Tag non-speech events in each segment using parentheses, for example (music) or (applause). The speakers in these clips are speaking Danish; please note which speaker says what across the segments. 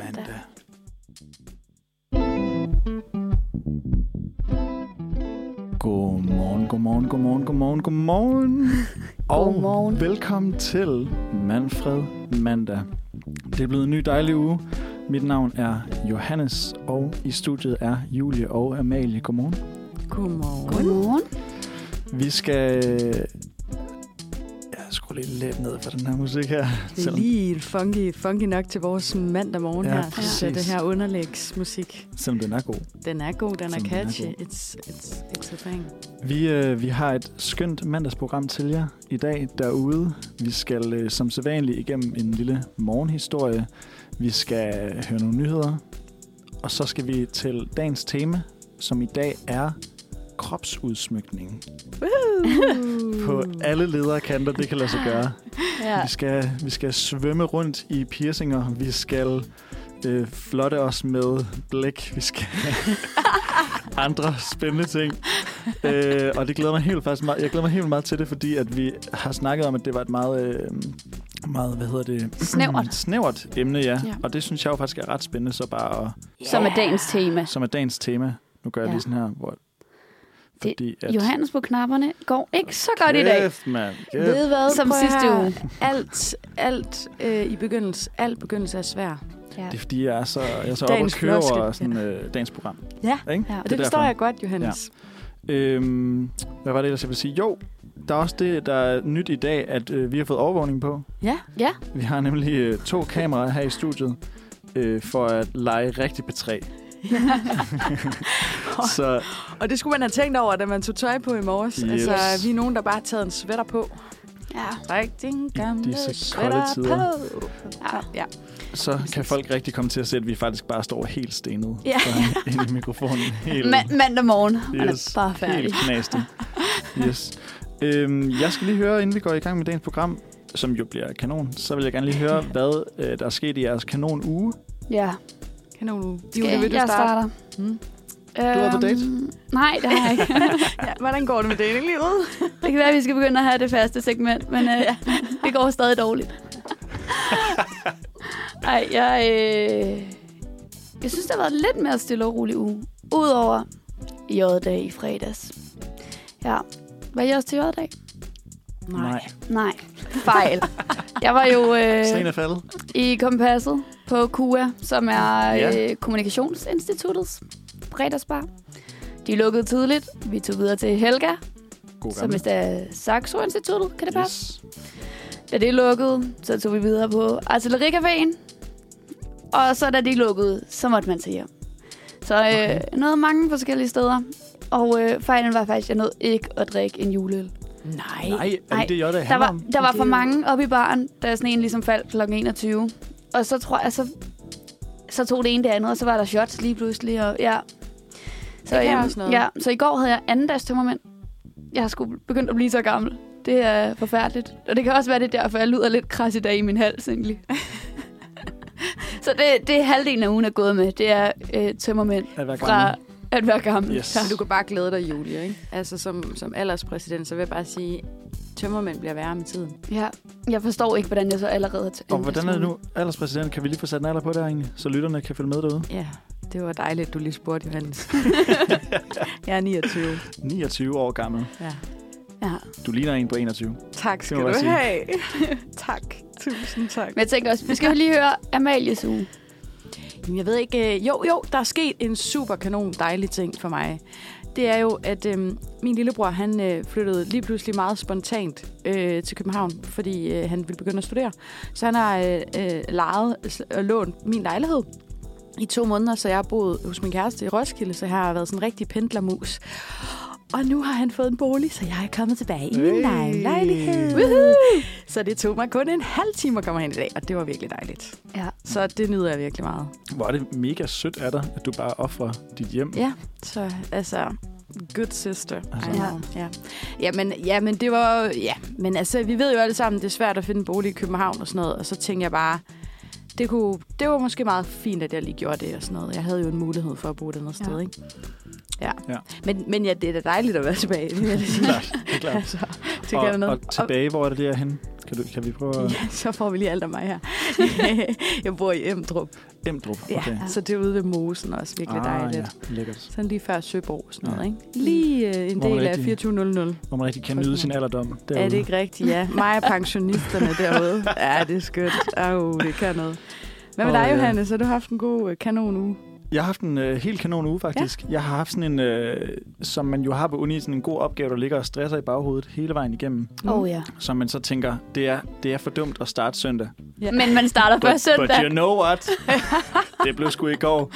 Speaker 1: Mandag. Godmorgen, godmorgen, godmorgen, godmorgen, godmorgen.
Speaker 2: Godmorgen.
Speaker 1: Og velkommen til Manfred Mandag. Det er blevet en ny dejlig uge. Mit navn er Johannes, og i studiet er Julie og Amalie. Godmorgen.
Speaker 2: Godmorgen.
Speaker 3: Godmorgen.
Speaker 1: Vi skal... Jeg skruer lige lidt ned for den her musik her.
Speaker 2: Det er lige funky, funky nok til vores mandag morgen
Speaker 1: Ja,
Speaker 2: ja, her, synes jeg, det
Speaker 1: præcis.
Speaker 2: her underlægsmusik.
Speaker 1: Selvom den er god.
Speaker 2: Den er god, den er
Speaker 1: Som den er
Speaker 2: catchy.
Speaker 1: god.
Speaker 2: It's, it's, it's a thing.
Speaker 1: Vi, øh, vi har et skønt mandagsprogram til jer i dag derude. Vi skal øh, som sædvanligt igennem en lille morgenhistorie. Vi skal høre nogle nyheder. Og så skal vi til dagens tema, som i dag er kropsudsmykning. (laughs) På
Speaker 2: Mm.
Speaker 1: alle lederkanter, det kan lade sig gøre.
Speaker 3: Ja.
Speaker 1: Vi skal, vi skal svømme rundt i piercinger. Vi skal øh, flotte os med blæk. Vi skal (laughs) andre spændende ting. Øh, og det glæder mig helt faktisk meget. Jeg glæder mig helt meget til det, fordi at vi har snakket om, at det var et meget, øh, meget hvad hedder det? Mm,
Speaker 3: Snævert.
Speaker 1: Snævert emne, ja.
Speaker 3: Ja.
Speaker 1: ja. Og det synes jeg jo faktisk er ret spændende, så bare at,
Speaker 3: Som er dagens tema.
Speaker 1: som er dagens tema. Nu gør jeg
Speaker 3: Ja.
Speaker 1: lige sådan her, hvor...
Speaker 3: Det-
Speaker 1: Fordi at,
Speaker 3: Johannes på knapperne går ikke så godt i dag.
Speaker 1: Kæft, mand. Kæft.
Speaker 2: Ved hvad?
Speaker 3: Som
Speaker 2: Prøv at
Speaker 3: sidste
Speaker 2: høre.
Speaker 3: uge.
Speaker 2: Alt, alt øh, i begyndelsen, alt begyndelse er svær.
Speaker 3: Ja.
Speaker 1: Det er fordi, jeg er så, jeg er så oppe og
Speaker 2: Dagens
Speaker 1: køre over
Speaker 2: floskel.
Speaker 1: sådan, øh, dagens program.
Speaker 2: Ja.
Speaker 1: Ikke?
Speaker 3: Ja,
Speaker 2: Og det, det forstår jeg godt, Johannes.
Speaker 1: Øhm, hvad var det ellers, jeg ville sige? Jo, der er også det, der er nyt i dag, at øh, vi har fået overvågning på.
Speaker 2: Ja.
Speaker 3: Ja.
Speaker 1: Vi har nemlig øh, to kameraer her i studiet øh, for at lege rigtig betræ. så
Speaker 2: (laughs) Og det skulle man have tænkt over, da man tog tøj på i morges.
Speaker 1: Yes.
Speaker 2: Altså, vi er nogen, der bare har taget en sweater på.
Speaker 3: ja.
Speaker 2: Træk din gamle
Speaker 1: disse kolde
Speaker 2: sweater
Speaker 1: tider.
Speaker 2: på. Ja. ja.
Speaker 1: så kan folk rigtig komme til at se, at vi faktisk bare står helt stenet
Speaker 3: Ja.
Speaker 1: sådan (laughs) ind i mikrofonen. Helt,
Speaker 3: Ma- mandag morgen. Man er bare færdig.
Speaker 1: helt
Speaker 3: (laughs)
Speaker 1: knastet. Yes. Øhm, jeg skal lige høre, inden vi går i gang med dagens program, som jo bliver kanon, så vil jeg gerne lige høre, hvad øh, der er sket i jeres kanon uge.
Speaker 3: Ja.
Speaker 2: Kanon nu. Julie,
Speaker 3: Skal
Speaker 2: vil du
Speaker 3: jeg
Speaker 2: starte?
Speaker 3: starter.
Speaker 2: Mm.
Speaker 3: Øhm,
Speaker 1: været på date?
Speaker 3: Nej, det har jeg ikke. (laughs)
Speaker 2: Ja, hvordan går det med datinglivet?
Speaker 3: Det kan være, at vi skal begynde at have det faste segment, men øh, det går stadig dårligt. Ej, jeg, øh, jeg synes, det har været lidt mere stille og rolig uge. Udover J-dag i fredags. Ja. Var I også til J-dag? Nej. Fejl. Jeg var jo
Speaker 1: Sten er
Speaker 3: øh,
Speaker 1: faldet.
Speaker 3: i kompasset på KUA, som er
Speaker 1: Ja.
Speaker 3: øh, Kommunikationsinstituttets fredagsbar. De lukkede tidligt. Vi tog videre til Helga,
Speaker 1: God
Speaker 3: som vist er Saxo-instituttet, kan det passe?
Speaker 1: Yes.
Speaker 3: Da det lukkede, så tog vi videre på Artillericaféen. Og så da det lukkede, så måtte man til hjem. Så øh, okay. nåede mange forskellige steder. Og øh, fejlen var faktisk, at jeg nåede ikke at drikke en juleøl.
Speaker 2: Nej.
Speaker 1: Nej, er det
Speaker 3: Nej,
Speaker 1: ikke det, Jota handler
Speaker 3: Der var,
Speaker 1: om?
Speaker 3: der var
Speaker 2: Det
Speaker 3: for
Speaker 2: er jo-
Speaker 3: mange oppe i baren, da sådan en ligesom faldt kl. 21. Og så tror jeg, så, så tog det ene det andet, og så var der shots lige pludselig. Og, ja. Så,
Speaker 2: Det kan
Speaker 3: øhm,
Speaker 2: også noget.
Speaker 3: ja, så i går havde jeg anden dags tømmermænd. Jeg har sgu begyndt at blive så gammel. Det er forfærdeligt. Og det kan også være, det er derfor, jeg lyder lidt kras i dag i min
Speaker 2: (laughs)
Speaker 3: hals egentlig. så det, det er halvdelen af ugen er gået med. Det er øh, tømmermænd
Speaker 1: At være
Speaker 3: fra
Speaker 1: gammel.
Speaker 3: at være gammel.
Speaker 1: Yes.
Speaker 2: Du kan bare glæde dig, Julie, ikke? Altså, som, som alderspræsident, så vil jeg bare sige, tømmermænd bliver værre med tiden.
Speaker 3: Ja, jeg forstår ikke, hvordan jeg så allerede... har
Speaker 1: Og hvordan er det nu? Alderspræsident, kan vi lige få sat en alder på der egentlig, så lytterne kan følge med derude?
Speaker 2: Ja, det var dejligt, du lige spurgte, (laughs) Johannes. jeg er 29.
Speaker 1: 29 år gammel.
Speaker 2: Ja.
Speaker 3: Ja.
Speaker 1: Du ligner en på 21.
Speaker 2: Tak skal
Speaker 1: må
Speaker 2: du
Speaker 1: jeg sige.
Speaker 2: have. (laughs) tak. Tusind tak.
Speaker 3: Men jeg tænker også, vi skal jo lige høre Amalies uge.
Speaker 2: Jamen, Jeg ved ikke, øh, jo jo, der er sket en super kanon dejlig ting for mig. Det er jo, at øh, min lillebror, han øh, flyttede lige pludselig meget spontant øh, til København, fordi øh, han ville begynde at studere. Så han har øh, øh, lejet og lånt min lejlighed i to måneder, så jeg har boet hos min kæreste i Roskilde, så jeg har været sådan en rigtig pendlermus. Og nu har han fået en bolig, så jeg er kommet tilbage i min
Speaker 1: Hey.
Speaker 2: hey. lejlighed. Woohoo! Så det tog mig kun en halv time at komme hen i dag, og det var virkelig dejligt.
Speaker 3: Ja.
Speaker 2: Så det nyder jeg virkelig meget.
Speaker 1: Hvor er det mega sødt af dig, at du bare offrer dit hjem.
Speaker 2: Ja, så altså... Good sister.
Speaker 1: Altså.
Speaker 2: I know. Ja. Ja, men, ja, men det var... Ja, men altså, vi ved jo alle sammen, det er svært at finde en bolig i København og sådan noget. Og så tænkte jeg bare, det, kunne, det var måske meget fint, at jeg lige gjorde det og sådan noget. Jeg havde jo en mulighed for at bo et andet
Speaker 3: Ja.
Speaker 2: sted, ikke? Ja.
Speaker 1: Ja.
Speaker 2: Men, men ja, det er da dejligt at være tilbage, det vil jeg lige sige.
Speaker 3: (laughs)
Speaker 1: Klart, det er klart.
Speaker 2: altså, det kan
Speaker 1: og,
Speaker 2: jeg noget.
Speaker 1: og tilbage, hvor er det der henne? Kan, du, kan vi prøve at...
Speaker 2: Ja, (laughs) så får vi lige alt af mig her.
Speaker 1: (laughs)
Speaker 2: jeg bor i Emdrup,
Speaker 1: Emdrup,
Speaker 2: Ja,
Speaker 1: okay.
Speaker 2: så det er ude ved Mosen også virkelig dejligt.
Speaker 1: Ah, Ja, lækkert.
Speaker 2: Sådan lige før Søborg og sådan noget,
Speaker 1: Ja.
Speaker 2: ikke? Lige øh, en
Speaker 1: Hvor man
Speaker 2: del af
Speaker 1: rigtig-
Speaker 2: 2400.
Speaker 1: Hvor man rigtig kan
Speaker 2: Frygtelig.
Speaker 1: nyde sin alderdom. Derude.
Speaker 2: Er det ikke rigtigt? Ja, mig og pensionisterne derude. Ja, det er skønt. Au, det kan noget. Hvad med
Speaker 1: Åh,
Speaker 2: dig,
Speaker 1: ja.
Speaker 2: Johannes? Har du haft en god øh, kanon uge?
Speaker 1: Jeg har haft en øh, helt kanon uge, faktisk. Ja. Jeg har haft sådan en, øh, som man jo har på uni, sådan en god opgave, der ligger og stresser i baghovedet hele vejen igennem.
Speaker 3: Åh oh, ja.
Speaker 1: Som man så tænker, det er, det er for dumt at starte
Speaker 2: (laughs)
Speaker 1: søndag.
Speaker 2: Ja.
Speaker 3: Men man starter først
Speaker 1: but
Speaker 3: søndag.
Speaker 1: you know what?
Speaker 2: (laughs)
Speaker 1: det blev sgu i går.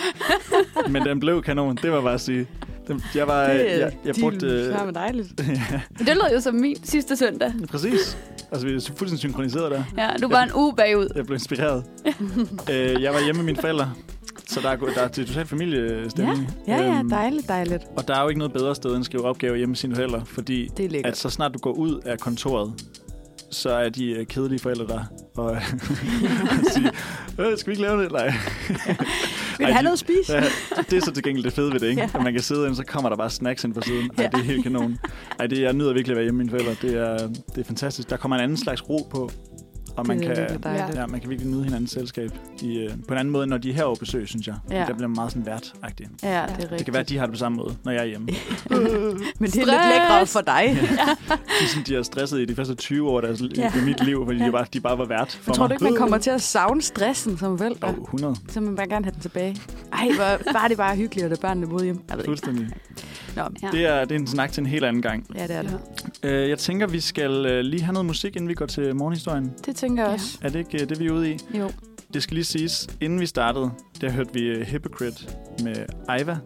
Speaker 1: Men den blev kanon, det var bare at sige. Den, jeg
Speaker 2: Mm.
Speaker 1: var, øh, jeg, jeg brugte... Øh,
Speaker 2: Det er dejligt.
Speaker 3: Det lød jo som min sidste søndag.
Speaker 1: præcis. Altså, vi er fuldstændig synkroniseret der.
Speaker 3: Ja, du var en uge bagud.
Speaker 1: Jeg blev
Speaker 2: (laughs)
Speaker 1: inspireret. øh, jeg var hjemme med mine forældre, så der er, go- der er til total familiestemning.
Speaker 2: Ja, ja,
Speaker 1: Øhm,
Speaker 2: dejligt, dejligt.
Speaker 1: Og der er jo ikke noget bedre sted end at skrive opgaver hjemme med sine forældre, fordi
Speaker 2: Det er lækkert.
Speaker 1: at så snart du går ud af kontoret, så er de øh, kedelige forældre der. Og, (laughs) og siger, øh, skal vi ikke lave det? Nej.
Speaker 2: Vil
Speaker 1: ej,
Speaker 2: du have
Speaker 1: de-
Speaker 2: noget at spise?
Speaker 1: (laughs) Ja, det er så til gengæld det fede ved det, ikke? At man kan sidde ind, så kommer der bare snacks ind på siden. Ej, det er helt kanon. Ej, det, jeg nyder virkelig at være hjemme med mine forældre. Det er, det er fantastisk. Der kommer en anden slags ro på, og man
Speaker 2: det er
Speaker 1: kan,
Speaker 2: virkelig dejligt.
Speaker 1: ja, man kan virkelig nyde hinandens selskab i, øh, på en anden måde, end når de er her på besøg, synes jeg.
Speaker 2: Ja.
Speaker 1: Der bliver man meget sådan vært -agtig.
Speaker 2: Ja, det er rigtigt.
Speaker 1: Det kan være, at de har det på samme måde, når jeg er hjemme.
Speaker 2: Men det er lidt lækre for dig.
Speaker 1: De, er sådan, de er stresset i de første 20 år af deres,
Speaker 2: Ja.
Speaker 1: ja. i mit liv, fordi ja. de, bare, de bare var vært for
Speaker 2: Jeg tror
Speaker 1: mig.
Speaker 2: du ikke, man kommer til at savne stressen som forældre?
Speaker 1: Åh, 100.
Speaker 2: Så vil man bare gerne have den tilbage. Ej, hvor var det bare hyggeligt, at der børnene boede hjemme. Jeg ved ikke.
Speaker 1: Fuldstændig.
Speaker 2: Nå,
Speaker 3: Ja.
Speaker 1: Det er, det er en snak til en helt anden gang.
Speaker 2: ja, det er det.
Speaker 1: Øh, jeg tænker, vi skal øh, lige have noget musik, inden vi går til morgenhistorien.
Speaker 2: Det tænker jeg
Speaker 3: Ja.
Speaker 2: også.
Speaker 1: Er det ikke øh, det, vi er ude i?
Speaker 2: Jo.
Speaker 1: Det skal lige siges, inden vi startede, der hørte vi øh, Hypocrite med Iva.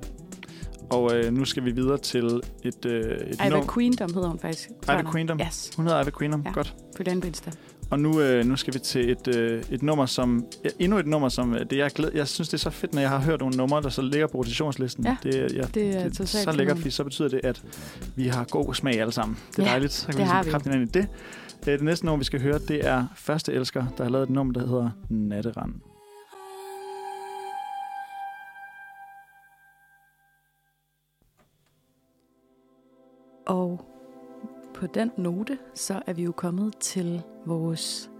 Speaker 1: Og øh, nu skal vi videre til et, øh, et
Speaker 2: Ej, hvad
Speaker 1: nummer.
Speaker 2: Queendom hedder hun faktisk. tror jeg nok.
Speaker 1: Queendom?
Speaker 2: Yes,
Speaker 1: Hun hedder Iva Queenum,
Speaker 2: Ja.
Speaker 1: ja. godt.
Speaker 2: følg den på Insta.
Speaker 1: Og nu, øh, nu skal vi til et, øh, et nummer, som... ja, Endnu et nummer, som... øh, Det, jeg, glæder, jeg synes, det er så fedt, når jeg har hørt nogle numre, der så ligger på rotationslisten.
Speaker 2: Ja,
Speaker 1: det, jeg,
Speaker 2: Det er
Speaker 1: det er
Speaker 2: totalt
Speaker 1: så
Speaker 2: kanon.
Speaker 1: lækkert, fordi så betyder det, at vi har god smag alle sammen. Det er
Speaker 2: Ja,
Speaker 1: ja, dejligt. Så kan
Speaker 2: det
Speaker 1: vi
Speaker 2: har
Speaker 1: ligesom
Speaker 2: vi.
Speaker 1: bekræfte hinanden i det. Øh, Det næste nummer, vi skal høre, det er Første Elsker, der har lavet et nummer, der hedder Natterand.
Speaker 2: Og på den note, så er vi jo kommet til vores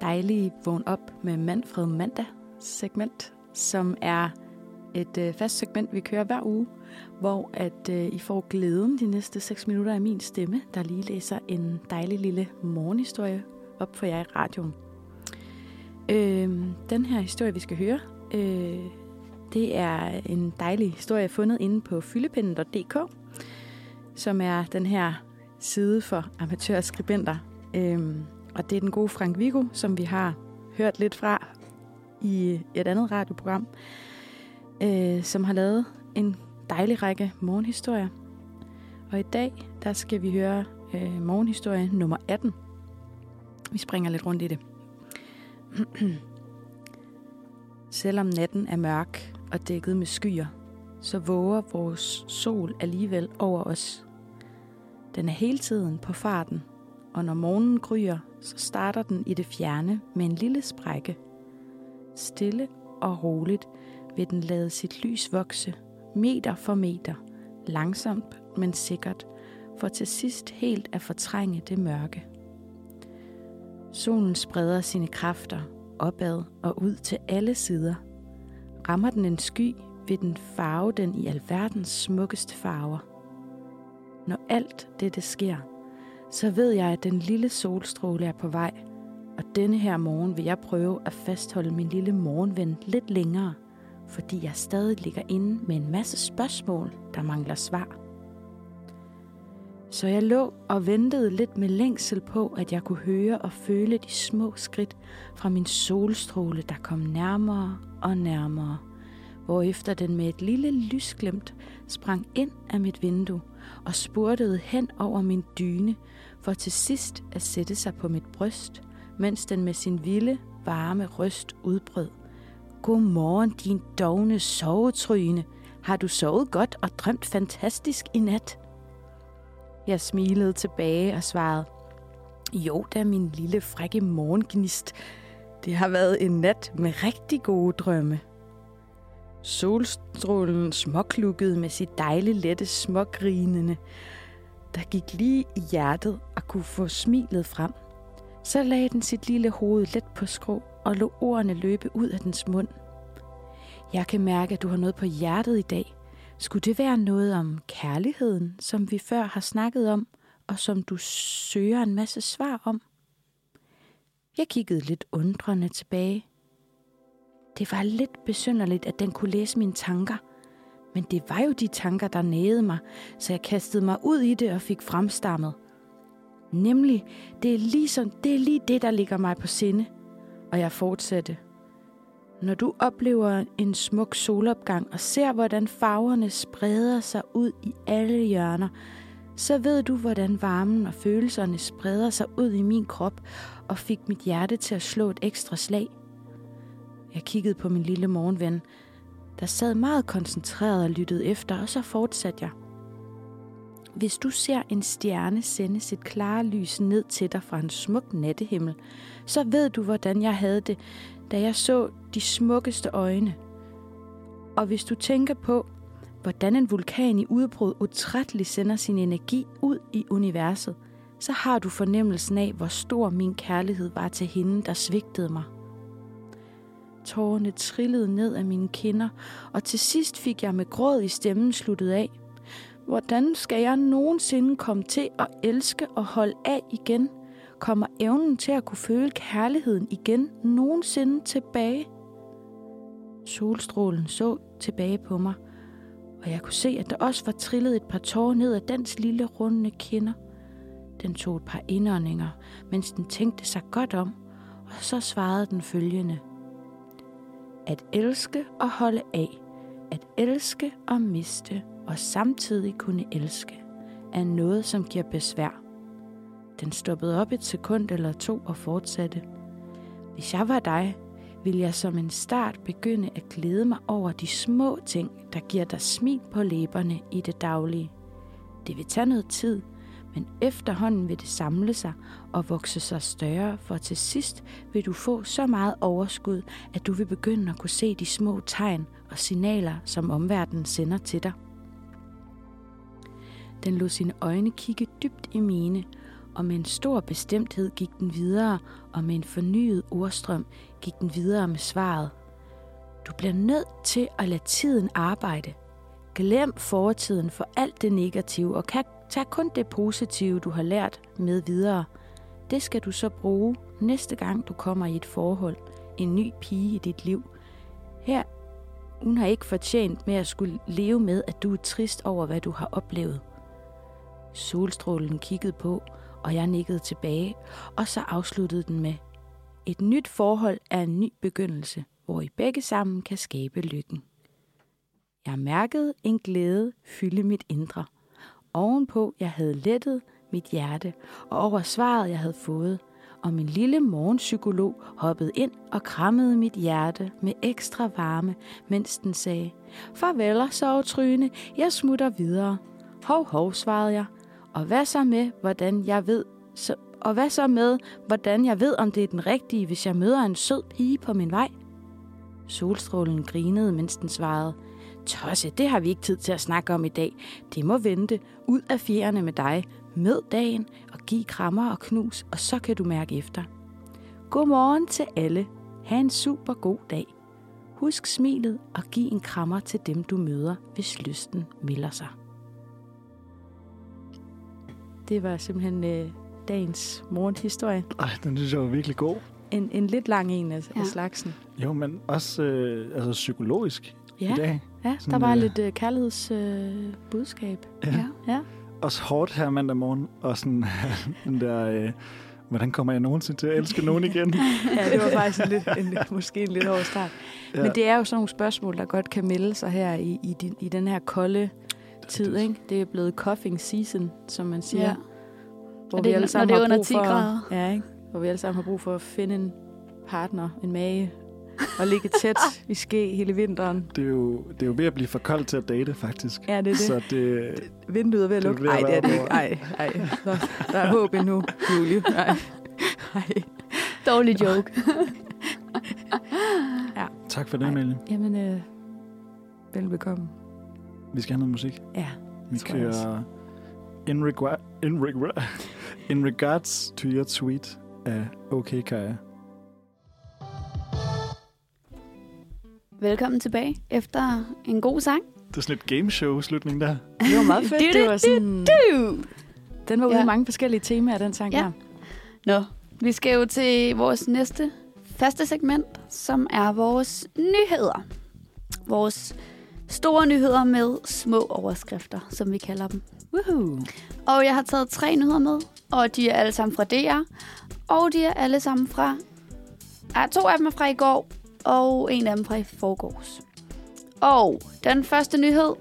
Speaker 2: dejlige vågn op med Manfred Mandag segment, som er et øh, fast segment, vi kører hver uge, hvor at øh, I får glæden de næste 6 minutter af min stemme, der lige læser en dejlig lille morgenhistorie op for jer i radioen. Øh, den her historie, vi skal høre, øh, det er en dejlig historie, jeg har fundet inde på fyldepinden.dk som er den her side for amatørskribenter. Øhm, og det er den gode Frank Vigo, som vi har hørt lidt fra i et andet radioprogram, øh, som har lavet en dejlig række morgenhistorier. Og i dag, der skal vi høre øh, morgenhistorie nummer 18. Vi springer lidt rundt i det. (clears throat) Selvom natten er mørk og dækket med skyer, så våger vores sol alligevel over os. Den er hele tiden på farten, og når morgenen gryer, så starter den i det fjerne med en lille sprække. Stille og roligt vil den lade sit lys vokse, meter for meter, langsomt men sikkert, for til sidst helt at fortrænge det mørke. Solen spreder sine kræfter opad og ud til alle sider. Rammer den en sky, vil den farve den i alverdens smukkeste farver. Når alt dette sker, så ved jeg, at den lille solstråle er på vej, og denne her morgen vil jeg prøve at fastholde min lille morgenven lidt længere, fordi jeg stadig ligger inde med en masse spørgsmål, der mangler svar. Så jeg lå og ventede lidt med længsel på, at jeg kunne høre og føle de små skridt fra min solstråle, der kom nærmere og nærmere hvorefter den med et lille lysglimt sprang ind af mit vindue og spurtede hen over min dyne, for til sidst at sætte sig på mit bryst, mens den med sin vilde, varme røst udbrød. Godmorgen, din dogne sovetryne. Har du sovet godt og drømt fantastisk i nat? Jeg smilede tilbage og svarede, jo da, min lille frække morgengnist. Det har været en nat med rigtig gode drømme. Solstrålen småklukkede med sit dejlige lette smågrinende, der gik lige i hjertet og kunne få smilet frem. Så lagde den sit lille hoved let på skrå og lå ordene løbe ud af dens mund. Jeg kan mærke, at du har noget på hjertet i dag. Skulle det være noget om kærligheden, som vi før har snakket om, og som du søger en masse svar om? Jeg kiggede lidt undrende tilbage. Det var lidt besynderligt, at den kunne læse mine tanker. Men det var jo de tanker, der nægede mig, så jeg kastede mig ud i det og fik fremstammet. Nemlig, det er, ligesom, det er lige det, der ligger mig på sinde. Og jeg fortsatte. Når du oplever en smuk solopgang og ser, hvordan farverne spreder sig ud i alle hjørner, så ved du, hvordan varmen og følelserne spreder sig ud i min krop og fik mit hjerte til at slå et ekstra slag. Jeg kiggede på min lille morgenven, der sad meget koncentreret og lyttede efter, og så fortsatte jeg. Hvis du ser en stjerne sende sit klare lys ned til dig fra en smuk nattehimmel, så ved du, hvordan jeg havde det, da jeg så de smukkeste øjne. Og hvis du tænker på, hvordan en vulkan i udbrud utrætteligt sender sin energi ud i universet, så har du fornemmelsen af, hvor stor min kærlighed var til hende, der svigtede mig. Tårerne trillede ned af mine kinder, og til sidst fik jeg med gråd i stemmen sluttet af. Hvordan skal jeg nogensinde komme til at elske og holde af igen? Kommer evnen til at kunne føle kærligheden igen nogensinde tilbage? Solstrålen så tilbage på mig, og jeg kunne se, at der også var trillet et par tårer ned af dens lille runde kinder. Den tog et par indåndinger, mens den tænkte sig godt om, og så svarede den følgende. At elske og holde af, at elske og miste, og samtidig kunne elske, er noget, som giver besvær. Den stoppede op et sekund eller to og fortsatte. Hvis jeg var dig, vil jeg som en start begynde at glæde mig over de små ting, der giver dig smil på læberne i det daglige. Det vil tage noget tid, men efterhånden vil det samle sig og vokse sig større, for til sidst vil du få så meget overskud, at du vil begynde at kunne se de små tegn og signaler, som omverdenen sender til dig. Den lod sine øjne kigge dybt i mine, og med en stor bestemthed gik den videre, og med en fornyet ordstrøm gik den videre med svaret. Du bliver nødt til at lade tiden arbejde. Glem fortiden for alt det negative, og kan Tag kun det positive, du har lært med videre. Det skal du så bruge næste gang, du kommer i et forhold. En ny pige i dit liv. Her, hun har ikke fortjent med at skulle leve med, at du er trist over, hvad du har oplevet. Solstrålen kiggede på, og jeg nikkede tilbage, og så afsluttede den med. Et nyt forhold er en ny begyndelse, hvor I begge sammen kan skabe lykken. Jeg mærkede en glæde fylde mit indre ovenpå, jeg havde lettet mit hjerte, og over svaret, jeg havde fået. Og min lille morgenpsykolog hoppede ind og krammede mit hjerte med ekstra varme, mens den sagde, Farvel og sov, Tryne, jeg smutter videre. Hov, hov, svarede jeg. Og hvad så med, hvordan jeg ved, så, og hvad så med, hvordan jeg ved, om det er den rigtige, hvis jeg møder en sød pige på min vej? Solstrålen grinede, mens den svarede, Tosse, det har vi ikke tid til at snakke om i dag. Det må vente. Ud af fjerne med dig. Mød dagen og giv krammer og knus, og så kan du mærke efter. Godmorgen til alle. Ha' en super god dag. Husk smilet og giv en krammer til dem, du møder, hvis lysten melder sig. Det var simpelthen øh, dagens morgenhistorie.
Speaker 1: Ej, den synes jeg var virkelig god.
Speaker 2: En, en lidt lang en af, ja. af slagsen.
Speaker 1: Jo, men også øh, altså psykologisk
Speaker 2: ja.
Speaker 1: i dag.
Speaker 2: Ja, Sådan, der var øh, lidt øh, kærlighedsbudskab.
Speaker 1: Ja.
Speaker 2: ja. ja.
Speaker 1: Også hårdt her mandag morgen, og sådan (laughs) den der, øh, hvordan kommer jeg nogensinde til at elske nogen
Speaker 2: (laughs)
Speaker 1: igen?
Speaker 2: ja, det var faktisk en lidt, en, måske en lidt hård start.
Speaker 1: Ja.
Speaker 2: Ja. Men det er jo sådan nogle spørgsmål, der godt kan melde sig her i, i, din, i den her kolde tid. Ikke? Det er blevet coughing season, som man siger.
Speaker 3: Ja.
Speaker 2: Ja.
Speaker 3: Og det er, når det er under 10
Speaker 2: for,
Speaker 3: grader.
Speaker 2: Ja, ikke? Hvor vi alle sammen har brug for at finde en partner, en mage, og ligge tæt i ske hele vinteren.
Speaker 1: Det er, jo, det er jo ved at blive for koldt til at date, faktisk.
Speaker 2: Ja, det er det.
Speaker 1: Så det,
Speaker 2: Vinduet er ved at
Speaker 1: Det
Speaker 2: lukke.
Speaker 1: bliver
Speaker 2: Nej, det er det
Speaker 1: værre
Speaker 2: ikke. Ej, ej. Nå, der er håb endnu, Julie. Ej. Ej.
Speaker 3: Dårlig joke.
Speaker 1: tak for det,
Speaker 2: Ej.
Speaker 1: Amalie.
Speaker 2: Jamen, øh, velbekomme.
Speaker 1: Vi skal have noget musik.
Speaker 2: Ja,
Speaker 1: Vi
Speaker 2: tror jeg
Speaker 1: kører in, regre- in, regre- in regards to your tweet af OK Kaja.
Speaker 3: Velkommen tilbage efter en god sang.
Speaker 1: Det er sådan et gameshow-slutning der.
Speaker 2: Det var meget fedt. det var sådan,
Speaker 3: Du!
Speaker 2: den var ude i
Speaker 3: Ja.
Speaker 2: mange forskellige temaer, den sang
Speaker 3: Ja.
Speaker 2: her.
Speaker 3: Nå, vi skal jo til vores næste faste segment, som er vores nyheder. Vores store nyheder med små overskrifter, som vi kalder dem.
Speaker 2: Woohoo.
Speaker 3: Og jeg har taget tre nyheder med, og de er alle sammen fra DR. Og de er alle sammen fra... Ej, to af dem er fra i går, og en af dem fra i forgårs. Og den første nyhed...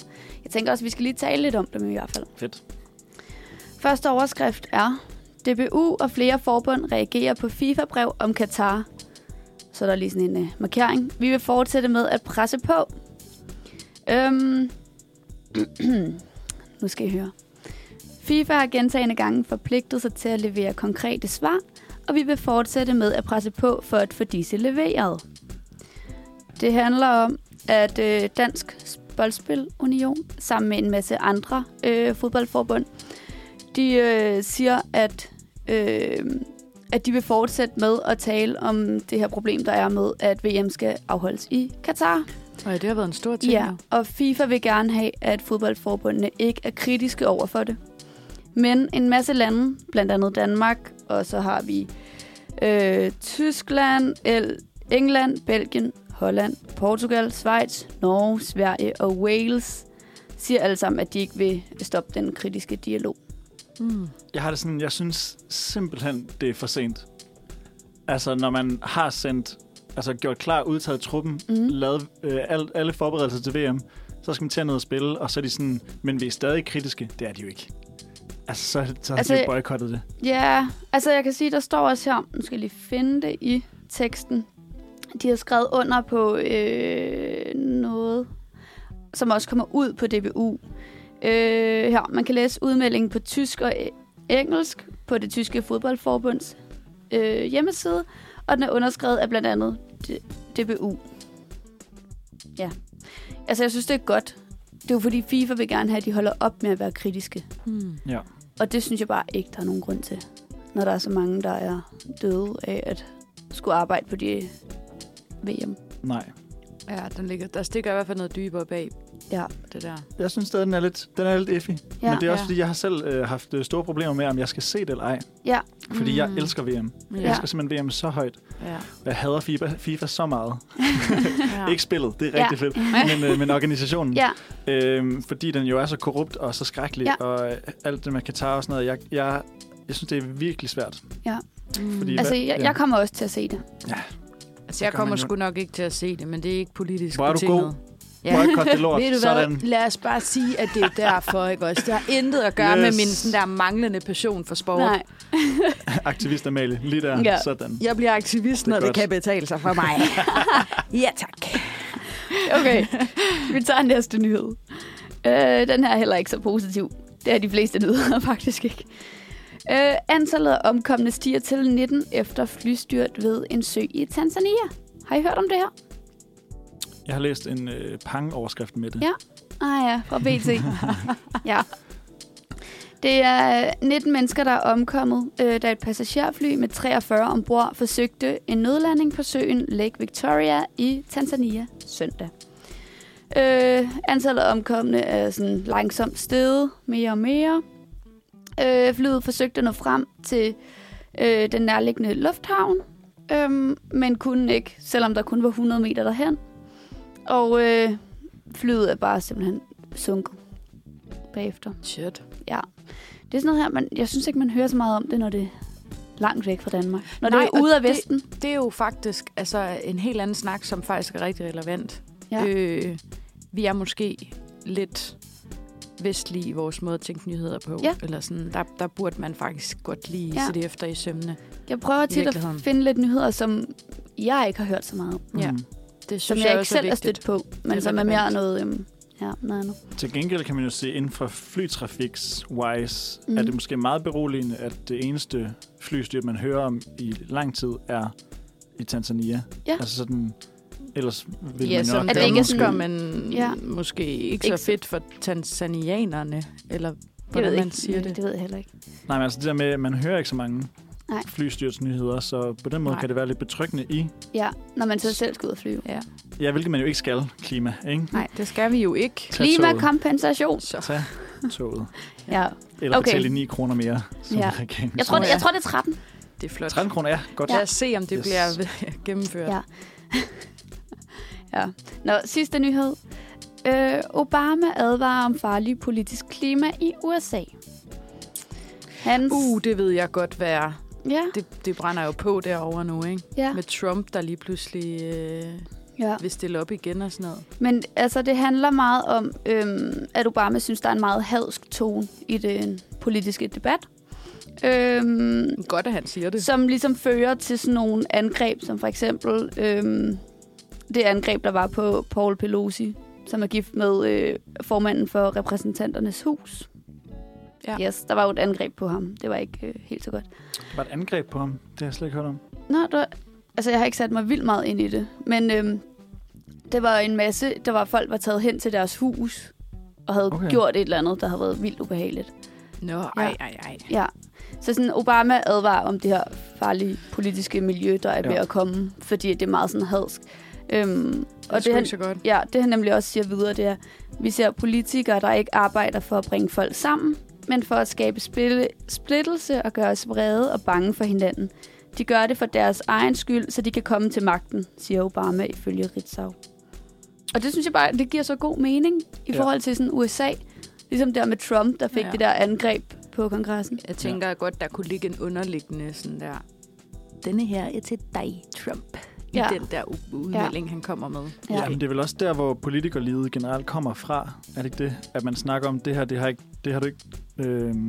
Speaker 3: Jeg tænker også, at vi skal lige tale lidt om dem i hvert fald.
Speaker 1: Fedt.
Speaker 3: Første overskrift er, DBU og flere forbund reagerer på FIFA-brev om Katar. Så er der lige sådan en øh, markering. Vi vil fortsætte med at presse på. Øhm, (clears throat) nu skal I høre. FIFA har gentagende gange forpligtet sig til at levere konkrete svar, og vi vil fortsætte med at presse på for at få disse leveret. Det handler om, at øh, Dansk Boldspil Union sammen med en masse andre øh, fodboldforbund de øh, siger, at, øh, at de vil fortsætte med at tale om det her problem, der er med, at VM skal afholdes i Katar.
Speaker 2: Og ja, det har været en stor ting.
Speaker 3: Ja,
Speaker 2: jo.
Speaker 3: og FIFA vil gerne have, at fodboldforbundene ikke er kritiske over for det. Men en masse lande, blandt andet Danmark, og så har vi øh, Tyskland, El- England, Belgien, Holland, Portugal, Schweiz, Norge, Sverige og Wales, siger alle sammen, at de ikke vil stoppe den kritiske dialog.
Speaker 2: Mm.
Speaker 1: Jeg har det sådan, jeg synes simpelthen, det er for sent. Altså, når man har sendt, altså gjort klar, udtaget truppen, mm.
Speaker 3: Mhm.
Speaker 1: lavet øh, al, alle forberedelser til VM, så skal man til at ned og spille, og så er de sådan, men vi er stadig kritiske. Det er de jo ikke. Altså, så, er det- så har altså,
Speaker 3: Altså,
Speaker 1: de jo boykottet det.
Speaker 3: Ja, altså jeg kan sige, der står også her, nu skal jeg lige finde det i teksten. De har skrevet under på øh, noget, som også kommer ud på DBU. Øh, her, man kan læse udmeldingen på tysk og e- engelsk på det tyske fodboldforbunds øh, hjemmeside, og den er underskrevet af blandt andet D- DBU. Ja. Altså, jeg synes, det er godt. Det er jo fordi FIFA vil gerne have, at de holder op med at være kritiske.
Speaker 2: Mm.
Speaker 3: Og det synes jeg bare ikke, der er nogen grund til. Når der er så mange, der er døde af at skulle arbejde på de øh, VM.
Speaker 1: Nej.
Speaker 2: Ja, den ligger, der stikker i hvert fald noget dybere bag
Speaker 3: Ja.
Speaker 2: det der.
Speaker 1: Jeg synes stadig, den er lidt, den er lidt effig. Ja,
Speaker 3: Ja.
Speaker 1: men det er også,
Speaker 2: Ja.
Speaker 1: fordi jeg har selv øh, haft øh, store problemer med, om jeg skal se det eller ej.
Speaker 3: Ja.
Speaker 1: Fordi mm. jeg
Speaker 2: Mm.
Speaker 1: elsker VM. Jeg
Speaker 2: Ja.
Speaker 1: elsker simpelthen VM så højt. (laughs)
Speaker 2: Ja.
Speaker 1: Og jeg hader FIFA, FIFA så meget.
Speaker 2: ja.
Speaker 1: Ja. Ikke spillet, det er rigtig ja. fedt. Men, øh, men organisationen.
Speaker 3: Ja,
Speaker 1: Øhm, fordi den jo er så korrupt og så skrækkelig, ja.
Speaker 3: Ja.
Speaker 1: og øh, alt det med Katar og sådan noget. Jeg, jeg, jeg synes, det er virkelig svært. (laughs)
Speaker 2: Mm.
Speaker 1: fordi-
Speaker 3: altså
Speaker 1: Ja.
Speaker 3: jeg, jeg kommer også til at se det.
Speaker 2: altså, jeg
Speaker 1: så kan man
Speaker 2: kommer
Speaker 1: jo-
Speaker 2: sgu nok ikke til at se det, men det er ikke politisk
Speaker 1: Hvor er du
Speaker 2: betinget.
Speaker 1: god.
Speaker 2: Ja.
Speaker 1: Ja. Boykot det lort.
Speaker 2: (laughs) Ved du
Speaker 1: sådan.
Speaker 2: hvad? Lad os bare sige, at det er derfor, ikke også? Det har intet at gøre yes. med
Speaker 1: Yes.
Speaker 2: min sådan der manglende passion for sport.
Speaker 3: Nej.
Speaker 1: Aktivist Amalie. Lige der. Ja.
Speaker 3: Ja.
Speaker 1: Sådan.
Speaker 2: Jeg bliver aktivist,
Speaker 1: Det er
Speaker 2: når
Speaker 1: godt.
Speaker 2: det kan betale sig for
Speaker 1: (laughs)
Speaker 2: mig. ja, tak.
Speaker 3: Okay, vi tager næste nyhed. Øh, den her er heller ikke så positiv. Det er de fleste nyheder (laughs) faktisk ikke. Øh, antallet af omkomne stiger til 19 efter flystyrt ved en sø i Tanzania. Har I hørt om det her?
Speaker 1: Jeg har læst en øh, pang-overskrift med det.
Speaker 3: Ja. Ah ja, fra BT. ja. Det er 19 mennesker, der er omkommet, øh, da et passagerfly med 43 ombord forsøgte en nødlanding på søen Lake Victoria i Tanzania søndag. Øh, antallet af omkomne er sådan langsomt steget mere og mere. Øh, flyet forsøgte at nå frem til øh, den nærliggende lufthavn, øh, men kunne ikke, selvom der kun var 100 meter derhen. Og øh, flyet er bare simpelthen sunket bagefter.
Speaker 2: Shit.
Speaker 3: Det er sådan noget her, man, jeg synes ikke, man hører så meget om det, når det er langt væk fra Danmark. Når Nej,
Speaker 2: Nej,
Speaker 3: det
Speaker 2: og
Speaker 3: er ude af
Speaker 2: det-
Speaker 3: Vesten.
Speaker 2: Det er jo faktisk altså, en helt anden snak, som faktisk er rigtig relevant.
Speaker 3: Ja.
Speaker 2: Øh, vi er måske lidt vestlige i vores måde at tænke nyheder på.
Speaker 3: Ja.
Speaker 2: Eller sådan, der, der burde man faktisk godt lige ja.
Speaker 3: Ja.
Speaker 2: se det efter i sømne.
Speaker 3: Jeg prøver tit at
Speaker 2: virkeligheden.
Speaker 3: finde lidt nyheder, som jeg ikke har hørt så meget om.
Speaker 1: Mm.
Speaker 2: Ja.
Speaker 1: Ja.
Speaker 2: Det synes
Speaker 3: Som
Speaker 2: jeg
Speaker 3: jeg ikke
Speaker 2: også er
Speaker 3: selv er
Speaker 2: vigtigt.
Speaker 3: stødt på, men
Speaker 2: er
Speaker 3: som er mere
Speaker 2: relevant.
Speaker 3: noget, øhm, ja, noget andet.
Speaker 1: Til gengæld kan man jo se, inden for flytrafiks-wise, mm.
Speaker 3: Mhm.
Speaker 1: er det måske meget beroligende, at det eneste flystyrt, man hører om i lang tid, er i Tanzania.
Speaker 3: Ja.
Speaker 1: Altså sådan, ellers vil
Speaker 2: ja,
Speaker 1: man jo
Speaker 2: som
Speaker 1: nok...
Speaker 3: det ikke er
Speaker 2: dansker,
Speaker 3: sådan-
Speaker 2: men ja.
Speaker 3: Ja.
Speaker 2: måske ikke,
Speaker 3: Ikke
Speaker 2: så
Speaker 3: så-
Speaker 2: fedt for tanzanianerne, eller
Speaker 3: Jeg
Speaker 2: hvordan
Speaker 3: ved
Speaker 2: man
Speaker 3: ikke.
Speaker 2: siger det.
Speaker 3: Det ved jeg heller ikke.
Speaker 1: Nej, men altså det der med, at man hører ikke så mange.
Speaker 3: Nej.
Speaker 1: flystyrtsnyheder, så på den måde
Speaker 2: Nej.
Speaker 1: kan det være lidt betryggende i,
Speaker 3: Ja, når man så selv skal ud og flyve.
Speaker 2: Ja.
Speaker 1: ja, hvilket man jo ikke skal, klima, ikke?
Speaker 2: Nej, det skal vi jo ikke.
Speaker 1: Tag toget.
Speaker 3: Klimakompensation.
Speaker 2: Så.
Speaker 1: Tag toget.
Speaker 3: Ja.
Speaker 1: Eller okay.
Speaker 3: Okay.
Speaker 1: betale 9 kroner mere, som ja.
Speaker 3: Ja.
Speaker 1: (laughs) regeringen.
Speaker 3: Jeg tror,
Speaker 1: siger.
Speaker 3: det, jeg tror, det er 13.
Speaker 2: Det er flot.
Speaker 1: 13 kroner, ja, godt.
Speaker 2: Lad os se, om det
Speaker 1: Yes.
Speaker 2: yes. bliver (laughs) gennemført.
Speaker 3: Ja. Ja. Nå, sidste nyhed. Øh, Obama advarer om farlig politisk klima i USA. Hans...
Speaker 2: Uh, det ved jeg godt, hvad er.
Speaker 3: Ja,
Speaker 2: Det, det brænder jo på derovre nu, ikke?
Speaker 3: ja,
Speaker 2: Med Trump, der lige pludselig øh,
Speaker 3: ja.
Speaker 2: vil stille op igen og sådan noget.
Speaker 3: Men altså, det handler meget om, øhm, at Obama synes, der er en meget hadsk tone i den politiske debat. Øhm,
Speaker 2: Godt, at han siger det.
Speaker 3: som ligesom fører til sådan nogle angreb, som for eksempel øhm, det angreb, der var på Paul Pelosi, som er gift med øh, formanden for repræsentanternes hus.
Speaker 2: Ja.
Speaker 3: Yes, der var jo et angreb på ham. Det var ikke øh, helt så godt.
Speaker 1: Der var et angreb på ham. Det har jeg slet ikke hørt om.
Speaker 3: Nå, der, altså jeg har ikke sat mig vildt meget ind i det, men øhm, det var en masse, der var folk, var taget hen til deres hus og havde
Speaker 1: Okay.
Speaker 3: okay. gjort et eller andet, der havde været vildt ubehageligt.
Speaker 2: Nå, ej, ej, ej.
Speaker 3: Ja. Så sådan, Obama advarer om det her farlige politiske miljø, der er ja. ved
Speaker 1: Ja.
Speaker 3: at komme, fordi det er meget sådan hadsk. Øhm,
Speaker 2: Det er
Speaker 3: og
Speaker 2: sgu
Speaker 3: det han,
Speaker 2: ikke så godt.
Speaker 3: ja, det han nemlig også siger videre, det er, vi ser politikere, der ikke arbejder for at bringe folk sammen, men for at skabe spille, splittelse og gøre os vrede og bange for hinanden. De gør det for deres egen skyld, så de kan komme til magten, siger Obama ifølge Ritzau. Og det synes jeg bare, det giver så god mening i
Speaker 1: Ja.
Speaker 3: forhold til sådan USA. Ligesom der med Trump, der fik
Speaker 2: Ja.
Speaker 3: ja. det der angreb på kongressen.
Speaker 2: Jeg tænker godt, der kunne ligge en underliggende sådan der... Denne her er til dig, Trump. I ja.
Speaker 3: Ja.
Speaker 2: den der u- udmelding, ja. han kommer med.
Speaker 3: Ja.
Speaker 1: Jamen, det er vel også der, hvor politikerlivet generelt kommer fra. Er det ikke det? At man snakker om, det her, det har, ikke, det har du ikke... Øhm,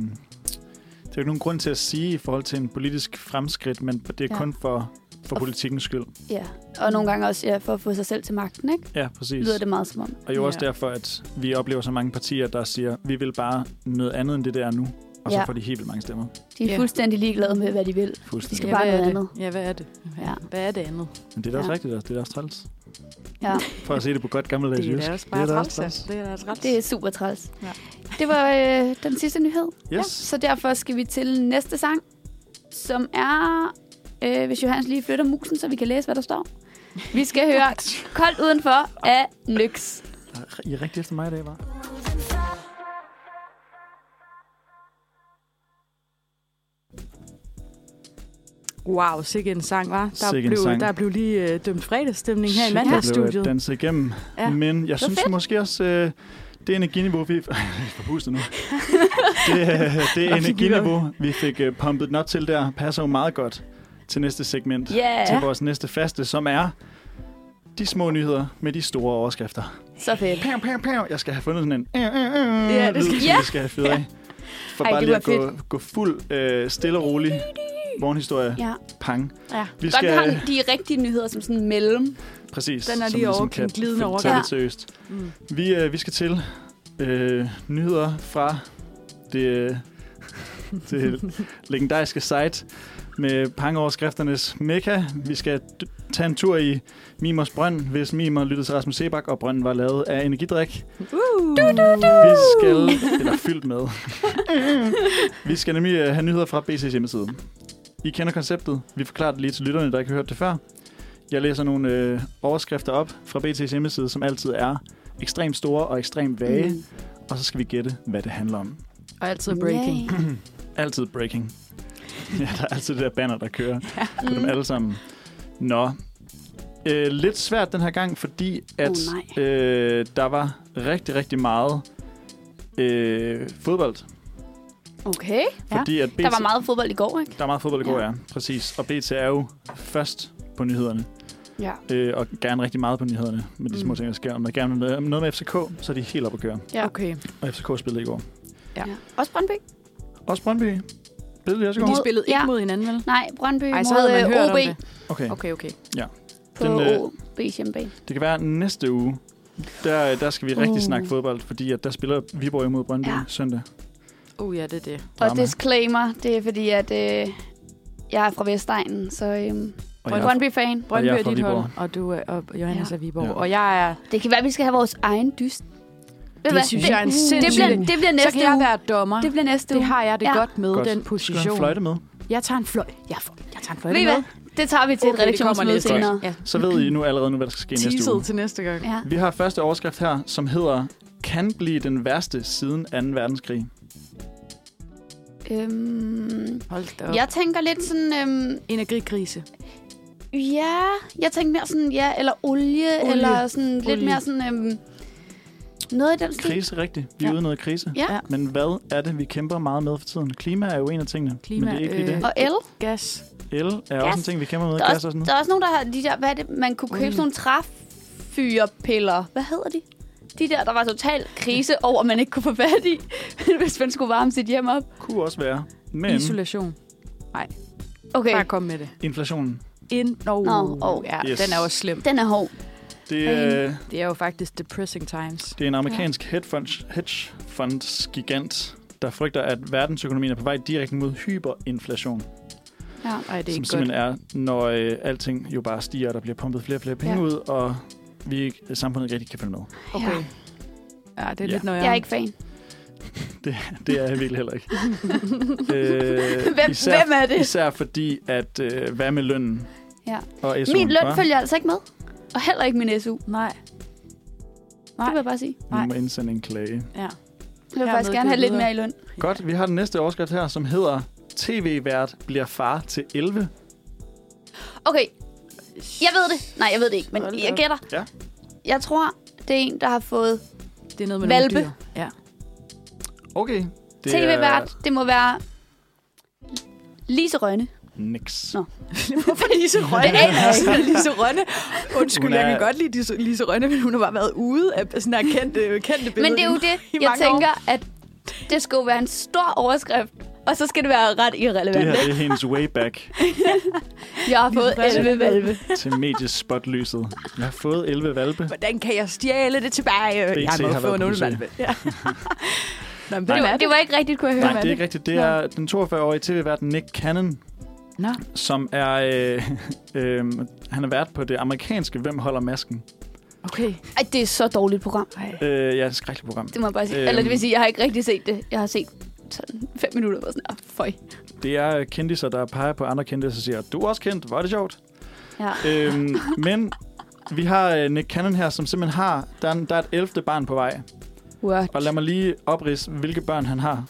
Speaker 1: det er jo ikke nogen grund til at sige i forhold til en politisk fremskridt, men det er ja.
Speaker 3: Ja.
Speaker 1: kun for, for
Speaker 3: Og-
Speaker 1: politikkens skyld.
Speaker 3: Ja, og nogle gange også ja, for at få sig selv til magten, ikke?
Speaker 1: Ja, præcis.
Speaker 3: Lyder det meget som om.
Speaker 1: Og jo også
Speaker 2: Ja.
Speaker 1: derfor, at vi oplever så mange partier, der siger, vi vil bare noget andet end det, der er nu. Og så
Speaker 3: Ja.
Speaker 1: får de helt vildt mange stemmer.
Speaker 3: De er
Speaker 2: Ja.
Speaker 3: yeah. fuldstændig ligeglade med, hvad de vil.
Speaker 1: Fuldstændig.
Speaker 3: De skal
Speaker 2: Ja,
Speaker 3: bare
Speaker 2: hvad er
Speaker 3: noget
Speaker 2: det?
Speaker 3: andet.
Speaker 2: Ja, hvad er det?
Speaker 3: Ja.
Speaker 2: Hvad er det andet?
Speaker 1: Men det er da også
Speaker 3: Ja.
Speaker 1: rigtigt, altså. det er da også træls.
Speaker 3: Ja.
Speaker 1: For at se det på godt gammeldags
Speaker 2: Det er
Speaker 1: jysk.
Speaker 2: da også bare
Speaker 1: da
Speaker 2: træls.
Speaker 1: også
Speaker 2: ja. Det er da også træls.
Speaker 3: Det er super træls.
Speaker 2: Ja.
Speaker 3: Ja. Det var øh, den sidste nyhed. Ja,
Speaker 1: Yes.
Speaker 3: så derfor skal vi til næste sang, som er... Øh, hvis Johannes lige flytter musen, så vi kan læse, hvad der står. Vi skal høre Koldt Udenfor af Nyx.
Speaker 2: altså.
Speaker 1: I er rigtig efter mig i dag, var.
Speaker 2: Wow, sikke en sang, var. Der,
Speaker 1: Sikke en
Speaker 2: blev,
Speaker 1: sang.
Speaker 2: der blev lige øh, dømt fredagsstemning her i
Speaker 1: Shit,
Speaker 2: mandagsstudiet.
Speaker 1: blev øh, danset igennem. Ja.
Speaker 2: Ja.
Speaker 1: Men jeg synes
Speaker 3: fedt.
Speaker 1: måske også, øh, det energiniveau, vi... (laughs) Jeg er forpustet nu. det, øh, det
Speaker 2: Nå, fik vi
Speaker 1: energiniveau, vi fik øh, pumpet den op til der, passer jo meget godt til næste segment.
Speaker 3: Yeah,
Speaker 1: Til
Speaker 3: ja.
Speaker 1: vores næste faste, som er de små nyheder med de store overskrifter.
Speaker 3: så fedt.
Speaker 1: Pam, pam, pam. Jeg skal have fundet sådan en... Øh, Ja,
Speaker 2: det skal-
Speaker 1: lyd, som
Speaker 3: ja.
Speaker 1: vi skal have fyret af. For
Speaker 3: Ej,
Speaker 1: bare
Speaker 3: det
Speaker 1: lige
Speaker 3: var
Speaker 1: at gå, gå fuld, øh, stille og rolig. Morgenhistorie.
Speaker 3: Ja.
Speaker 1: Pang.
Speaker 2: Ja.
Speaker 1: Vi
Speaker 3: Godt, vi har
Speaker 1: skal...
Speaker 3: de rigtige nyheder som sådan mellem.
Speaker 1: Præcis.
Speaker 2: Den er
Speaker 1: som
Speaker 2: lige
Speaker 1: ligesom
Speaker 2: over-
Speaker 1: kan
Speaker 2: en glidende
Speaker 1: f- Tage
Speaker 2: overgang.
Speaker 1: lidt seriøst.
Speaker 2: Mm.
Speaker 1: Vi, øh, vi skal til øh, nyheder fra det, øh, (laughs) det legendariske site med pangeoverskrifternes mekka. Vi skal d- tage en tur i Mimers Brønd, hvis Mimer lyttede til Rasmus Sebak, og Brønden var lavet af energidrik.
Speaker 2: Uh. Du, du, du.
Speaker 1: Vi skal... Eller fyldt med. vi skal nemlig øh, have nyheder fra BC's hjemmeside. I kender konceptet. Vi forklarer det lige til lytterne, der ikke har hørt det før. Jeg læser nogle øh, overskrifter op fra BT's hjemmeside, som altid er ekstremt store og ekstremt vage. Mm. Og så skal vi gætte, hvad det handler om.
Speaker 2: Og altid breaking.
Speaker 3: Yeah.
Speaker 1: Altid breaking. (laughs) ja, der er altid det der banner, der
Speaker 3: (laughs)
Speaker 1: kører på dem
Speaker 3: Mm.
Speaker 1: alle sammen. Nå. Øh, lidt svært den her gang, fordi at
Speaker 3: Oh,
Speaker 1: øh, der var rigtig, rigtig meget øh, fodbold.
Speaker 3: Okay.
Speaker 2: Ja.
Speaker 1: Fordi at BT,
Speaker 3: Der var meget fodbold i går, ikke?
Speaker 1: der er meget fodbold i går, ja.
Speaker 3: Ja.
Speaker 1: ja. Præcis. Og BT er jo først på nyhederne.
Speaker 3: Ja.
Speaker 1: Øh, og gerne rigtig meget på nyhederne med de små
Speaker 2: Mm.
Speaker 1: ting, der sker. Om der gerne er noget- noget med FCK, så er de helt oppe at køre.
Speaker 3: Ja.
Speaker 2: Okay.
Speaker 1: Og FCK spillede i går.
Speaker 2: Ja.
Speaker 3: ja. Også Brøndby.
Speaker 1: Også Brøndby. Spillede de også i
Speaker 2: De
Speaker 1: går?
Speaker 3: Mod-
Speaker 2: spillede ikke
Speaker 3: Ja.
Speaker 2: mod hinanden, vel?
Speaker 3: Nej, Brøndby
Speaker 2: Ej, så
Speaker 3: mod
Speaker 2: havde man
Speaker 3: øh,
Speaker 2: hørt
Speaker 3: OB
Speaker 2: om det.
Speaker 1: Okay.
Speaker 2: Okay, okay.
Speaker 3: på
Speaker 1: Den, øh,
Speaker 3: OB's hjemmebane.
Speaker 1: Det kan være næste uge. Der, der skal vi rigtig
Speaker 3: Uh.
Speaker 1: snakke fodbold, fordi at der spiller Viborg imod Brøndby ja.
Speaker 3: Ja.
Speaker 1: søndag.
Speaker 2: Uh, ja, det er det.
Speaker 1: drama.
Speaker 3: Og disclaimer, det er fordi, at øh, jeg er fra Vestegnen, så øhm,
Speaker 1: Og
Speaker 2: Brøndby-
Speaker 1: jeg,
Speaker 3: Brøndby-fan.
Speaker 2: Brøndby
Speaker 1: jeg er
Speaker 2: er
Speaker 1: fra
Speaker 2: dit hold,
Speaker 1: Viborg.
Speaker 2: og, du er, og Johannes
Speaker 3: Ja.
Speaker 2: er Viborg.
Speaker 1: Ja.
Speaker 2: Og jeg er...
Speaker 3: Det kan være, at vi skal have vores egen dyst. Ved du
Speaker 2: Det
Speaker 3: hvad?
Speaker 2: synes jeg er en
Speaker 3: det,
Speaker 2: sindssyg
Speaker 3: bliver,
Speaker 2: idé.
Speaker 3: det bliver
Speaker 2: Så
Speaker 3: næste
Speaker 2: kan jeg
Speaker 3: uge.
Speaker 2: være dommer.
Speaker 3: Det bliver næste
Speaker 2: Det
Speaker 3: uge.
Speaker 2: har jeg det
Speaker 3: Ja.
Speaker 2: godt med,
Speaker 1: Godt.
Speaker 2: den
Speaker 1: Skal du have en
Speaker 2: position.
Speaker 1: fløjte med?
Speaker 2: Jeg tager en fløj. Jeg, får, jeg tager en fløj.
Speaker 3: Ved I hvad? Det tager vi til
Speaker 2: Okay,
Speaker 3: et
Speaker 2: det kommer
Speaker 3: redaktionsmøde
Speaker 2: næste gang.
Speaker 3: senere.
Speaker 2: Ja.
Speaker 1: Så ved I nu allerede nu, hvad der skal ske næste uge.
Speaker 2: Teaset til næste gang.
Speaker 3: Ja.
Speaker 1: Vi har første overskrift her, som hedder Kan blive den værste siden 2. verdenskrig.
Speaker 3: Øhm,
Speaker 2: Hold da op.
Speaker 3: ja. Jeg tænker lidt sådan, øhm,
Speaker 2: Energikrise.
Speaker 3: ja, jeg tænker mere sådan, ja, eller olie,
Speaker 2: Olie.
Speaker 3: olie. eller sådan olie. lidt
Speaker 2: Olie.
Speaker 3: mere sådan, øhm, noget i den stil.
Speaker 1: Krise, rigtigt. Vi er
Speaker 2: Ja.
Speaker 1: ja. ude i noget krise.
Speaker 3: Ja.
Speaker 2: Ja.
Speaker 1: Men hvad er det, vi kæmper meget med for tiden? Klima er jo en af tingene,
Speaker 2: Klima,
Speaker 1: men det er ikke lige
Speaker 2: øh,
Speaker 1: det.
Speaker 3: Og el.
Speaker 2: Gas.
Speaker 1: El er også en ting, vi kæmper med.
Speaker 3: Der er
Speaker 1: Gas og sådan
Speaker 3: Der er også nogen, der har de der, hvad er det, man kunne købe
Speaker 2: Olie.
Speaker 3: sådan nogle træfyrepiller. Hvad hedder de? De der, der var total krise over, man ikke kunne få fat i, (laughs) hvis man skulle varme sit hjem op.
Speaker 1: Kunne også være. Men
Speaker 2: Men. Isolation. Bare
Speaker 3: Okay,
Speaker 2: kom med det.
Speaker 1: inflationen,
Speaker 2: Ind. No.
Speaker 3: Nå,
Speaker 2: Oh,
Speaker 3: åh.
Speaker 2: ja,
Speaker 1: Yes.
Speaker 2: den er også slem.
Speaker 3: den er hård.
Speaker 1: det,
Speaker 3: Hey.
Speaker 1: øh,
Speaker 2: Det er jo faktisk depressing times.
Speaker 1: det er en amerikansk hedgefonds, hedgefondsgigant, der frygter, at verdensøkonomien er på vej direkte mod hyperinflation.
Speaker 3: Ja.
Speaker 2: Ej, det er
Speaker 1: som
Speaker 2: ikke godt.
Speaker 1: simpelthen er, når øh, alting jo bare stiger, og der bliver pumpet flere og flere penge
Speaker 3: Ja.
Speaker 1: ja. ud, og vi ikke, samfundet ikke rigtig kan følge med.
Speaker 2: Okay. Ja, det
Speaker 1: Ja.
Speaker 2: er lidt nøjere.
Speaker 3: Jeg er ikke fan. (laughs)
Speaker 1: Det er jeg virkelig heller ikke. øh,
Speaker 3: Hvem,
Speaker 1: især,
Speaker 3: hvem er (laughs) det?
Speaker 1: især fordi, at øh, hvad med lønnen?
Speaker 3: Ja.
Speaker 1: Og SU'en,
Speaker 3: Min løn
Speaker 1: hva?
Speaker 3: følger altså ikke med. Og heller ikke min SU.
Speaker 2: Nej.
Speaker 3: Det vil jeg bare sige.
Speaker 1: Nu må
Speaker 2: Nej.
Speaker 1: indsende en klage.
Speaker 2: Ja.
Speaker 3: Jeg vil
Speaker 2: Hermed
Speaker 3: faktisk gerne have lidt
Speaker 2: givet
Speaker 3: mere i løn.
Speaker 1: Godt, vi har den næste overskrift her, som hedder TV-vært bliver far til 11.
Speaker 3: Okay, jeg ved det. Nej, jeg ved det ikke, men
Speaker 2: Hold da
Speaker 3: jeg
Speaker 2: op.
Speaker 3: gætter.
Speaker 1: Ja.
Speaker 3: Jeg tror, det er en, der har fået
Speaker 2: Det er noget med
Speaker 3: Hvalpe.
Speaker 2: nogle dyr.
Speaker 3: (laughs)
Speaker 2: Ja.
Speaker 1: Okay. Det
Speaker 3: tv-vært. Det må være Lise Rønne.
Speaker 1: er niks.
Speaker 3: Nå.
Speaker 2: Hvorfor Lise Rønne?
Speaker 3: Det aner jeg ikke. (laughs)
Speaker 2: Lise Rønne. Undskyld,
Speaker 1: Hun
Speaker 2: er... jeg
Speaker 1: er-
Speaker 2: kan godt lide Lise, Lise Rønne, men hun har bare været ude af sådan her kendte, kendte billeder.
Speaker 3: Men det er jo
Speaker 2: i
Speaker 3: det, jeg
Speaker 2: mange
Speaker 3: tænker, at det skulle være en stor overskrift, og så skal det være ret
Speaker 1: Det
Speaker 3: irrelevant.
Speaker 1: her det er hendes way back
Speaker 3: Jeg har fået
Speaker 2: Lise Rønne.
Speaker 3: 11 valve.
Speaker 1: til mediespotlyset. Jeg har fået 11 valpe.
Speaker 2: Hvordan kan jeg stjæle det tilbage?
Speaker 1: BT
Speaker 2: jeg må
Speaker 1: har
Speaker 2: få
Speaker 1: været
Speaker 2: en
Speaker 1: på
Speaker 2: undervalg. Ja. (laughs) Nå, men
Speaker 3: Det
Speaker 2: hvem
Speaker 3: var,
Speaker 2: er
Speaker 3: det
Speaker 2: det?
Speaker 3: var ikke rigtigt, kunne jeg høre.
Speaker 1: Nej, det er ikke rigtigt. Det er den 42-årige tv-vært Nick Cannon,
Speaker 2: Nå,
Speaker 1: som er... Øh, (laughs) øh, han er vært på det amerikanske Hvem holder masken?
Speaker 2: okay.
Speaker 3: Ej, det er så dårligt program.
Speaker 2: Ej.
Speaker 1: Øh, ja, et skrækkeligt program.
Speaker 3: Det må jeg bare sige.
Speaker 1: Øhm.
Speaker 3: Eller det vil sige, jeg har ikke rigtig set det. Jeg har set sådan fem minutter og sådan, ah, føj.
Speaker 1: Det er kendiser, der peger på andre kendiser og siger, du er også kendt, hvor er det sjovt.
Speaker 3: Ja.
Speaker 1: øhm, men vi har øh, Nick Cannon her, som simpelthen har... Der er, en- der er et 11. barn på vej.
Speaker 3: What?
Speaker 1: Og lad mig lige oprids, hvilke børn han har.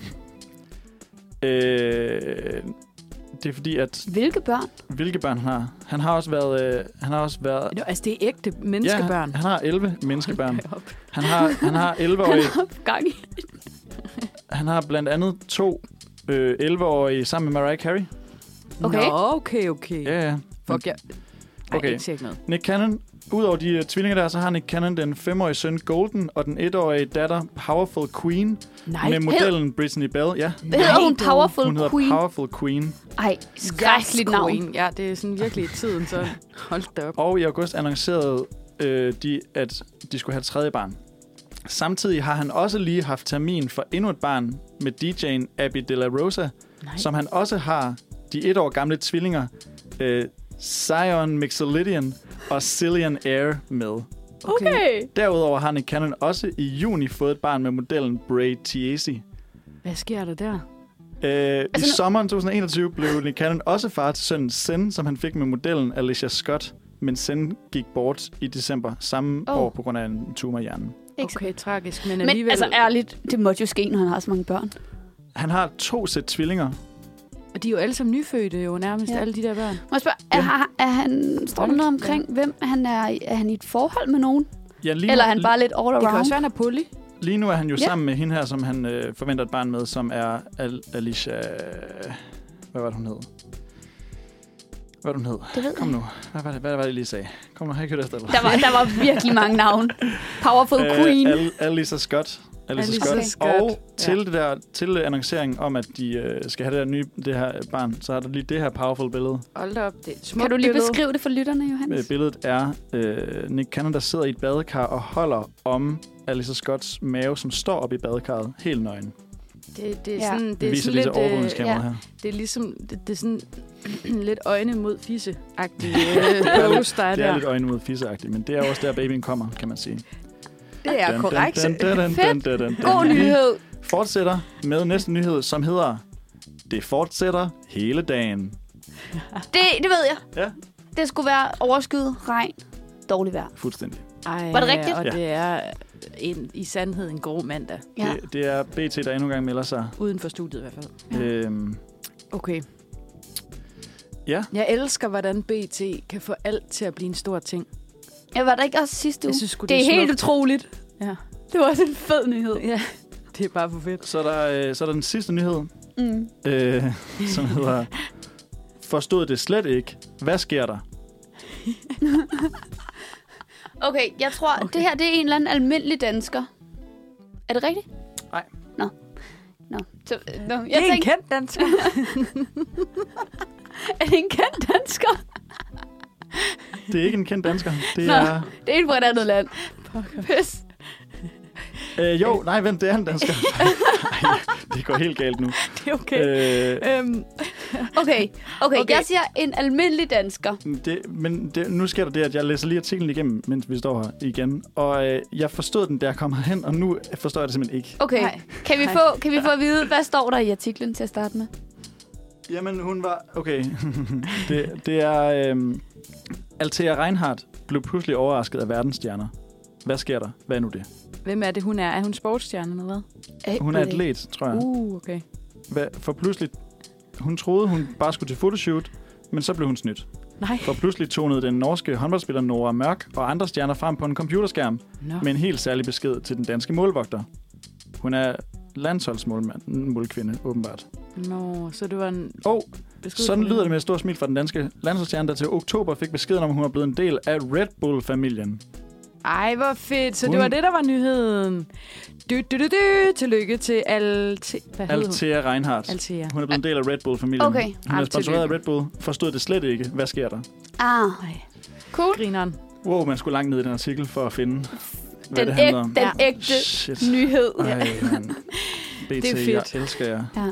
Speaker 1: Øh, det er fordi, at
Speaker 3: Hvilke børn?
Speaker 1: hvilke børn han har. Han har også været... Øh, han har også været
Speaker 2: Nå, altså, det er ægte menneskebørn.
Speaker 1: Ja, han har 11 menneskebørn.
Speaker 2: Hold da op.
Speaker 1: Han har, han har 11
Speaker 3: Han
Speaker 1: årige.
Speaker 3: har haft gang i.
Speaker 1: Han har blandt andet to øh, 11-årige sammen med Mariah Carey.
Speaker 3: Okay.
Speaker 2: Nå, okay, okay.
Speaker 1: Ja, ja.
Speaker 2: Fuck, jeg... Ej,
Speaker 1: Okay.
Speaker 2: okay. ikke siger ikke noget.
Speaker 1: Nick Cannon. Udover de øh, tvillinger der, så har Nick Cannon den 5-årige søn Golden og den 1-årige datter Powerful Queen
Speaker 2: Nej,
Speaker 1: Ej, med modellen Brittany Bell. Ja,
Speaker 3: Hvad hedder hun?
Speaker 2: Nej, dog.
Speaker 3: Powerful
Speaker 1: hun hedder
Speaker 3: Queen?
Speaker 1: Powerful Queen.
Speaker 3: Ej, skrækkeligt navn.
Speaker 2: Queen. Ja, det er sådan virkelig i tiden, så hold da op.
Speaker 1: Og i august annoncerede øh, de, at de skulle have et tredje barn. Samtidig har han også lige haft termin for endnu et barn med DJ'en Abby De La Rosa,
Speaker 2: Nej.
Speaker 1: som han også har de et år gamle tvillinger øh, Zion Mixolydian og Cillian Air med.
Speaker 3: Okay.
Speaker 1: Derudover har Nick Cannon også i juni fået et barn med modellen Bray Tiesi.
Speaker 2: Hvad sker der der?
Speaker 1: Øh, I
Speaker 3: Altså nu-
Speaker 1: sommeren 2021 blev Nick Cannon også far til sønnen Sen, som han fik med modellen Alicia Scott, men Sen gik bort i december samme
Speaker 3: Oh.
Speaker 1: oh. år på grund af en tumor i hjernen.
Speaker 3: Ikke så-
Speaker 2: Okay, tragisk, men
Speaker 3: Men
Speaker 2: alligevel...
Speaker 3: altså ærligt, det måtte jo ske, når han har så mange børn.
Speaker 1: Han har to sæt tvillinger.
Speaker 2: Og de er jo alle sammen nyfødte, jo nærmest
Speaker 3: Ja.
Speaker 2: alle de der børn.
Speaker 3: Må jeg spørge, er,
Speaker 1: Ja.
Speaker 3: har- er han, står der
Speaker 2: Hold
Speaker 3: noget
Speaker 2: da.
Speaker 3: omkring, hvem han er, i- er han i et forhold med nogen?
Speaker 1: Ja, lige,
Speaker 3: Eller er han
Speaker 1: li-
Speaker 3: bare lidt all
Speaker 2: Det kan
Speaker 3: around?
Speaker 2: også være, han er pulli.
Speaker 1: lige nu er han jo
Speaker 3: Ja.
Speaker 1: ja. sammen med hende her, som han øh, forventer et barn med, som er Al- Alicia... Hvad var det, hun hed? Hvad var det, hun hed?
Speaker 3: Det ved
Speaker 1: Kom nu. Hvad var det, hvad var det jeg lige sagde? Kom nu, har jeg kørt efter dig?
Speaker 3: Der var, der var virkelig mange navne. Powerful
Speaker 1: Øh,
Speaker 3: Queen.
Speaker 1: Al- Alisa Scott. Alisa
Speaker 2: Alisa
Speaker 1: Scott.
Speaker 2: Scott,
Speaker 1: Og
Speaker 2: ja.
Speaker 1: til, det der, til annonceringen om, at de øh, skal have det her nye det her øh, barn, så har der lige det her powerful billede.
Speaker 2: Hold da op, det er et smukt
Speaker 3: Kan du lige
Speaker 2: billede.
Speaker 3: beskrive det for lytterne, Johannes?
Speaker 1: Øh, billedet er øh, Nick Cannon, der sidder i et badekar og holder om Alisa Scotts mave, som står op i badekarret, helt nøgen.
Speaker 2: Det, det er
Speaker 3: Ja.
Speaker 2: sådan, det
Speaker 1: Det
Speaker 2: er
Speaker 1: viser
Speaker 2: sådan
Speaker 1: lige
Speaker 2: lidt... øh,
Speaker 1: til overvågningskameraet
Speaker 3: ja.
Speaker 1: her.
Speaker 2: det er ligesom... Det, det er sådan (clears throat) lidt øjne
Speaker 1: (laughs)
Speaker 2: mod fisse-agtige øh, pose, der er
Speaker 1: Det er
Speaker 2: der.
Speaker 1: lidt øjne mod fisseagtigt, men det er også der, babyen kommer, kan man sige.
Speaker 2: Det er korrekt.
Speaker 1: Dun, dun, dun, dun, dun, dun, dun, dun.
Speaker 3: God nyhed.
Speaker 1: Fortsætter med næste nyhed, som hedder Det fortsætter hele dagen.
Speaker 3: Det, det ved jeg.
Speaker 1: Ja,
Speaker 3: Det skulle være overskyet, regn, dårlig vejr.
Speaker 1: fuldstændig.
Speaker 2: Ej,
Speaker 3: Var det rigtigt?
Speaker 2: Og
Speaker 1: Ja.
Speaker 2: det er en, i sandhed en grå mandag.
Speaker 3: Ja.
Speaker 1: Det, det er BT, der endnu engang melder sig.
Speaker 2: Uden for studiet i hvert fald.
Speaker 1: Ja.
Speaker 3: Ja.
Speaker 1: Øhm,
Speaker 2: Okay.
Speaker 1: Ja.
Speaker 2: Jeg elsker, hvordan BT kan få alt til at blive en stor ting.
Speaker 3: Jeg var der ikke også sidste uge.
Speaker 2: Jeg synes sgu,
Speaker 3: det er helt
Speaker 2: smukt.
Speaker 3: utroligt.
Speaker 2: Ja.
Speaker 3: Det var også en fed nyhed.
Speaker 2: Ja, det er bare for fedt.
Speaker 1: så, er der, øh, så er der den sidste nyhed,
Speaker 3: Mm.
Speaker 1: øh, som hedder... Forstod det slet ikke. Hvad sker der?
Speaker 3: Okay, jeg tror, okay. det her det er en eller anden almindelig dansker. Er det rigtigt?
Speaker 1: Nej.
Speaker 3: Nå. Nå. Så, øh, nå.
Speaker 2: Jeg
Speaker 3: Jeg
Speaker 2: det er en
Speaker 3: tænkte,
Speaker 2: kendt dansker.
Speaker 3: er det en kendt dansker?
Speaker 1: Det er ikke en kendt dansker. Det
Speaker 3: Nå.
Speaker 1: er...
Speaker 3: Det er en fra et andet land. Pis.
Speaker 1: Øh, jo, nej, vent, det er en dansker. Ej, det går helt galt nu.
Speaker 2: det er okay.
Speaker 1: Øh,
Speaker 2: Øhm,
Speaker 3: Okay. okay,
Speaker 2: Okay.
Speaker 3: okay, jeg siger en almindelig dansker.
Speaker 1: Det, men det, nu sker der det, at jeg læser lige artiklen igennem, mens vi står her igen. Og øh, jeg forstod den, der kom hen, og nu forstår jeg det simpelthen ikke.
Speaker 3: Okay,
Speaker 2: Nej.
Speaker 3: kan vi,
Speaker 2: Nej.
Speaker 3: få, kan vi få at vide, hvad står der i artiklen til at starte med?
Speaker 1: Jamen, hun var... Okay. (laughs) det, det er... Øh, Althea Reinhardt blev pludselig overrasket af verdensstjerner. Hvad sker der? Hvad er nu det?
Speaker 2: hvem er det, hun er? Er hun sportsstjerne eller hvad?
Speaker 1: Hun er atlet, tror jeg.
Speaker 2: Uh, okay.
Speaker 1: Hvad, for pludselig... Hun troede, hun bare skulle til photoshoot, men så blev hun snydt.
Speaker 2: Nej.
Speaker 1: For pludselig tonede den norske håndboldspiller Nora Mørk og andre stjerner frem på en computerskærm,
Speaker 2: Nå.
Speaker 1: med en helt særlig besked til den danske målvogter. Hun er landsholdsmålmand, målkvinde, åbenbart.
Speaker 2: Nå, så det var en...
Speaker 1: Og
Speaker 2: besked
Speaker 1: sådan
Speaker 2: fra
Speaker 1: lyder det
Speaker 2: hende.
Speaker 1: med et stort smil fra den danske landsholdsstjerne, der til oktober fik beskeden om, at hun var blevet en del af Red Bull-familien.
Speaker 2: Ej, hvor fedt. Så det
Speaker 1: Hun-
Speaker 2: var det, der var nyheden. Du, du, du, du. Tillykke til Alte... Hvad hed hun?
Speaker 1: Althea Reinhardt.
Speaker 2: Altea.
Speaker 1: Hun er blevet en del af Red Bull-familien.
Speaker 3: Okay.
Speaker 1: Hun er
Speaker 2: Ej,
Speaker 1: sponsoreret af Red Bull. Forstod det slet ikke. Hvad sker der?
Speaker 3: Ah,
Speaker 2: Nej.
Speaker 3: cool.
Speaker 2: Grineren.
Speaker 1: Wow, man skulle langt ned i den artikel for at finde, hvad
Speaker 3: Den,
Speaker 1: det
Speaker 3: æg,
Speaker 1: handler om.
Speaker 3: den
Speaker 2: Ja.
Speaker 3: ægte
Speaker 1: Shit.
Speaker 3: nyhed.
Speaker 1: Ej,
Speaker 2: (laughs)
Speaker 1: man. BT,
Speaker 2: Det er fedt.
Speaker 1: jeg elsker jer.
Speaker 2: Det er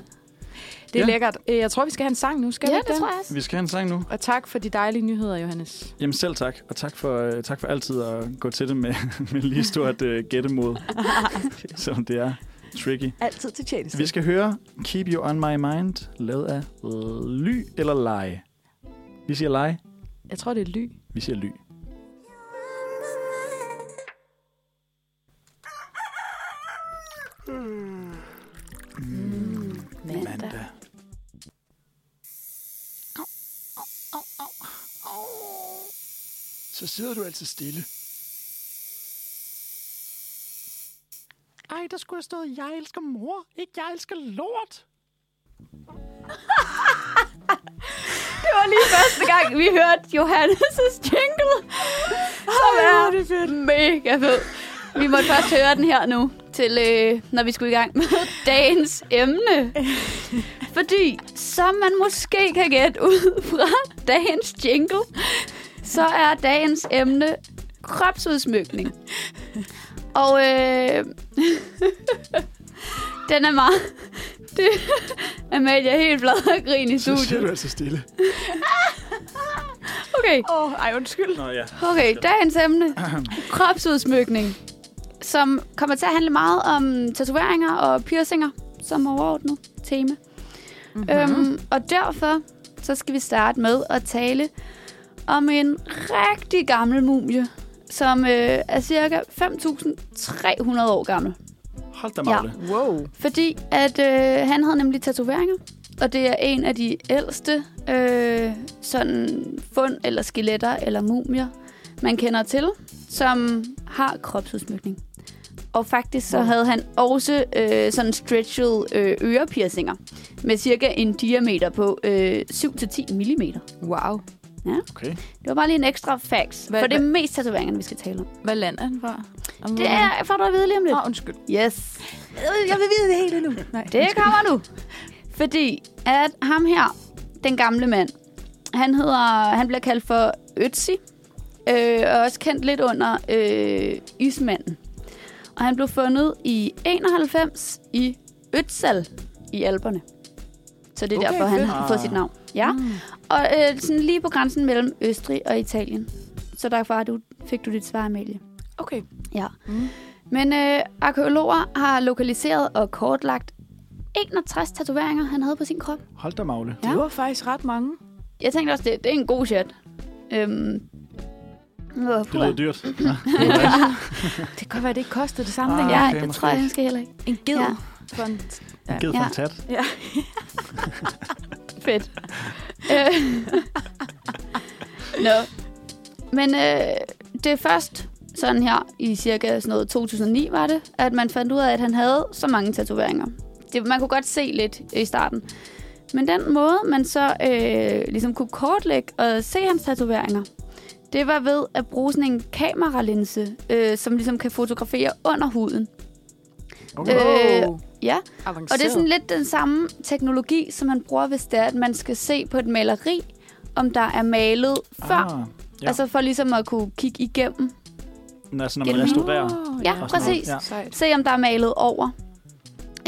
Speaker 1: Ja.
Speaker 2: ja. lækkert. Øh, Jeg tror, vi skal have en sang nu, skal
Speaker 3: Ja,
Speaker 2: vi
Speaker 3: det tror jeg også.
Speaker 1: Vi skal have en sang nu.
Speaker 2: Og tak for de dejlige nyheder, Johannes.
Speaker 1: Jamen selv tak, og tak for, øh, tak for altid at gå til det med, (laughs) med lige stort øh,
Speaker 2: (laughs)
Speaker 1: gættemod, som det er tricky.
Speaker 2: Altid til tjeneste.
Speaker 1: Vi skal høre Keep You On My Mind, lavet af Ly eller Lej. Vi siger Lej,
Speaker 2: Jeg tror, det er ly.
Speaker 1: vi siger Ly. Mandag. Så sidder du altid stille. Ej, der skulle have stået, jeg elsker mor, ikke jeg elsker lort.
Speaker 3: Det var lige første gang, vi hørte Johannes' jingle. Som er det fedt. mega fed. Vi måtte først høre den her nu, til, øh, når vi skulle i gang med (laughs) dagens emne. Fordi, som man måske kan gætte ud fra dagens jingle, så er dagens emne kropsudsmykning. Og øh, (laughs) den er meget... (laughs) Det, Amalie er helt flad og grin
Speaker 1: (laughs)
Speaker 3: i
Speaker 1: Så sidder
Speaker 3: studiet.
Speaker 1: du altid stille.
Speaker 3: Okay.
Speaker 2: Åh, oh, ej, undskyld.
Speaker 1: Nå ja.
Speaker 3: Okay, dagens emne. Kropsudsmykning. Som kommer til at handle meget om tatoveringer og piercinger som overordnet tema.
Speaker 2: Mm-hmm.
Speaker 3: Mm-hmm. Øhm, og derfor så skal vi starte med at tale om en rigtig gammel mumie, som øh, er cirka 5.300 år gammel.
Speaker 1: Hold da,
Speaker 3: Ja.
Speaker 1: Magle. Ja.
Speaker 2: Wow.
Speaker 3: Fordi at øh, han havde nemlig tatoveringer, og det er en af de ældste øh, sådan fund eller skeletter eller mumier, man kender til, som har kropsudsmykning. Og faktisk så
Speaker 2: Wow.
Speaker 3: havde han også øh, sådan stretched øh, ørepiercinger med cirka en diameter på øh, 7-10 mm.
Speaker 2: Wow.
Speaker 1: Okay.
Speaker 3: Det var bare lige en ekstra facts,
Speaker 2: Hvad-
Speaker 3: for det er mest tatoveringerne, vi skal tale om.
Speaker 2: Hvad land er han fra? Om
Speaker 3: Det er, får du at vide lige om lidt.
Speaker 2: Åh, oh, undskyld.
Speaker 3: Yes.
Speaker 2: Øh, Jeg vil vide det hele nu. Nej,
Speaker 3: Det kommer nu. Fordi at ham her, den gamle mand, han, hedder, han bliver kaldt for Ötzi, øh, og også kendt lidt under øh, Ismanden. Og han blev fundet i 91 i Ötzal i Alperne. Så det er
Speaker 2: Okay,
Speaker 3: okay, derfor, han
Speaker 2: fedt.
Speaker 3: har fået sit navn. Ja.
Speaker 2: Mm.
Speaker 3: Og øh, sådan lige på grænsen mellem Østrig og Italien. Så derfor du, fik du dit svar, Amalie.
Speaker 2: Okay.
Speaker 3: Ja.
Speaker 2: Mm.
Speaker 3: Men øh, arkeologer har lokaliseret og kortlagt 61 tatoveringer, han havde på sin krop.
Speaker 1: Hold da magle.
Speaker 2: Ja. Det var faktisk ret mange.
Speaker 3: Jeg tænkte også, det, det er en god chat. Øhm, Nå,
Speaker 1: Det lyder dyrt. Ja.
Speaker 2: (laughs) Det kan godt være, det ikke kostede det samme
Speaker 1: Ah.
Speaker 2: ah.
Speaker 3: Ja,
Speaker 1: okay,
Speaker 3: det
Speaker 1: måske.
Speaker 3: tror jeg, han skal heller ikke.
Speaker 2: En ged.
Speaker 3: Ja.
Speaker 2: Ja. For en, Ja.
Speaker 1: Givet for en
Speaker 3: Ja.
Speaker 1: tat.
Speaker 3: Fedt. Øh. (laughs) Nå. Men øh, det er først sådan her i cirka sådan noget 2009 var det, at man fandt ud af, at han havde så mange tatoveringer. Det, man kunne godt se lidt i starten. Men den måde, man så øh, ligesom kunne kortlægge og se hans tatoveringer, det var ved at bruge sådan en kameralinse, øh, som ligesom kan fotografere under huden.
Speaker 1: Okay.
Speaker 3: Øh,
Speaker 2: Wow.
Speaker 3: ja,
Speaker 2: Avanceret.
Speaker 3: og det er sådan lidt den samme teknologi, som man bruger, hvis det er, at man skal se på et maleri, om der er malet før.
Speaker 1: Ah, ja.
Speaker 3: Ja. Altså for ligesom at kunne kigge igennem.
Speaker 1: Nå, altså, når man
Speaker 3: Gennem-
Speaker 1: restaurerer.
Speaker 3: Ja,
Speaker 1: og sådan noget.
Speaker 3: præcis.
Speaker 1: Ja.
Speaker 2: Sejt.
Speaker 3: Se, om der er malet over.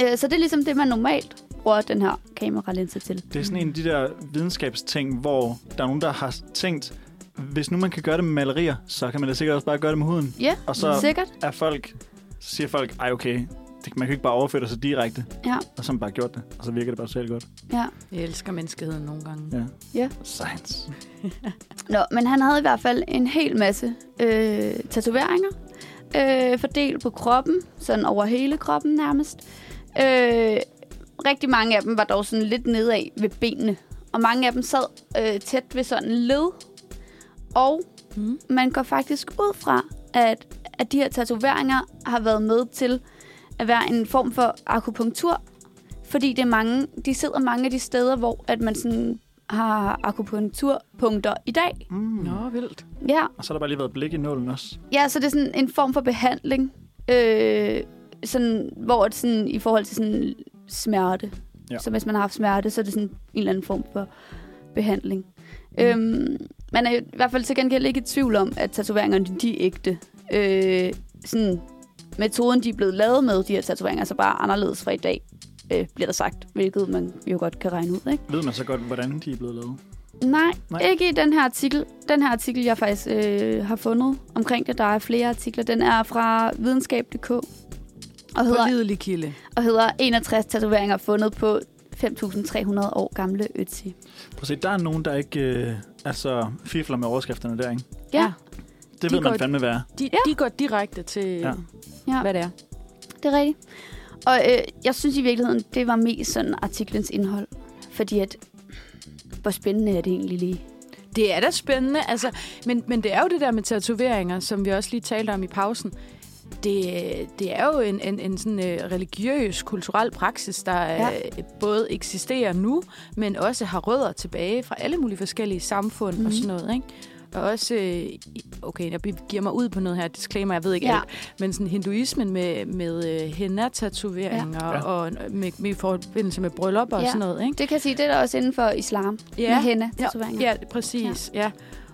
Speaker 3: Øh, Så det er ligesom det, man normalt bruger den her kameralinse til.
Speaker 1: Det er sådan en af de der videnskabsting, hvor der er nogen, der har tænkt, hvis nu man kan gøre det med malerier, så kan man da sikkert også bare gøre det med huden.
Speaker 3: Ja,
Speaker 1: Og så-
Speaker 3: sikkert.
Speaker 1: Er folk, så siger folk, ej okay, det, man kan ikke bare overføre det så direkte.
Speaker 3: Ja.
Speaker 1: Og så har man bare gjort det, og så virker det bare selv godt.
Speaker 2: Jeg elsker menneskeheden nogle gange.
Speaker 1: Ja.
Speaker 3: Ja.
Speaker 1: Science.
Speaker 3: Nå, men han havde i hvert fald en hel masse øh, tatoveringer, øh, fordelt på kroppen, sådan over hele kroppen nærmest. Øh, rigtig mange af dem var dog sådan lidt nedad ved benene, og mange af dem sad øh, tæt ved sådan led. Og
Speaker 2: Mm.
Speaker 3: man går faktisk ud fra, at, at de her tatoveringer har været med til at være en form for akupunktur, fordi det er mange, de sidder mange af de steder, hvor at man sådan har akupunkturpunkter i dag.
Speaker 1: Mm.
Speaker 2: Nå, vildt.
Speaker 3: Ja,
Speaker 1: Og så har der bare lige været blik i nålen også.
Speaker 3: ja så det er sådan en form for behandling, øh, sådan, hvor det sådan, i forhold til sådan smerte.
Speaker 1: Ja.
Speaker 3: Ja. Så hvis man har haft smerte, så er det sådan en eller anden form for behandling. Mm. Øhm, man er i hvert fald til gengæld ikke i tvivl om, at tatoveringerne de er ægte. Øh, sådan, metoden, de er blevet lavet med, de her tatoveringer, er så bare anderledes fra i dag, øh, bliver der sagt. Hvilket man jo godt kan regne ud, ikke?
Speaker 1: Ved man så godt, hvordan de er blevet lavet?
Speaker 3: Nej,
Speaker 1: Nej.
Speaker 3: Nej, ikke i den her artikel. Den her artikel, jeg faktisk øh, har fundet omkring det, der er flere artikler, den er fra videnskab.dk og hedder,
Speaker 2: Pålidelig kilde.
Speaker 3: og hedder 61 tatoveringer fundet på 5.300 år gamle Ötzi.
Speaker 1: Prøv at se, der er nogen, der ikke øh, altså, fifler med overskrifterne der, ikke?
Speaker 3: Ja.
Speaker 1: Det
Speaker 3: De
Speaker 1: ved man
Speaker 3: går-
Speaker 1: fandme være.
Speaker 2: De, ja. de går direkte til,
Speaker 1: Ja.
Speaker 2: ja.
Speaker 3: Ja.
Speaker 2: hvad det er.
Speaker 3: Det er rigtigt. Og øh, jeg synes i virkeligheden, det var mest sådan artiklens indhold. Fordi at, hvor spændende er det egentlig lige?
Speaker 2: Det er da spændende, altså, men, men det er jo det der med tatoveringer, som vi også lige talte om i pausen. Det, det er jo en, en, en sådan øh, religiøs, kulturel praksis, der ja.
Speaker 3: Ja.
Speaker 2: øh, både eksisterer nu, men også har rødder tilbage fra alle mulige forskellige samfund mm.
Speaker 3: Mhm.
Speaker 2: og sådan noget, ikke? Og også, øh, i- okay, jeg giver mig ud på noget her, disclaimer, jeg ved ikke
Speaker 3: Ja.
Speaker 2: alt, men sådan hinduismen med, med øh, henna-tatoveringer
Speaker 1: Ja.
Speaker 2: ja. og med, med i forbindelse med bryllup og
Speaker 3: Ja.
Speaker 2: ja. sådan noget, ikke?
Speaker 3: Det kan jeg sige, det er der også inden for islam. Ja. Med hende, tatoveringer.
Speaker 2: Ja, præcis. Ja.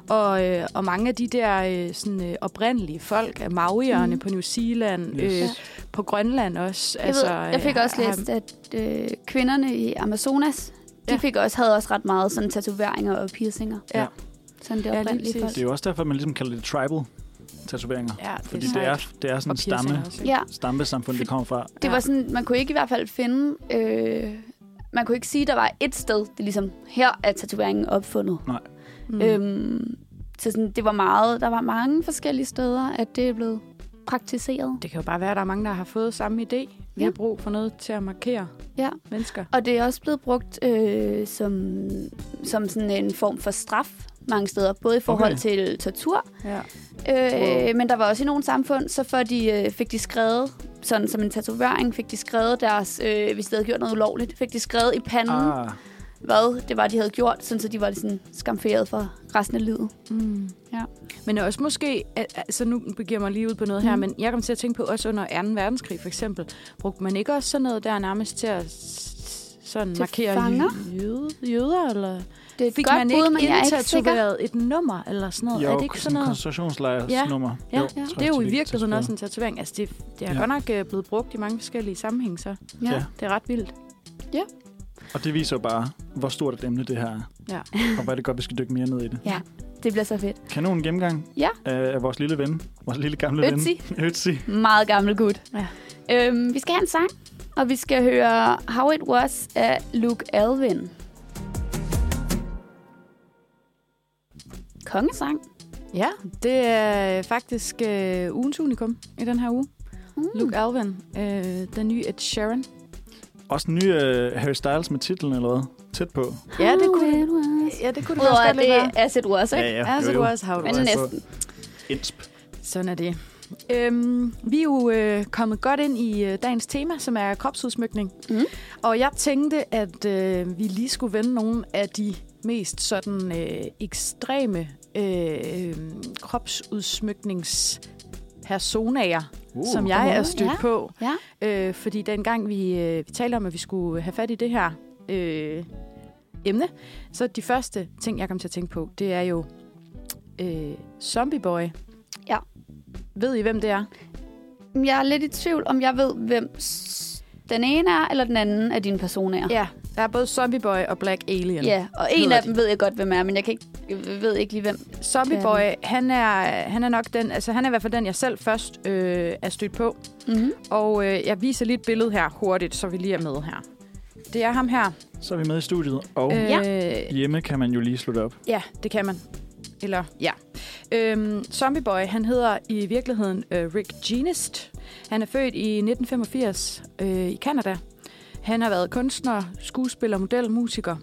Speaker 2: Og, øh, og mange af de der øh, sådan, øh, oprindelige folk, af Maorierne mm.
Speaker 3: Mhm.
Speaker 2: på New Zealand,
Speaker 1: Yes.
Speaker 2: yes.
Speaker 1: Ja.
Speaker 2: øh, på Grønland også.
Speaker 3: Jeg, altså, ved, jeg fik også læst, at øh, kvinderne i Amazonas, de
Speaker 2: Ja.
Speaker 3: ja. fik også, havde også ret meget sådan tatoveringer og piercinger.
Speaker 2: Ja.
Speaker 3: Sådan det
Speaker 2: lige
Speaker 3: oprindelige
Speaker 2: præcis.
Speaker 3: folk.
Speaker 1: Det er jo også derfor, at man ligesom kalder det tribal tatoveringer.
Speaker 2: Ja, det
Speaker 1: Fordi
Speaker 2: er
Speaker 1: det
Speaker 2: sejt.
Speaker 1: er, det er sådan
Speaker 2: Og
Speaker 1: en stamme,
Speaker 2: piercinger også, Mm. ikke?
Speaker 3: Ja,
Speaker 1: stammesamfund, det kommer fra.
Speaker 3: det
Speaker 2: Ja.
Speaker 3: var sådan, man kunne ikke i hvert fald finde, øh, man kunne ikke sige, der var et sted, det er ligesom, her er tatoveringen opfundet.
Speaker 2: Mm.
Speaker 3: Mm. Øhm, så sådan, det var meget, der var mange forskellige steder, at det er blevet praktiseret.
Speaker 2: Det kan jo bare være, at der er mange, der har fået samme idé. Vi
Speaker 3: Ja.
Speaker 2: har brug for noget til at markere
Speaker 3: Ja.
Speaker 2: mennesker.
Speaker 3: Og det er også blevet brugt øh, som, som sådan en form for straf mange steder, både i forhold
Speaker 1: Okay.
Speaker 3: okay. til tortur,
Speaker 2: Ja.
Speaker 3: Øh, men der var også i nogle samfund, så for de, øh, fik de skrevet, sådan som en tatovering, fik de skrevet deres, øh, hvis de havde gjort noget ulovligt, fik de skrevet i panden, ah.
Speaker 1: Ah,
Speaker 3: hvad det var, de havde gjort, sådan så de var sådan skamferet for resten af livet.
Speaker 2: Mm.
Speaker 3: Ja.
Speaker 2: Men også måske, al- altså nu begiver jeg mig lige ud på noget her,
Speaker 3: Mm.
Speaker 2: men jeg kom til at tænke på, også under 2. verdenskrig for eksempel, brugte man ikke også sådan noget der nærmest til at s- sådan
Speaker 3: Til
Speaker 2: markere
Speaker 3: fanger?
Speaker 2: jø- jøde, jøder, eller
Speaker 3: Det er et
Speaker 2: fik
Speaker 3: godt
Speaker 2: man
Speaker 3: bud, men
Speaker 2: ikke
Speaker 3: jeg er ikke sikker.
Speaker 2: indtatoveret et nummer eller sådan noget?
Speaker 1: jo,
Speaker 2: er det ikke sådan noget?
Speaker 1: koncentrationslejrsnummer.
Speaker 2: Ja,
Speaker 1: Jo,
Speaker 2: ja.
Speaker 1: tror
Speaker 2: Det er jo
Speaker 1: jeg, de
Speaker 2: i virkeligheden
Speaker 1: tatoveret.
Speaker 2: også en tatovering. Altså, det, det er
Speaker 1: Ja.
Speaker 2: ja. godt nok øh, blevet brugt i mange forskellige sammenhæng, så
Speaker 1: Ja.
Speaker 2: det er ret vildt.
Speaker 1: Og det viser jo bare, hvor stort et emne det her er.
Speaker 2: Ja.
Speaker 1: Og hvor er det godt, vi skal dykke mere ned i det.
Speaker 3: Det bliver så fedt.
Speaker 1: Kanon gennemgang
Speaker 3: Ja.
Speaker 1: af, af vores lille ven. Vores lille gamle
Speaker 3: Ötzi.
Speaker 1: ven. Ötzi.
Speaker 3: Meget gammel gut.
Speaker 2: Ja.
Speaker 3: Øhm, vi skal have en sang. Og vi skal høre How It Was af Luke Alvin. Kongesang.
Speaker 2: Ja, det er faktisk øh, ugens unikum i den her uge. Mm. Luke Alvin, øh, den nye Ed Sheeran.
Speaker 1: Også den nye øh, Harry Styles med titlen, eller hvad? Tæt på.
Speaker 2: Ja, det
Speaker 3: How
Speaker 2: kunne,
Speaker 3: it was.
Speaker 2: ja, det kunne det
Speaker 3: Udover
Speaker 2: også
Speaker 3: at
Speaker 2: godt lidt
Speaker 3: det
Speaker 2: være.
Speaker 3: er As It Was, ikke?
Speaker 1: ja.
Speaker 2: As it
Speaker 1: jo, jo.
Speaker 2: was, how it
Speaker 3: Men
Speaker 2: was.
Speaker 3: næsten.
Speaker 1: Insp.
Speaker 2: Sådan er det. Øhm, vi er jo øh, kommet godt ind i øh, dagens tema, som er kropsudsmykning.
Speaker 3: Mm.
Speaker 2: Og jeg tænkte, at øh, vi lige skulle vende nogle af de mest sådan øh, ekstreme øh, øh, kropsudsmykningspersonaer, uh, som jeg er stødt
Speaker 3: ja.
Speaker 2: på.
Speaker 3: Ja.
Speaker 2: Øh, fordi dengang vi, øh, vi talte om, at vi skulle have fat i det her øh, emne, så de første ting, jeg kom til at tænke på, det er jo øh, Zombie Boy.
Speaker 3: Ja.
Speaker 2: Ved I, hvem det er?
Speaker 3: Jeg er lidt i tvivl, om jeg ved, hvem s- den ene er, eller den anden af dine personer.
Speaker 2: Ja, der er både Zombie Boy og Black Alien.
Speaker 3: Ja, og en
Speaker 2: Hedder
Speaker 3: af dem ved jeg godt, hvem er, men jeg, kan ikke, jeg ved ikke lige, hvem.
Speaker 2: Zombie
Speaker 3: Ja.
Speaker 2: Boy, han er, han er nok den, altså han er i hvert fald den, jeg selv først øh, er stødt på.
Speaker 3: Mm-hmm.
Speaker 2: Og øh, jeg viser lige et billede her hurtigt, så vi lige er med her. Det er ham her.
Speaker 1: Så er vi med i studiet, og øh.
Speaker 2: ja.
Speaker 1: hjemme kan man jo lige slutte op.
Speaker 2: Ja, det kan man. Eller, ja. Øhm, Zombie Boy, han hedder i virkeligheden øh, Rick Genest. Han er født i 1985 øh, i Canada. Han har været kunstner, skuespiller, model, musiker.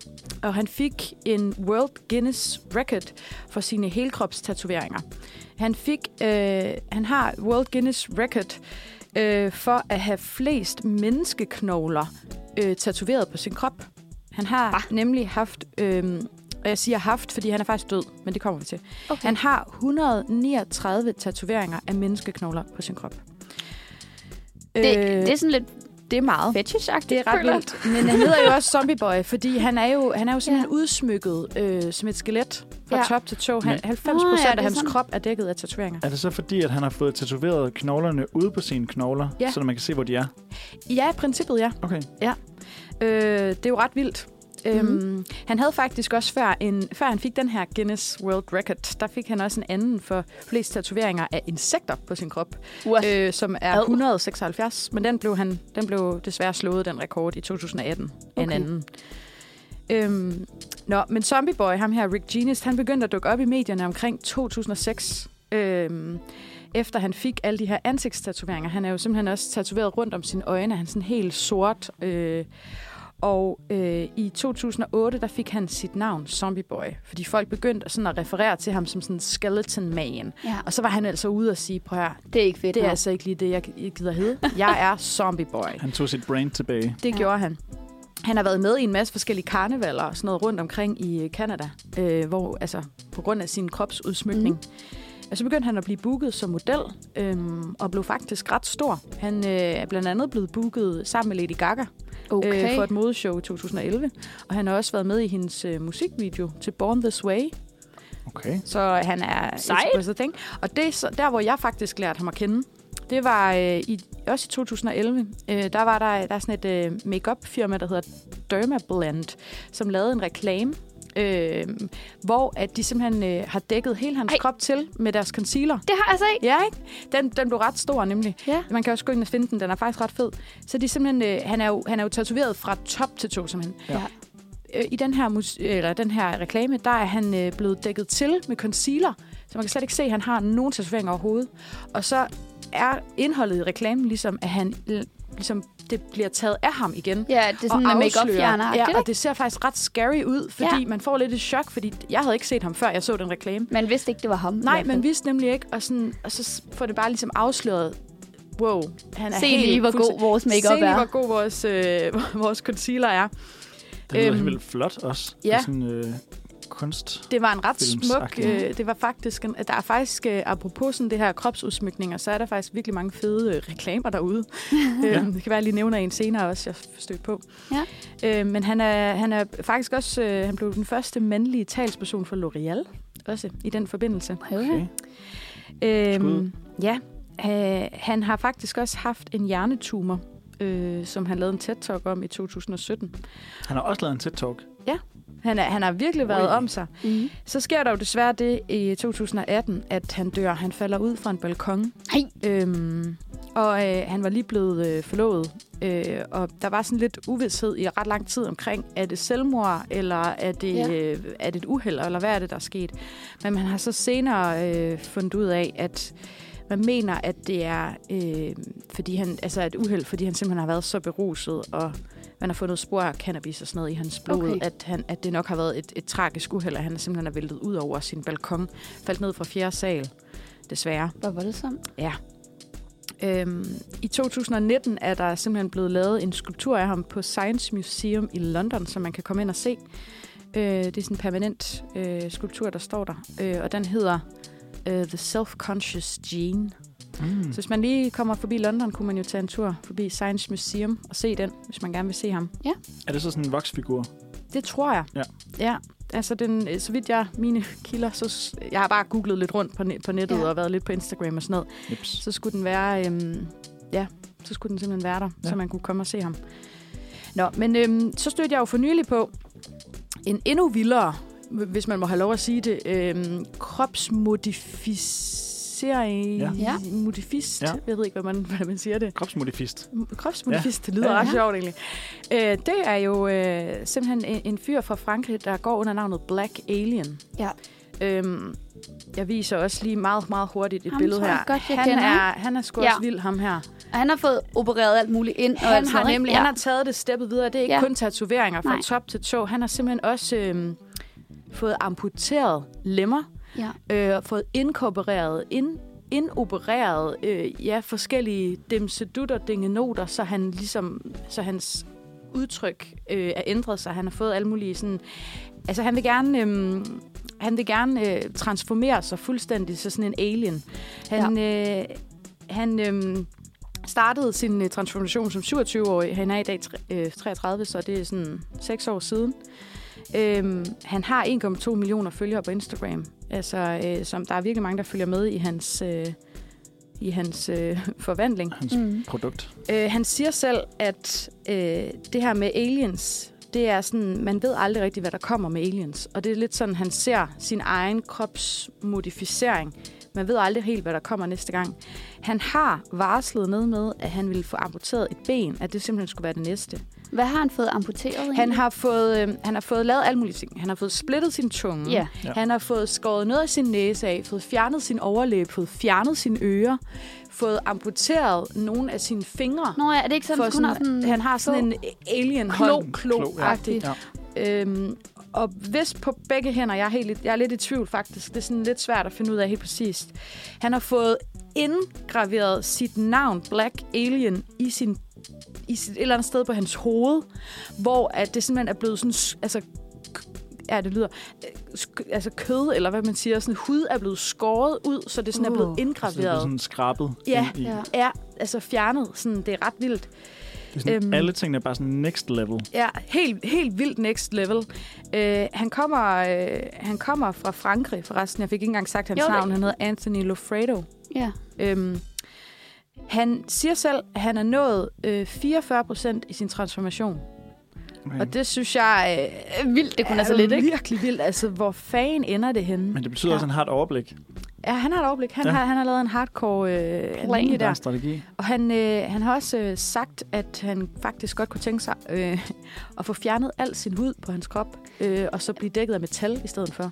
Speaker 2: Og han fik en World Guinness Record for sine helkropstatoveringer. Han fik, øh, han har World Guinness Record øh, for at have flest menneskeknogler øh, tatoveret på sin krop. Han har bah. nemlig haft, øh, og jeg siger haft, fordi han er faktisk død, men det kommer vi til.
Speaker 3: Okay.
Speaker 2: Han har 139 tatoveringer af menneskeknogler på sin krop.
Speaker 3: det, det er sådan lidt
Speaker 2: det er meget.
Speaker 3: fetish
Speaker 2: Øh, Det er ret vildt. Men han hedder jo også Zombie Boy, fordi han er jo, han er jo simpelthen ja. udsmykket øh, som et skelet fra
Speaker 3: Ja.
Speaker 2: ja. top til tå. Han,
Speaker 1: Men-
Speaker 2: 90
Speaker 3: Nå, ja,
Speaker 2: procent
Speaker 3: det er
Speaker 2: af hans
Speaker 3: sådan.
Speaker 2: krop er dækket af tatoveringer.
Speaker 1: Er det så fordi, at han har fået tatoveret knoglerne ude på sine knogler,
Speaker 2: Ja.
Speaker 1: så man kan se, hvor de er?
Speaker 2: Ja, i princippet ja.
Speaker 1: Okay.
Speaker 2: Øh, det er jo ret vildt. Mm-hmm.
Speaker 3: Mhm.
Speaker 2: Øhm, han havde faktisk også, før, en, før han fik den her Guinness World Record, der fik han også en anden for flest tatoveringer af insekter på sin krop,
Speaker 3: What?
Speaker 2: øh, som er
Speaker 3: Ad.
Speaker 2: 176. Men den blev, han, den blev desværre slået, den rekord, i 2018 okay. en
Speaker 3: Okay.
Speaker 2: anden. Øhm, nå, men Zombie Boy, ham her, Rick Genest, han begyndte at dukke op i medierne omkring 2006. Øhm, efter han fik alle de her ansigtstatoveringer. Han er jo simpelthen også tatoveret rundt om sine øjne. Han er sådan helt sort. Øh, og øh, i 2008, der fik han sit navn Zombie Boy, fordi folk begyndte sådan at referere til ham som sådan Skeleton Man.
Speaker 3: Ja.
Speaker 2: Og så var han altså ude og sige, prøv her,
Speaker 3: Det er ikke fedt.
Speaker 2: det er
Speaker 3: nej.
Speaker 2: altså ikke lige det, jeg gider hedde. Jeg er Zombie Boy.
Speaker 1: Han tog sit brain tilbage.
Speaker 2: Det
Speaker 3: Ja.
Speaker 2: ja. gjorde han. Han har været med i en masse forskellige karnevaler og sådan noget rundt omkring i øh, Kanada, øh, hvor altså på grund af sin kropsudsmykning. Mm. Og så begyndte han at blive booket som model, øhm, og blev faktisk ret stor. Han øh, er blandt andet blevet booket sammen med Lady Gaga okay. øh, for et modeshow i 2011. Og han har også været med i hendes øh, musikvideo til Born This Way,
Speaker 1: Okay.
Speaker 2: så han er
Speaker 3: Sejt.
Speaker 2: exquisite, ting. Og det er så, der, hvor jeg faktisk lærte ham at kende, det var øh, i, også i 2011. Øh, der var der, der er sådan et øh, makeup firma der hedder Dermablend, som lavede en reklame, øh, hvor at de simpelthen øh, har dækket hele hans
Speaker 3: Ej.
Speaker 2: Ej. krop til med deres concealer.
Speaker 3: Det har jeg altså ikke.
Speaker 2: Ja, ikke? Den, den blev ret stor nemlig.
Speaker 3: Ja.
Speaker 2: Man kan også gå ind og finde den, den er faktisk ret fed. Så de er simpelthen, øh, han, er jo, han er jo tatoveret fra top til to, simpelthen.
Speaker 3: Ja.
Speaker 2: Øh, I den her, mus- eller den her reklame, der er han øh, blevet dækket til med concealer, så man kan slet ikke se, at han har nogen tatoveringer overhovedet. Og så er indholdet i reklamen ligesom, at han øh, ligesom, det bliver taget af ham igen.
Speaker 3: Ja, det er sådan
Speaker 2: og
Speaker 3: med
Speaker 2: afslører.
Speaker 3: make-up fjerner.
Speaker 2: Ja, og det ser faktisk ret scary ud, fordi
Speaker 3: Ja.
Speaker 2: ja. man får lidt et chok, fordi jeg havde ikke set ham, før jeg så den reklame.
Speaker 3: Man vidste ikke, det var ham. i
Speaker 2: Nej,
Speaker 3: hvert fald.
Speaker 2: man vidste nemlig ikke, og, sådan, og så s- får det bare ligesom afsløret. Wow, han er
Speaker 3: Se
Speaker 2: helt
Speaker 3: lige, hvor god
Speaker 2: fuldstændig-
Speaker 3: vores makeup
Speaker 2: Se lige,
Speaker 3: er.
Speaker 2: hvor god vores, øh, (laughs) vores concealer er.
Speaker 1: Det lyder
Speaker 2: Øhm,
Speaker 1: helt vildt flot også.
Speaker 2: ja.
Speaker 1: Det er sådan øh, kunst.
Speaker 2: Det var en ret smuk...
Speaker 1: Filmsagtigt.
Speaker 2: Øh, det var faktisk... En, der er faktisk, øh, apropos sådan det her kropsudsmykninger, så er der faktisk virkelig mange fede øh, reklamer (laughs) derude. øh, det kan være, jeg lige nævner en senere også, jeg stødte på.
Speaker 3: Ja.
Speaker 2: Øh, men han er, han er faktisk også... Øh, han blev den første mandlige talsperson for L'Oreal, også i den forbindelse.
Speaker 3: Okay.
Speaker 1: Okay. Skud.
Speaker 2: Øhm, ja, øh, han har faktisk også haft en hjernetumor, øh, som han lavede en TED-talk om i 2017.
Speaker 1: Han har også lavet en TED-talk.
Speaker 2: Han, er, han har virkelig været
Speaker 1: Ui.
Speaker 2: om sig.
Speaker 3: Mm.
Speaker 2: Så sker der jo desværre det i 2018, at han dør. Han falder ud fra en balkon.
Speaker 3: Ej.
Speaker 2: Øhm, Og øh, han var lige blevet øh, forlovet, øh, og der var sådan lidt uvidshed i ret lang tid omkring, er det selvmord, eller er det,
Speaker 3: Ja.
Speaker 2: ja. øh, er det et uheld, eller hvad er det, der er sket? Men man har så senere øh, fundet ud af, at man mener, at det er øh, fordi han, altså et uheld, fordi han simpelthen har været så beruset, og man har fundet spor af cannabis og sådan noget i hans blod,
Speaker 3: Okay.
Speaker 2: okay. at, han, at det nok har været et, et tragisk uheld, at han simpelthen er væltet ud over sin balkon, faldt ned fra fjerde sal, desværre.
Speaker 3: Hvor voldsomt.
Speaker 2: Øhm, I 2019 er der simpelthen blevet lavet en skulptur af ham på Science Museum i London, som man kan komme ind og se. Øh, det er sådan en permanent øh, skulptur, der står der, øh, og den hedder øh, The Self-Conscious Gene.
Speaker 1: Mm.
Speaker 2: Så hvis man lige kommer forbi London, kunne man jo tage en tur forbi Science Museum og se den, hvis man gerne vil se ham.
Speaker 1: Er det så sådan en voksfigur?
Speaker 2: Det tror jeg.
Speaker 1: Ja.
Speaker 2: ja. Altså, den, øh, så vidt jeg mine kilder, så s- jeg har bare googlet lidt rundt på, net, på nettet
Speaker 3: Ja.
Speaker 2: ja. og været lidt på Instagram og sådan noget
Speaker 1: Jeps.
Speaker 2: så skulle den være, øhm, ja, så skulle den simpelthen være der, ja.
Speaker 1: Ja.
Speaker 2: så man kunne komme og se ham. Nå, men øhm, så stødte jeg jo for nylig på en endnu vildere, hvis man må have lov at sige det, øhm, kropsmodificering,
Speaker 1: Ja.
Speaker 3: Ja.
Speaker 2: modifist,
Speaker 1: Ja.
Speaker 2: ja. jeg ved ikke, hvad man, (laughs) hvordan man siger det.
Speaker 1: Kropsmodifist.
Speaker 2: M- Kropsmodifist, ja. det lyder
Speaker 1: Ja,
Speaker 2: ja,
Speaker 1: ja.
Speaker 2: ja. ret sjovt egentlig. Øh, det er jo øh, simpelthen en, en fyr fra Frankrig, der går under navnet Black Alien.
Speaker 3: Ja.
Speaker 2: Øhm, jeg viser også lige meget, meget hurtigt et
Speaker 3: Ham
Speaker 2: billede
Speaker 3: tror jeg
Speaker 2: her.
Speaker 3: godt, jeg
Speaker 2: han,
Speaker 3: kender.
Speaker 2: er, han er sgu
Speaker 3: Ja.
Speaker 2: ja. også vild, ham her.
Speaker 3: Og han har fået opereret alt muligt ind. og
Speaker 2: Han
Speaker 3: alt sådan
Speaker 2: har
Speaker 3: noget,
Speaker 2: nemlig
Speaker 3: ikke?
Speaker 2: han har taget det steppet videre. Det er ikke
Speaker 3: Ja.
Speaker 2: ja. kun tatoveringer fra
Speaker 3: Nej.
Speaker 2: Nej. top til tå. Han har simpelthen også øhm, fået amputeret lemmer,
Speaker 3: Ja.
Speaker 2: øh, fået inkorporeret, ind, indopereret øh, ja, forskellige demsedutter, dingenoter, så, han ligesom, så hans udtryk øh, er ændret sig. Han har fået alle mulige sådan... Altså, han vil gerne... Øh, han vil gerne øh, transformere sig fuldstændig, så sådan en alien. Han, ja. øh, han øh, startede sin øh, transformation som 27-årig. Han er i dag tre- øh, 33, så det er sådan 6 år siden. Øhm, han har 1,2 millioner følgere på Instagram. Altså, øh, som der er virkelig mange, der følger med i hans, øh, i hans øh, (laughs) forvandling.
Speaker 1: Hans
Speaker 3: Mm.
Speaker 1: produkt.
Speaker 2: Øh, han siger selv, at øh, det her med aliens, det er sådan, man ved aldrig rigtigt, hvad der kommer med aliens. Og det er lidt sådan, han ser sin egen kropsmodificering. Man ved aldrig helt, hvad der kommer næste gang. Han har varslet ned med, at han ville få amputeret et ben, at det simpelthen skulle være det næste.
Speaker 3: Hvad har han fået amputeret?
Speaker 2: Han
Speaker 3: egentlig?
Speaker 2: har fået, øh, han har fået lavet alle mulige ting. Han har fået splittet sin tunge.
Speaker 3: Ja.
Speaker 1: Ja.
Speaker 2: Han har fået skåret noget af sin næse af, fået fjernet sin overlæbe, fået fjernet sine ører, fået amputeret nogle af sine fingre.
Speaker 3: Nå ja, er det ikke sådan,
Speaker 2: for
Speaker 3: at hun har sådan...
Speaker 2: han har sådan en alien hånd klo,
Speaker 1: Klo,
Speaker 2: klo, klo
Speaker 1: Ja.
Speaker 2: øhm, og vist på begge hænder, jeg er, helt, i- jeg er lidt i tvivl faktisk, det er sådan lidt svært at finde ud af helt præcist. Han har fået indgraveret sit navn, Black Alien, i sin i sit, et eller andet sted på hans hoved, hvor at det simpelthen er blevet sådan, s- altså, k- ja, det lyder, øh, sk- altså kød, eller hvad man siger, sådan hud er blevet skåret ud, så det sådan er blevet
Speaker 3: Uh.
Speaker 1: Altså, det er blevet
Speaker 2: indgraveret.
Speaker 1: sådan skrabet.
Speaker 2: Ja.
Speaker 1: ind i-
Speaker 3: Ja.
Speaker 2: Ja, altså fjernet, sådan, det er ret vildt.
Speaker 1: Det er sådan,
Speaker 2: Øhm.
Speaker 1: Alle tingene er bare sådan next level.
Speaker 2: Ja, helt, helt vildt next level. Øh, han, kommer, øh, han kommer fra Frankrig, forresten. Jeg fik ikke engang sagt hans
Speaker 3: Jo,
Speaker 2: jo,
Speaker 3: det-
Speaker 2: navn. Han hedder Anthony Lofredo.
Speaker 3: Ja.
Speaker 2: Øhm, han siger selv, at han er nået øh, 44 procent i sin transformation.
Speaker 1: Okay.
Speaker 2: Og det synes jeg øh,
Speaker 3: Øh, Vildt, det kunne altså lidt, ikke?
Speaker 2: virkelig vildt. Altså, hvor fanden ender det henne?
Speaker 1: Men
Speaker 2: Men,
Speaker 1: det betyder
Speaker 3: Ja.
Speaker 1: også, at han har et overblik.
Speaker 2: ja, han har et overblik. Han,
Speaker 1: Ja.
Speaker 2: ja. har, han har lavet en hardcore øh,
Speaker 3: Plan
Speaker 2: linje
Speaker 1: Der er
Speaker 2: der.
Speaker 1: en strategi.
Speaker 2: Og han, øh, han har også øh, sagt, at han faktisk godt kunne tænke sig øh, at få fjernet al sin hud på hans krop, øh, og så blive dækket af metal i stedet for.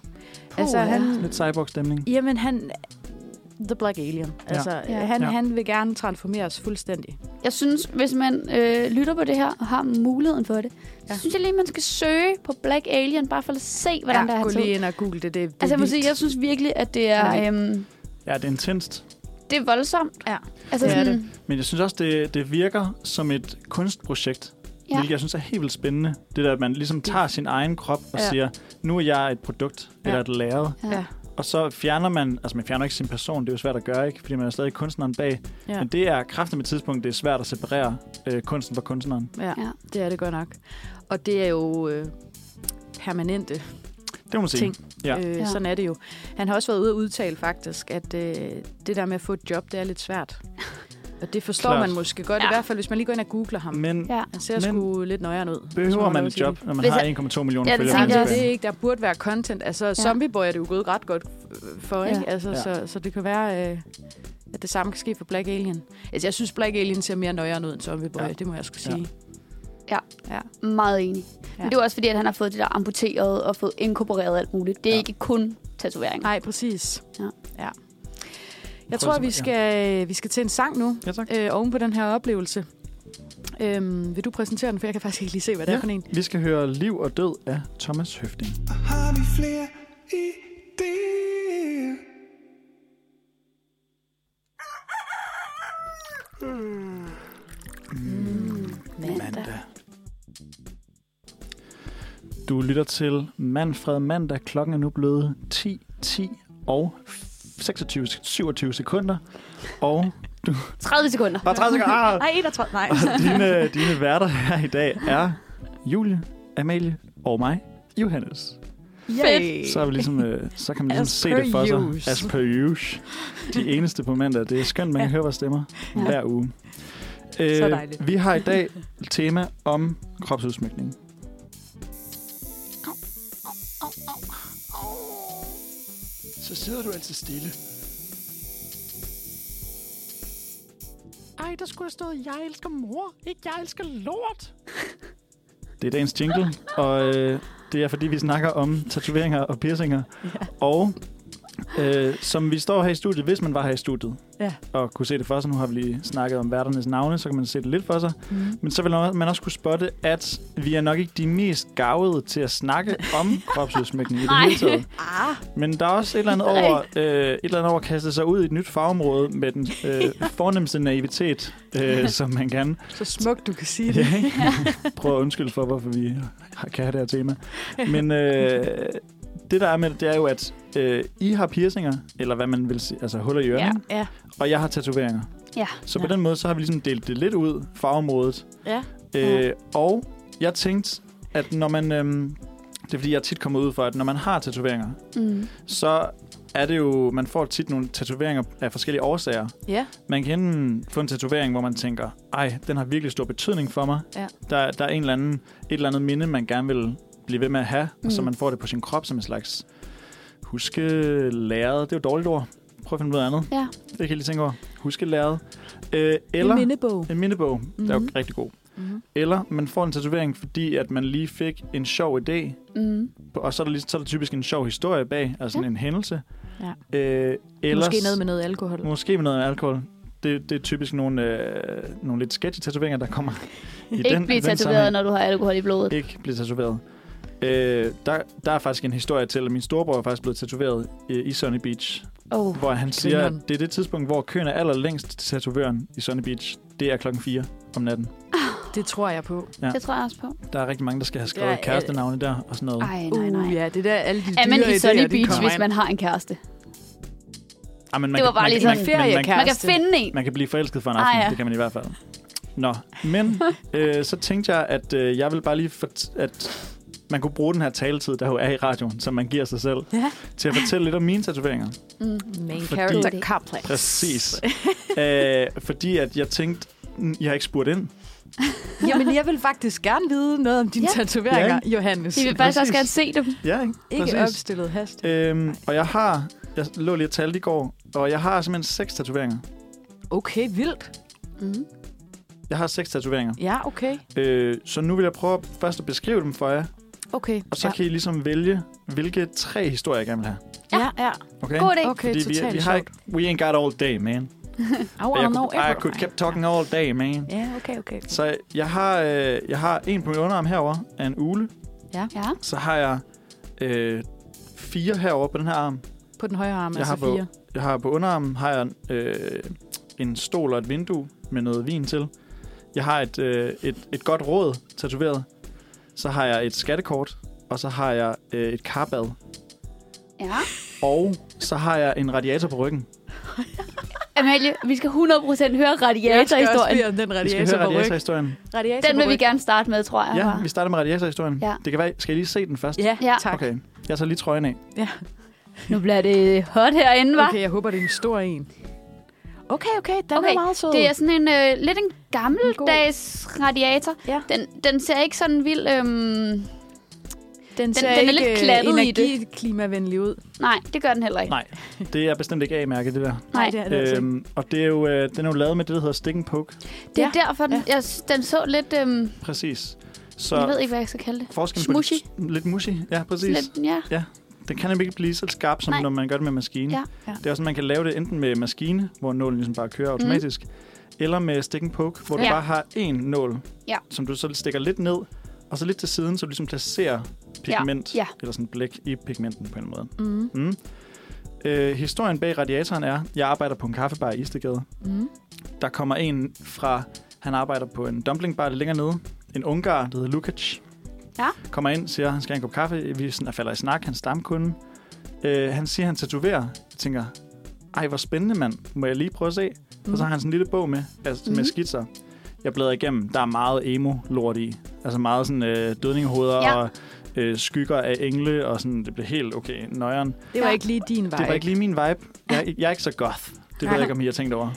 Speaker 2: Puh, altså,
Speaker 3: ja.
Speaker 2: han,
Speaker 1: Lidt cyborg-stemning.
Speaker 2: jamen, han... The Black Alien.
Speaker 1: Ja.
Speaker 2: Altså,
Speaker 3: Ja.
Speaker 2: ja. Han,
Speaker 1: Ja.
Speaker 2: ja. han vil gerne transformeres fuldstændig.
Speaker 3: Jeg synes, hvis man øh, lytter på det her og har muligheden for det, ja.
Speaker 2: Ja.
Speaker 3: så synes jeg lige, man skal søge på Black Alien, bare for at se, hvordan ja, der
Speaker 2: gå
Speaker 3: er hans
Speaker 2: lige
Speaker 3: ud.
Speaker 2: ind og google det. Det, det
Speaker 3: Altså,
Speaker 2: er
Speaker 3: jeg må
Speaker 2: vildt.
Speaker 3: sige, jeg synes virkelig, at det er,
Speaker 2: Ja.
Speaker 3: øhm,
Speaker 1: Ja, det er intenst.
Speaker 3: det er voldsomt.
Speaker 2: Ja.
Speaker 3: Altså,
Speaker 2: Det er
Speaker 3: sådan,
Speaker 1: Men jeg synes også, det, det virker som et kunstprojekt,
Speaker 3: Ja.
Speaker 1: ja. hvilket jeg synes er helt vildt spændende. Det der, at man ligesom tager sin egen krop og ja.
Speaker 2: Ja.
Speaker 1: siger, nu er jeg et produkt ja.
Speaker 2: Ja.
Speaker 1: eller et lærred.
Speaker 3: Ja.
Speaker 2: Ja.
Speaker 1: Og så fjerner man, altså man fjerner ikke sin person, det er jo svært at gøre, ikke? fordi man er stadig kunstneren bag. Ja.
Speaker 2: Ja.
Speaker 1: Men det er kraften med tidspunkt, det er svært at separere øh, kunsten fra kunstneren.
Speaker 2: Ja,
Speaker 3: Ja.
Speaker 2: ja, det er det godt nok. Og det er jo øh, permanente
Speaker 1: Det må man sige.
Speaker 2: ting.
Speaker 1: Ja.
Speaker 2: Ja. Øh,
Speaker 3: Ja.
Speaker 2: Sådan er det jo. Han har også været ude at udtale faktisk, at øh, det der med at få et job, det er lidt svært. Og det forstår
Speaker 1: Klart.
Speaker 2: man måske godt,
Speaker 3: Ja.
Speaker 2: ja. i hvert fald hvis man lige går ind og googler ham.
Speaker 1: Men
Speaker 3: ja.
Speaker 2: Han ser
Speaker 1: Men-
Speaker 2: Men sgu lidt nøjeren ud. hvis må
Speaker 1: behøver
Speaker 2: have
Speaker 1: man
Speaker 2: lov
Speaker 1: et
Speaker 2: til
Speaker 1: job, når man
Speaker 3: Hvis
Speaker 1: har
Speaker 3: jeg-
Speaker 1: 1,2 millioner
Speaker 3: Ja, det
Speaker 1: følgere? på
Speaker 2: Det.
Speaker 3: tænker jeg
Speaker 2: Jamen,
Speaker 3: også.
Speaker 2: det
Speaker 1: Instagram?
Speaker 2: er ikke, der burde være content. Altså, ja. Zombie Boy er det jo gået ret godt for, ikke?
Speaker 3: Ja.
Speaker 2: Altså,
Speaker 1: Ja.
Speaker 2: ja. så, så det kan være... Øh, at det samme kan ske for Black Alien. Altså, jeg synes, Black Alien ser mere nøjeren ud end Zombie Boy. Ja. Det må jeg skulle
Speaker 1: Ja.
Speaker 2: sige.
Speaker 3: Ja.
Speaker 2: ja.
Speaker 3: Meget enig.
Speaker 2: Ja.
Speaker 3: Ja. Men det er jo også fordi, at han har fået det der amputeret og fået inkorporeret alt muligt. Det er
Speaker 1: Ja.
Speaker 3: ja. ikke kun tatoveringer.
Speaker 2: Nej, præcis.
Speaker 3: Ja.
Speaker 2: ja.
Speaker 1: Prøv
Speaker 2: Jeg tror,
Speaker 1: at-
Speaker 2: vi
Speaker 1: ja.
Speaker 2: skal, øh, vi skal til en sang nu,
Speaker 1: Ja, tak.
Speaker 2: øh, oven på den her oplevelse. Øhm, vil du præsentere den, for jeg kan faktisk ikke lige se, hvad det
Speaker 1: Ja.
Speaker 2: er for en.
Speaker 1: Vi skal høre Liv og Død af Thomas Høfting.
Speaker 4: Har vi flere idéer? Hmm.
Speaker 3: Mm.
Speaker 2: Mm.
Speaker 1: Mandag. Du lytter til Manfred Mandag. Klokken er nu blevet 10, 10 og 26, 27 sekunder. Og
Speaker 3: 30 sekunder.
Speaker 1: Bare 30 sekunder. Ah!
Speaker 2: Nej,
Speaker 1: (laughs)
Speaker 2: 31. Nej.
Speaker 1: Og dine, dine værter her i dag er Julie, Amalie og mig, Johannes.
Speaker 2: Yay.
Speaker 1: Så, er vi ligesom, øh, så kan man ligesom
Speaker 2: As
Speaker 1: se
Speaker 2: per
Speaker 1: det for sig.
Speaker 2: use.
Speaker 1: As per use. De eneste på mandag. Det er skønt, man kan
Speaker 2: Ja.
Speaker 1: høre vores stemmer
Speaker 2: Ja.
Speaker 1: hver uge. Øh,
Speaker 2: Så dejligt.
Speaker 1: vi har i dag et tema om kropsudsmykning.
Speaker 4: Så sidder du altid stille.
Speaker 1: Ej, der skulle have stået, jeg elsker mor, ikke jeg elsker lort. Det er dagens jingle, og øh, det er fordi, vi snakker om tatoveringer og piercinger.
Speaker 2: Ja.
Speaker 1: Og øh, som vi står her i studiet, hvis man var her i studiet,
Speaker 2: Ja.
Speaker 1: og kunne se det for sig, nu har vi lige snakket om værternes navne, så kan man se det lidt for sig.
Speaker 2: Mm.
Speaker 1: Men så vil man også kunne spotte, at vi er nok ikke de mest gavede til at snakke (laughs) om kropsudsmykning i det
Speaker 3: Nej.
Speaker 1: hele taget.
Speaker 2: Ah,
Speaker 1: Men der er også et eller andet over, øh, et eller andet over at kaste sig ud i et nyt fagområde med den (laughs) øh, fornemmeste naivitet, øh, som man kan.
Speaker 2: så smukt, du kan sige det.
Speaker 1: Ja, ikke? (laughs) Prøv at undskylde for, hvorfor vi har- kan have det her tema. Men øh,
Speaker 2: (laughs)
Speaker 1: det, der er med det, det er jo, at øh, I har piercinger, eller hvad man vil sige, altså huller i ørerne, ikke?
Speaker 3: Ja.
Speaker 2: Ja.
Speaker 1: og jeg har tatoveringer.
Speaker 3: Ja.
Speaker 1: Så på
Speaker 2: Ja.
Speaker 1: den måde, så har vi ligesom delt det lidt ud, fagområdet.
Speaker 2: Ja.
Speaker 1: Øh, og jeg tænkte, at når man... Øh, det er fordi, jeg tit kommer ud for, at når man har tatoveringer,
Speaker 3: Mm.
Speaker 1: så er det jo, man får tit nogle tatoveringer af forskellige årsager.
Speaker 2: Ja.
Speaker 1: Man kan enten få en tatovering, hvor man tænker, ej, den har virkelig stor betydning for mig.
Speaker 2: Ja.
Speaker 1: Der, der er en eller anden, et eller andet minde, man gerne vil blive ved med at have, mm. og så
Speaker 3: Mm.
Speaker 1: man får det på sin krop som en slags huskelæret. Det er jo et dårligt ord. Prøv at finde noget andet.
Speaker 3: Ja.
Speaker 1: Det kan jeg lige tænke over. Huskelæret. Øh,
Speaker 2: Eller...
Speaker 1: eller
Speaker 2: En mindebog.
Speaker 1: en mindebog. Mm-hmm. Det er jo
Speaker 2: Mhm.
Speaker 1: rigtig god.
Speaker 2: Mm.
Speaker 1: Eller man får en tatovering, fordi at man lige fik en sjov idé,
Speaker 3: Mm.
Speaker 1: og så er der, lige, så er der typisk en sjov historie bag, altså sådan en hændelse. Ja. Øh,
Speaker 2: Ellers...
Speaker 1: ellers,
Speaker 2: Måske noget med noget alkohol.
Speaker 1: måske med noget alkohol. Det, det er typisk nogle, øh, nogle lidt sketchy tatoveringer, der kommer i
Speaker 3: Ikke
Speaker 1: den,
Speaker 3: blive
Speaker 1: den
Speaker 3: tatoveret,
Speaker 1: sammenhæng.
Speaker 3: når du har alkohol i blodet.
Speaker 1: Ikke blive tatoveret. Øh, der, der er faktisk en historie til, at min storebror er faktisk blevet tatoveret øh, i Sunny Beach,
Speaker 3: Oh.
Speaker 1: hvor han siger, at
Speaker 2: grineren.
Speaker 1: det er det tidspunkt, hvor køen er allerlængst til tatovøren i Sunny Beach. Det er klokken 4 om natten.
Speaker 2: Det tror jeg på.
Speaker 1: Ja.
Speaker 3: Det tror jeg også på.
Speaker 1: Der er rigtig mange, der skal have
Speaker 2: Der
Speaker 1: skrevet
Speaker 2: er-
Speaker 1: kærestenavne der og sådan noget.
Speaker 3: Ej, nej, nej.
Speaker 2: Uh, ja, det der alle de
Speaker 3: Er man
Speaker 2: dyre
Speaker 3: i Sunny
Speaker 2: idéer, de
Speaker 3: Beach,
Speaker 2: kommer
Speaker 3: hvis
Speaker 2: ind.
Speaker 3: man har en kæreste?
Speaker 1: Ej, men man
Speaker 3: Det var
Speaker 1: kan-
Speaker 3: bare
Speaker 1: man,
Speaker 3: lige
Speaker 1: man,
Speaker 3: sådan
Speaker 1: man, man,
Speaker 2: feriekæreste.
Speaker 1: man,
Speaker 3: Man kan
Speaker 2: Kæreste.
Speaker 3: finde en.
Speaker 1: man kan blive forelsket for en
Speaker 3: Ah,
Speaker 1: aften, ah, ja.
Speaker 3: ja.
Speaker 1: det kan man i hvert fald. Nå, men øh, så tænkte jeg, at øh, jeg vil bare lige, fort- at man kunne bruge den her taletid, der jo er i radioen, som man giver sig selv,
Speaker 2: Ja.
Speaker 1: til at fortælle lidt om mine tatoveringer.
Speaker 3: Mm.
Speaker 2: Main
Speaker 1: Fordi-
Speaker 2: character complex.
Speaker 1: Præcis. Æh, Øh, fordi at jeg tænkte, "Mm, jeg har ikke spurgt ind.
Speaker 2: (laughs) Jamen, jeg vil faktisk gerne vide noget om dine
Speaker 3: Ja.
Speaker 2: ja. tatoveringer,
Speaker 1: Ja,
Speaker 2: ja. Johannes.
Speaker 3: Vi vil faktisk også
Speaker 1: Præcis.
Speaker 3: gerne se dem.
Speaker 1: Ja, ikke?
Speaker 2: Ikke opstillet hast.
Speaker 1: Øhm, og jeg har, jeg lå lige og talte i går, og jeg har simpelthen seks tatoveringer.
Speaker 2: Okay, vildt.
Speaker 3: Mm.
Speaker 1: Jeg har seks tatoveringer.
Speaker 2: Ja, okay.
Speaker 1: Øh, så nu vil jeg prøve at- først at beskrive dem for jer,
Speaker 2: Okay.
Speaker 1: og så
Speaker 2: ja.
Speaker 1: kan I ligesom vælge, hvilke tre historier jeg gerne vil have.
Speaker 2: Ja, ja.
Speaker 1: Okay?
Speaker 3: God idé.
Speaker 2: Okay,
Speaker 1: Fordi vi,
Speaker 2: totalt
Speaker 1: vi har
Speaker 2: sjovt.
Speaker 1: ikke... We ain't got all day, man.
Speaker 2: Au,
Speaker 1: jeg
Speaker 2: au, no,
Speaker 1: kunne, I could kept talking all day, man.
Speaker 2: Ja, okay, okay. okay.
Speaker 1: Så jeg har, øh, jeg har en på min underarm herover af en ule.
Speaker 3: Ja.
Speaker 1: Så har jeg øh, fire herover på den her arm.
Speaker 2: På den højre arm,
Speaker 1: Jeg
Speaker 2: altså
Speaker 1: har på-
Speaker 2: fire.
Speaker 1: Jeg har på underarmen har jeg øh, en stol og et vindue med noget vin til. Jeg har et, øh, et, et godt råd tatoveret. Så har jeg et skattekort. Og så har jeg øh, et karbad.
Speaker 3: ja.
Speaker 1: Og så har jeg en radiator på ryggen.
Speaker 3: Amalie, vi skal 100% høre
Speaker 2: Jeg
Speaker 3: radiatorhistorien.
Speaker 2: skal også blive den
Speaker 1: Vi skal høre
Speaker 2: radiator på ryg.
Speaker 1: radiatorhistorien.
Speaker 2: Radiator
Speaker 3: Den
Speaker 2: på
Speaker 3: vil vi
Speaker 2: ryg.
Speaker 3: gerne starte med, tror jeg.
Speaker 1: Ja, vi starter med radiatorhistorien.
Speaker 3: Ja.
Speaker 1: Det kan være, skal I lige se den først?
Speaker 2: Ja,
Speaker 3: Ja.
Speaker 2: tak.
Speaker 1: Okay, jeg tager lige trøjen af.
Speaker 2: Ja.
Speaker 3: Nu bliver det hot herinde, hva'?
Speaker 2: Okay, jeg håber, det er en stor en. Okay, okay, den
Speaker 3: Okay,
Speaker 2: er meget sød.
Speaker 3: Det er sådan en øh, lidt
Speaker 2: En
Speaker 3: en
Speaker 2: god-
Speaker 3: gammeldags radiator.
Speaker 2: Ja.
Speaker 3: Den, den ser ikke sådan vild... Øhm,
Speaker 2: Den,
Speaker 3: ser den er lidt
Speaker 2: øh,
Speaker 3: klattet i det.
Speaker 2: energiklimavenlig ud.
Speaker 3: Nej, det gør den heller ikke.
Speaker 1: Nej, det er bestemt ikke A-mærket, det der.
Speaker 3: Nej.
Speaker 2: det er det altså ikke.
Speaker 1: Øhm, og det er jo, øh, den er jo lavet med det, der hedder stick and poke.
Speaker 3: Det er
Speaker 2: Ja.
Speaker 3: derfor, den, jeg, s- den så lidt... Øhm,
Speaker 1: Præcis. Så
Speaker 3: jeg ved ikke, hvad jeg skal kalde det.
Speaker 1: forskellen
Speaker 3: Smushy.
Speaker 1: på det, lidt mushy. Ja, præcis.
Speaker 3: Lidt, ja.
Speaker 1: Den kan nemlig ikke blive så skarp, som
Speaker 3: Nej.
Speaker 1: Nej. når man gør det med maskine.
Speaker 3: Ja. Mhm.
Speaker 2: Ja.
Speaker 1: Det er også, man kan lave det enten med maskine, hvor nålen ligesom bare kører automatisk, mm. eller med stick and poke, hvor du
Speaker 3: Ja.
Speaker 1: bare har én nål,
Speaker 3: Ja.
Speaker 1: som du så stikker lidt ned, og så lidt til siden, så du ligesom placerer
Speaker 3: Ja.
Speaker 1: pigment,
Speaker 3: Ja.
Speaker 1: eller sådan blæk i pigmenten på en eller anden
Speaker 2: Mm.
Speaker 1: måde. Mm. Øh, historien bag radiatoren er, jeg arbejder på en kaffebar i Istegade.
Speaker 2: Mm.
Speaker 1: Der kommer en fra, han arbejder på en dumplingbar lidt længere nede, en ungar, der hedder Lukac.
Speaker 3: Ja.
Speaker 1: Kommer ind, siger, han skal have en kop kaffe. Vi sådan, falder i snak, han stamkunde. Øh, han siger, han tatoverer. Jeg tænker, ej, hvor spændende, mand. Må jeg lige prøve at se? Mm. Og så har han sådan en lille bog med, altså, mm.
Speaker 3: Mhm.
Speaker 1: med skitser. Jeg bladrer igennem. Der er meget emo-lort i. Altså meget sådan øh, dødningehoveder
Speaker 3: Ja.
Speaker 1: ja. og øh, skygger af engle, og sådan, det blev helt okay, nøjeren.
Speaker 2: Det var
Speaker 3: Ja.
Speaker 2: ikke lige din vej.
Speaker 1: Det var ikke lige min vibe. Jeg, jeg er ikke så goth. Det ved
Speaker 2: Nej.
Speaker 1: jeg ikke, om I har tænkt over.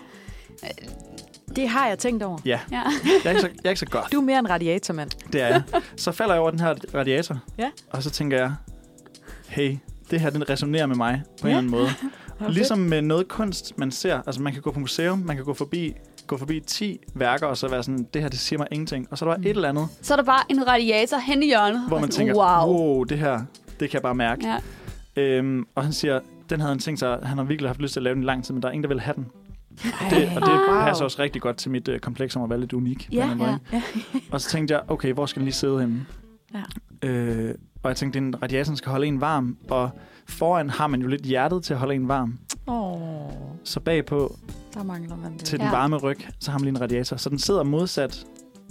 Speaker 2: det har jeg tænkt over.
Speaker 1: Ja,
Speaker 3: Ja.
Speaker 1: jeg er ikke så, jeg er ikke så goth.
Speaker 2: Du er mere en radiatormand.
Speaker 1: Det er jeg. Så falder jeg over den her radiator.
Speaker 2: Ja.
Speaker 1: Og så tænker jeg, hey, det her den resonerer med mig på ja.
Speaker 2: Ja.
Speaker 1: en
Speaker 2: (laughs)
Speaker 1: eller anden måde. ligesom med noget kunst, man ser. Altså man kan gå på museum, man kan gå forbi, gå forbi 10 værker, og så være sådan, det her det siger mig ingenting. Og så er der bare
Speaker 2: Mm.
Speaker 1: et eller andet,
Speaker 3: Så er der bare en radiator hen i hjørnet.
Speaker 1: hvor
Speaker 3: og
Speaker 1: man
Speaker 3: sådan,
Speaker 1: tænker,
Speaker 3: wow.
Speaker 1: wow, det her, det kan jeg bare mærke.
Speaker 3: Ja.
Speaker 1: Ja. Øhm, og han siger, den havde han tænkt sig, han har virkelig haft lyst til at lave den i lang tid, men der er ingen, der vil have den. Det, og det
Speaker 2: Wow.
Speaker 1: passer også rigtig godt til mit øh, kompleks om at være lidt unik. på en
Speaker 2: Ja,
Speaker 1: eller anden måde,
Speaker 3: ja.
Speaker 1: ikke? Og så tænkte jeg, okay, hvor skal den lige sidde henne?
Speaker 2: Ja.
Speaker 1: Øh, og jeg tænkte, den radiatoren skal holde en varm, og foran har man jo lidt hjertet til at holde en varm.
Speaker 2: Oh,
Speaker 1: Så bagpå
Speaker 2: der mangler man det.
Speaker 1: til
Speaker 3: Ja.
Speaker 1: den varme ryg, så har man lige en radiator. Så den sidder modsat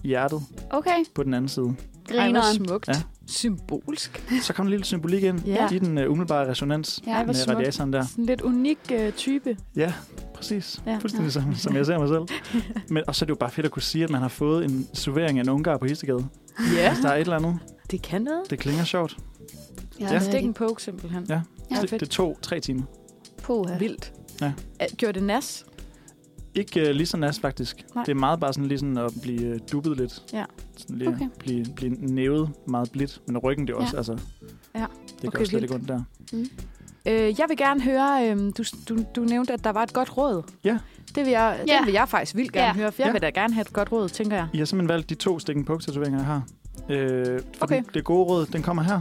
Speaker 1: hjertet
Speaker 3: Okay,
Speaker 1: på den anden side.
Speaker 2: Ej,
Speaker 3: grineren.
Speaker 2: hvor smukt.
Speaker 1: Ja.
Speaker 2: Symbolsk.
Speaker 1: Så kom en lille symbolik ind
Speaker 2: Ja.
Speaker 1: ja. i den uh, umiddelbare resonans
Speaker 3: Ja,
Speaker 2: Ej,
Speaker 1: ja,
Speaker 2: hvor
Speaker 1: med
Speaker 2: smukt.
Speaker 1: radiatoren
Speaker 2: Ja.
Speaker 1: der.
Speaker 2: Sådan en lidt unik øh, type.
Speaker 1: Ja, præcis.
Speaker 2: Ja.
Speaker 1: Ja. Fuldstændig som, som jeg ser mig
Speaker 2: (laughs)
Speaker 1: selv. Men, og så er det jo bare fedt at kunne sige, at man har fået en servering af en ungar på Istegade.
Speaker 2: Ja.
Speaker 1: Hvis der er et eller andet,
Speaker 2: Det kan noget.
Speaker 1: det klinger sjovt.
Speaker 3: Ja,
Speaker 1: Ja.
Speaker 3: det er
Speaker 2: Stik en
Speaker 3: rigtigt.
Speaker 2: poke, simpelthen.
Speaker 1: Ja.
Speaker 3: Ja,
Speaker 2: Ja,
Speaker 1: Det,
Speaker 2: fedt.
Speaker 1: det tog tre timer.
Speaker 3: Puha.
Speaker 2: Vildt.
Speaker 1: Ja.
Speaker 2: Øh, Gjorde det nas?
Speaker 1: Ikke uh, lige så nas, faktisk.
Speaker 2: Nej.
Speaker 1: Nej. Det er meget bare sådan, lige sådan at blive uh, dubbet lidt.
Speaker 2: Ja.
Speaker 1: Sådan lige
Speaker 3: Okay.
Speaker 1: okay. blive, blive nævet meget blidt. Men ryggen, det er også,
Speaker 3: Ja.
Speaker 1: ja. altså...
Speaker 2: Ja.
Speaker 1: Det okay,
Speaker 2: Okay,
Speaker 1: gør slet ikke
Speaker 2: vildt.
Speaker 1: ondt der.
Speaker 2: Øh, jeg vil gerne høre, øh, du, du, du nævnte, at der var et godt råd.
Speaker 1: Ja.
Speaker 2: Det vil jeg,
Speaker 3: Ja.
Speaker 2: Den vil jeg faktisk vildt gerne
Speaker 3: Ja.
Speaker 2: ja. høre, for jeg
Speaker 1: Ja.
Speaker 2: vil da gerne have et godt råd, tænker jeg.
Speaker 1: I har simpelthen valgt de to stikken på tatoveringer jeg har. Øh, for
Speaker 2: Okay.
Speaker 1: okay. den, det gode råd, den kommer her.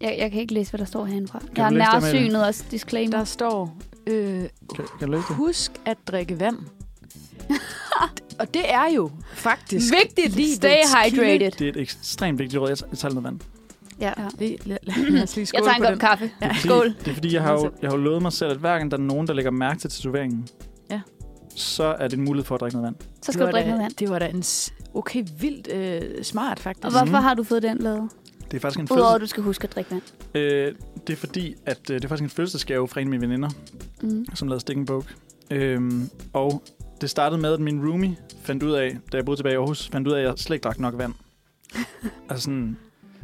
Speaker 3: Jeg, jeg kan ikke læse, hvad der står herindefra.
Speaker 1: du
Speaker 3: jeg er
Speaker 1: læse det, Amalie?
Speaker 3: nærsynet også, disclaimer.
Speaker 2: Der står, øh,
Speaker 1: Kan, kan du læse det?
Speaker 2: husk at drikke vand. Og det er jo faktisk...
Speaker 3: Vigtigt,
Speaker 2: livets
Speaker 3: stay hydrated.
Speaker 1: Det er et ekstremt vigtigt råd. Jeg, tager- jeg tager noget vand.
Speaker 3: Ja.
Speaker 2: Ja, det, lad, lad os lige
Speaker 3: Jeg
Speaker 2: skåle
Speaker 3: tager en
Speaker 2: på
Speaker 3: kop
Speaker 2: den.
Speaker 3: kaffe.
Speaker 1: Det er fordi,
Speaker 3: Skål.
Speaker 1: Det er fordi, jeg har, jo, jeg har jo lovet mig selv, at hver gang der er nogen, der lægger mærke til tatoveringen,
Speaker 2: Ja.
Speaker 1: så er det en mulighed for at drikke noget vand.
Speaker 3: Så skal du
Speaker 2: Det var
Speaker 3: drikke
Speaker 2: da-
Speaker 3: noget vand.
Speaker 2: Det var da en s- okay vildt øh, smart, faktisk.
Speaker 3: Og
Speaker 1: Mhm.
Speaker 3: hvorfor har du fået den lavet?
Speaker 1: Det er faktisk en
Speaker 3: Udover
Speaker 1: fødsel...
Speaker 3: at du skal huske at drikke vand.
Speaker 1: Øh, det er fordi, at øh, det er faktisk en fødselsdagsgave fra en af mine veninder.
Speaker 3: Mm.
Speaker 1: som lavede Stick and Poke. Øhm, og det startede med, at min roomie fandt ud af, da jeg boede tilbage i Aarhus, fandt ud af, at jeg slet ikke drak nok
Speaker 3: (laughs)
Speaker 1: vand. altså sådan,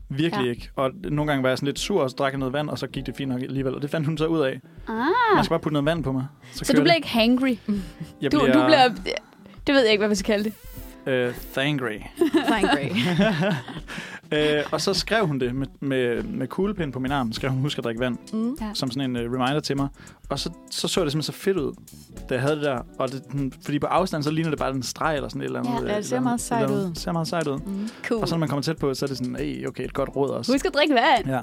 Speaker 1: virkelig
Speaker 3: Ja.
Speaker 1: ja. ikke. Og nogle gange var jeg sådan lidt sur, og så drak jeg noget vand, og så gik det fint nok alligevel. Og det fandt hun så ud af.
Speaker 3: Ah.
Speaker 1: Man skal bare putte noget vand på mig.
Speaker 3: Så du
Speaker 1: kører
Speaker 3: bliver
Speaker 1: det.
Speaker 3: ikke hangry.
Speaker 1: Jeg
Speaker 3: Du,
Speaker 1: bliver,
Speaker 3: du bliver... Det ved jeg ikke, hvad man skal kalde det.
Speaker 1: Øh, thangry.
Speaker 2: (laughs) Fine Grey.
Speaker 1: (laughs) øh, og så skrev hun det med, med, med kuglepind på min arm. Skrev hun, husk at drikke vand.
Speaker 2: Mm.
Speaker 3: Ja.
Speaker 1: som sådan en uh, reminder til mig. Og så, så så det simpelthen så fedt ud, da jeg havde det der. Og det, den, fordi på afstand, så ligner det bare en streg eller sådan et eller andet.
Speaker 3: Ja,
Speaker 1: øh,
Speaker 2: ja, det ser
Speaker 1: et eller
Speaker 2: meget
Speaker 1: andet-
Speaker 2: sejt
Speaker 1: et eller andet.
Speaker 2: ud.
Speaker 1: ser meget sejt ud.
Speaker 2: Mm.
Speaker 3: Cool.
Speaker 1: Og så når man kommer tæt på, så er det sådan, hey, okay, et godt råd også.
Speaker 3: Husk at drikke vand.
Speaker 1: Ja.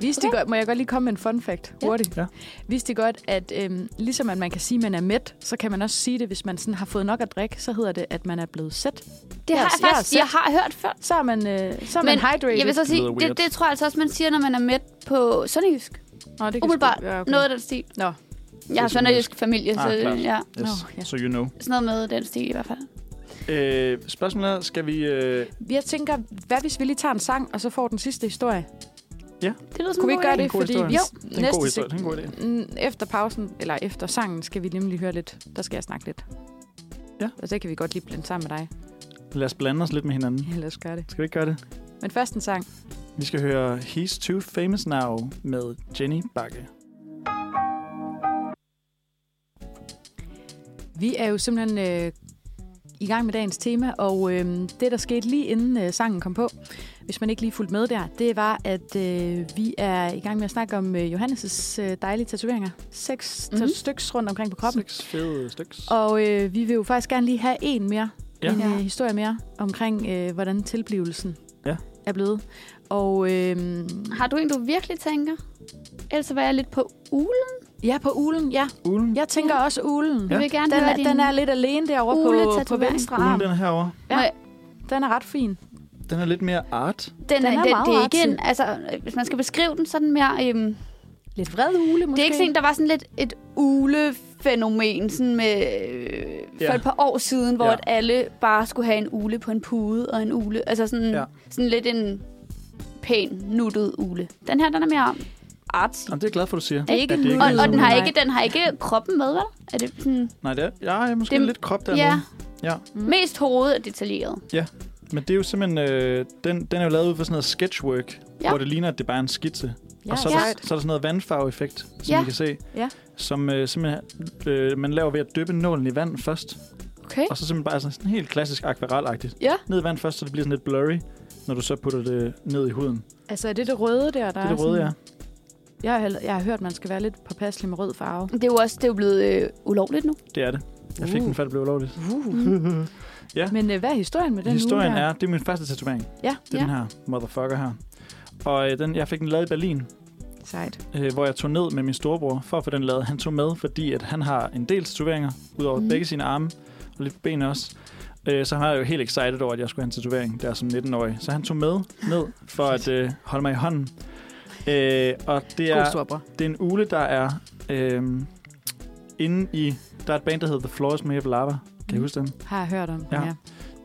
Speaker 2: Vidste okay. godt, må jeg godt lige komme med en fun fact
Speaker 3: Ja.
Speaker 2: hurtigt?
Speaker 1: Ja.
Speaker 2: Vidste I godt, at øhm, ligesom at man kan sige, at man er mæt, så kan man også sige det, hvis man sådan har fået nok at drikke, så hedder det, at man er blevet sæt. Jeg-
Speaker 3: Det har
Speaker 2: jeg
Speaker 3: jeg
Speaker 2: har
Speaker 3: faktisk...
Speaker 2: set-
Speaker 3: Jeg har hørt før.
Speaker 2: Så er man, øh, så er man
Speaker 3: Men
Speaker 2: hydrated.
Speaker 3: Jeg vil så
Speaker 1: Det
Speaker 3: sige,
Speaker 1: lyder
Speaker 3: det,
Speaker 1: weird.
Speaker 3: det tror jeg altså også, man siger, når man er mæt på sønderjysk.
Speaker 2: Nå, det kan
Speaker 3: Umiddelbart.
Speaker 2: sgu- ja, okay.
Speaker 3: Noget af den stil.
Speaker 2: Nå.
Speaker 3: Jeg har
Speaker 1: Det er
Speaker 3: sønderjysk familie, så
Speaker 1: Ah, klart.
Speaker 3: ja.
Speaker 1: Yes,
Speaker 2: Nå, ja.
Speaker 1: so you know.
Speaker 3: Sådan noget med den stil i hvert fald.
Speaker 1: Øh, spørgsmålet er, skal vi... Øh,
Speaker 2: Jeg tænker, hvad hvis vi lige tager en sang, og så får den sidste historie?
Speaker 3: Det lyder som
Speaker 2: Kunne vi
Speaker 3: en
Speaker 2: ikke gøre
Speaker 3: god idé.
Speaker 2: det?
Speaker 1: god
Speaker 2: Fordi
Speaker 1: historie.
Speaker 2: vi,
Speaker 1: Jo,
Speaker 2: det
Speaker 1: er en god historie, det er en god idé.
Speaker 2: Efter pausen, eller efter sangen, skal vi nemlig høre lidt. Der skal jeg snakke lidt.
Speaker 1: Ja.
Speaker 2: Og så kan vi godt lige blande sammen med dig. (laughs)
Speaker 1: lad os blande os lidt med hinanden.
Speaker 2: Ja, lad os gøre det.
Speaker 1: Skal vi ikke gøre det?
Speaker 2: Men først en sang.
Speaker 1: Vi skal høre He's Too Famous Now med Jenny Bakke.
Speaker 2: Vi er jo simpelthen øh, i gang med dagens tema, og øh, det, der skete lige inden øh, sangen kom på, hvis man ikke lige fulgte med der, det var, at øh, vi er i gang med at snakke om øh, Johannes' øh, dejlige tatoveringer. Seks mm-hmm. styks rundt omkring på kroppen.
Speaker 1: Seks fede styks.
Speaker 2: Og øh, vi vil jo faktisk gerne lige have en mere,
Speaker 1: Ja.
Speaker 2: ja. en
Speaker 3: Ja.
Speaker 2: øh, historie mere, omkring øh, hvordan tilblivelsen
Speaker 1: Ja.
Speaker 2: er blevet. Og øh,
Speaker 3: Har du en, du virkelig tænker? Ellers var jeg lidt på ulen.
Speaker 2: ja, på ulen, ja.
Speaker 1: Ulen.
Speaker 2: Jeg tænker også ulen.
Speaker 3: Jeg
Speaker 1: Ja.
Speaker 3: vil gerne
Speaker 2: Den,
Speaker 3: høre
Speaker 2: er,
Speaker 3: din...
Speaker 2: den er lidt alene derovre på, på
Speaker 3: Ule-tatovering.
Speaker 2: venstre
Speaker 1: Ulen,
Speaker 2: arm.
Speaker 1: den er herovre.
Speaker 2: Ja.
Speaker 3: Må jeg-
Speaker 2: Den er ret fin.
Speaker 1: Den er lidt mere art.
Speaker 3: Den er,
Speaker 2: Den er
Speaker 3: den er den,
Speaker 2: meget
Speaker 3: det er ikke en,
Speaker 2: aktiv.
Speaker 3: altså, øh, hvis man skal beskrive den sådan mere... Øhm,
Speaker 2: Lidt vred ule, måske.
Speaker 3: det er ikke sådan, en, der var sådan lidt et ulefænomen sådan med, øh, for
Speaker 1: Ja.
Speaker 3: et par år siden, hvor
Speaker 1: Ja.
Speaker 3: ja. alle bare skulle have en ule på en pude og en ule. Altså sådan,
Speaker 1: Ja.
Speaker 3: ja. sådan lidt en pæn, nuttet ule. Den her, den er mere artsy.
Speaker 1: Jamen, det er jeg glad for, du siger.
Speaker 2: Det er ikke
Speaker 1: At
Speaker 2: en
Speaker 1: det
Speaker 2: ulen.
Speaker 3: Og,
Speaker 1: er
Speaker 3: og den, har
Speaker 2: Nej.
Speaker 3: ikke, den har ikke kroppen med, vel? Er det sådan,
Speaker 1: Nej, det er, ja, jeg er måske det,
Speaker 3: Det-
Speaker 1: lidt krop dernede.
Speaker 3: ja,
Speaker 1: Ja.
Speaker 3: mm. mest hovedet er detaljeret.
Speaker 1: Men det er jo simpelthen... Øh, den, den er jo lavet ud fra sådan noget sketchwork, ja.
Speaker 3: Ja.
Speaker 1: hvor det ligner, at det bare er en skitse.
Speaker 2: Ja,
Speaker 1: og så er,
Speaker 3: ja.
Speaker 1: der, så er der sådan noget vandfarveeffekt, som
Speaker 3: Ja.
Speaker 1: I kan se,
Speaker 2: Ja.
Speaker 1: som øh, simpelthen øh, man laver ved at dyppe nålen i vand først,
Speaker 3: Okay.
Speaker 1: og så simpelthen bare altså, sådan, sådan helt klassisk akvarelagtigt.
Speaker 3: Ja.
Speaker 1: Ned i vand først, så det bliver sådan lidt blurry, når du så putter det ned i huden.
Speaker 2: Altså, er det det røde der, der
Speaker 1: det er det røde, ja.
Speaker 2: sådan... Jeg har, held- jeg har hørt, at man skal være lidt påpasselig med rød farve.
Speaker 3: Det er jo også det er jo blevet øh, ulovligt nu.
Speaker 1: Det er det. Jeg fik
Speaker 2: Uh.
Speaker 1: den, før det blev ulovligt.
Speaker 2: Men øh, hvad er historien med den
Speaker 1: Historien
Speaker 2: uge der?
Speaker 1: er, det er min første tatovering.
Speaker 2: Ja.
Speaker 1: Det er
Speaker 3: Ja.
Speaker 1: den her motherfucker her. Og øh, den, jeg fik den lavet i Berlin,
Speaker 2: Sejt.
Speaker 1: øh, hvor jeg tog ned med min storebror for at få den lavet. Han tog med, fordi at han har en del tatoveringer, ud over mm.
Speaker 3: Mhm.
Speaker 1: begge sine arme og lidt på benene også. Øh, så han var jo helt excited over, at jeg skulle have en tatovering der som 19-årig. Så han tog med ned for at øh, holde mig i hånden. Øh, og det
Speaker 2: God
Speaker 1: er,
Speaker 2: storbror.
Speaker 1: det er en ule, der er øh, inde i... Der er et band, der hedder The Floors Made of Lava. Kan I
Speaker 2: Mhm.
Speaker 1: huske dem?
Speaker 2: Har jeg hørt om.
Speaker 1: Ja.
Speaker 2: Ja. ja.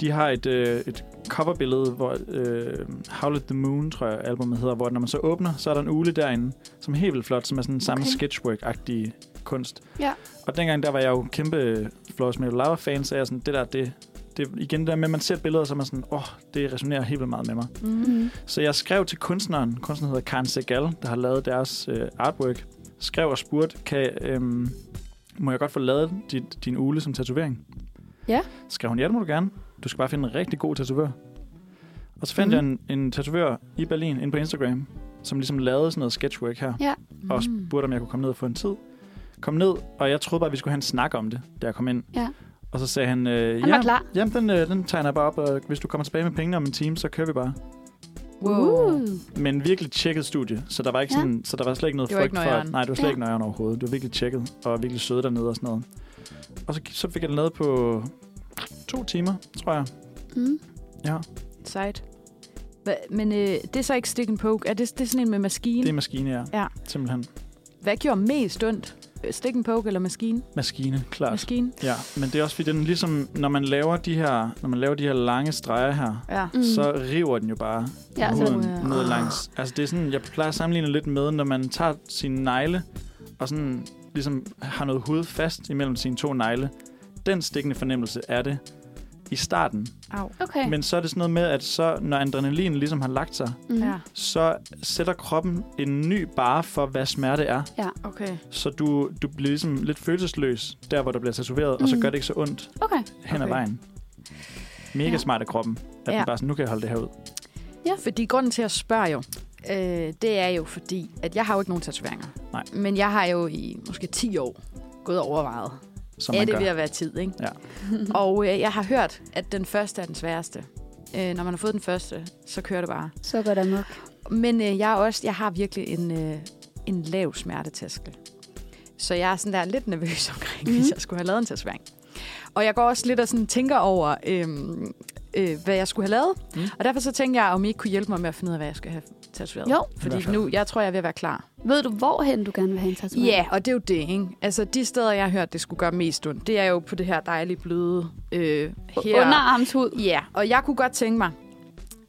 Speaker 1: De har et, øh, et coverbillede, hvor øh, Howl at the Moon, tror jeg, albumet hedder, hvor når man så åbner, så er der en ule derinde, som er helt vildt flot, som er sådan okay. samme
Speaker 3: Okay.
Speaker 1: sketchwork-agtig kunst.
Speaker 3: Ja.
Speaker 1: Og dengang, der var jeg jo kæmpe øh, Flores Melo Lava-fan, så jeg sådan, det der, det, det, igen det der med, at man ser billeder, så er man sådan, åh, oh, det resonerer helt vildt meget med mig.
Speaker 2: Mm.
Speaker 3: Mm.
Speaker 1: Så jeg skrev til kunstneren, kunstneren hedder Karen Segal, der har lavet deres øh, artwork, skrev og spurgte, kan, øhm, må jeg godt få lavet dit, din ule som tatovering?
Speaker 3: Ja.
Speaker 1: Skrev hun, ja, det må du gerne. Du skal bare finde en rigtig god tatovør. Og så fandt
Speaker 3: Mhm.
Speaker 1: mm. jeg en, en tatovør i Berlin, inde på Instagram, som ligesom lavede sådan noget sketchwork her, og
Speaker 3: Mm.
Speaker 1: spurgte, om jeg kunne komme ned og få en tid. Kom ned, og jeg troede bare, vi skulle have en snak om det, da jeg kom ind.
Speaker 3: Ja.
Speaker 1: Og så sagde han, øh,
Speaker 3: Han
Speaker 1: ja,
Speaker 3: var klar.
Speaker 1: jamen den, øh, den tegner jeg bare op, og hvis du kommer tilbage med pengene om en time, så kører vi bare
Speaker 2: Wow.
Speaker 3: Uh.
Speaker 1: men virkelig tjekket studie, så der var ikke
Speaker 3: Ja.
Speaker 1: sådan, så der var slet ikke noget
Speaker 2: Det var
Speaker 1: frygt
Speaker 2: ikke
Speaker 1: for, at,
Speaker 2: nøjeren.
Speaker 1: nej, det var slet ja.
Speaker 3: Ja.
Speaker 1: ikke nøjeren overhovedet. Det var virkelig tjekket, og virkelig søde dernede og sådan noget. Og så, så fik jeg den lavet på to timer, tror jeg.
Speaker 3: Mm.
Speaker 1: Ja,
Speaker 2: Sejt. Hva, men øh, det er så ikke stick and poke. Er det, det er sådan en med maskine?
Speaker 1: det er maskine, ja.
Speaker 2: Ja.
Speaker 1: Simpelthen.
Speaker 2: Hvad gjorde mest ondt? Øh, Stick and poke eller maskine?
Speaker 1: Maskine, klart. Maskine.
Speaker 2: Maskine?
Speaker 1: Ja, men det er også fordi, den ligesom, når man laver de her, når man laver de her lange streger her,
Speaker 2: Ja.
Speaker 1: mm. så river den jo bare
Speaker 3: Ja,
Speaker 1: ja,
Speaker 3: så-
Speaker 1: huden
Speaker 2: Ja.
Speaker 1: ned langs. Altså det er sådan, jeg plejer at sammenligne lidt med, når man tager sin negle og sådan ligesom har noget hud fast imellem sine to negle. Den stikkende fornemmelse er det i starten.
Speaker 2: Au.
Speaker 3: Okay.
Speaker 1: Men så er det sådan noget med, at så, når adrenalin ligesom har lagt sig,
Speaker 3: mm.
Speaker 2: Ja.
Speaker 1: så sætter kroppen en ny bare for, hvad smerte er.
Speaker 2: Okay.
Speaker 1: Så du, du bliver ligesom lidt følelsesløs der, hvor du bliver tatoveret, mm. og så
Speaker 3: Mm.
Speaker 1: gør det ikke så ondt
Speaker 3: Okay.
Speaker 1: hen okay. ad
Speaker 2: Okay.
Speaker 1: vejen. Mega
Speaker 3: Ja.
Speaker 1: smart af kroppen, at ja.
Speaker 2: Ja.
Speaker 1: den bare sådan, nu kan jeg holde det her ud.
Speaker 2: Fordi grunden til at spørge jo, øh, det er jo fordi, at jeg har jo ikke nogen tatoveringer.
Speaker 1: Nej.
Speaker 2: Men jeg har jo i måske 10 år gået og overvejet,
Speaker 1: Som
Speaker 2: ja,
Speaker 1: man
Speaker 2: det
Speaker 1: gør.
Speaker 2: er ved at være tid, ikke?
Speaker 1: Ja.
Speaker 2: og øh, jeg har hørt, at den første er den sværeste. Øh, når man har fået den første, så kører det bare.
Speaker 3: Så går der mok.
Speaker 2: Men øh, jeg, er også, jeg har virkelig en, øh, en lav smertetærskel. Så jeg er sådan der lidt nervøs (laughs) omkring, mm. hvis jeg skulle have lavet en tatovering. Og jeg går også lidt og sådan tænker over, øhm, øh, hvad jeg skulle have lavet.
Speaker 1: Mm.
Speaker 2: Mm. Og derfor så tænker jeg, om I ikke kunne hjælpe mig med at finde ud af, hvad jeg skal have tatoveret.
Speaker 3: Jo.
Speaker 1: I hvert
Speaker 2: Fordi
Speaker 1: fald.
Speaker 2: nu, jeg tror, jeg er ved at være klar.
Speaker 3: Ved du, hvorhen du gerne vil have en tatovering?
Speaker 2: Ja, og det er jo det, ikke? Altså, de steder, jeg har hørt, det skulle gøre mest ondt, det er jo på det her dejlige, bløde... Øh, her.
Speaker 3: Underarmshud.
Speaker 2: Ja, og jeg kunne godt tænke mig (laughs)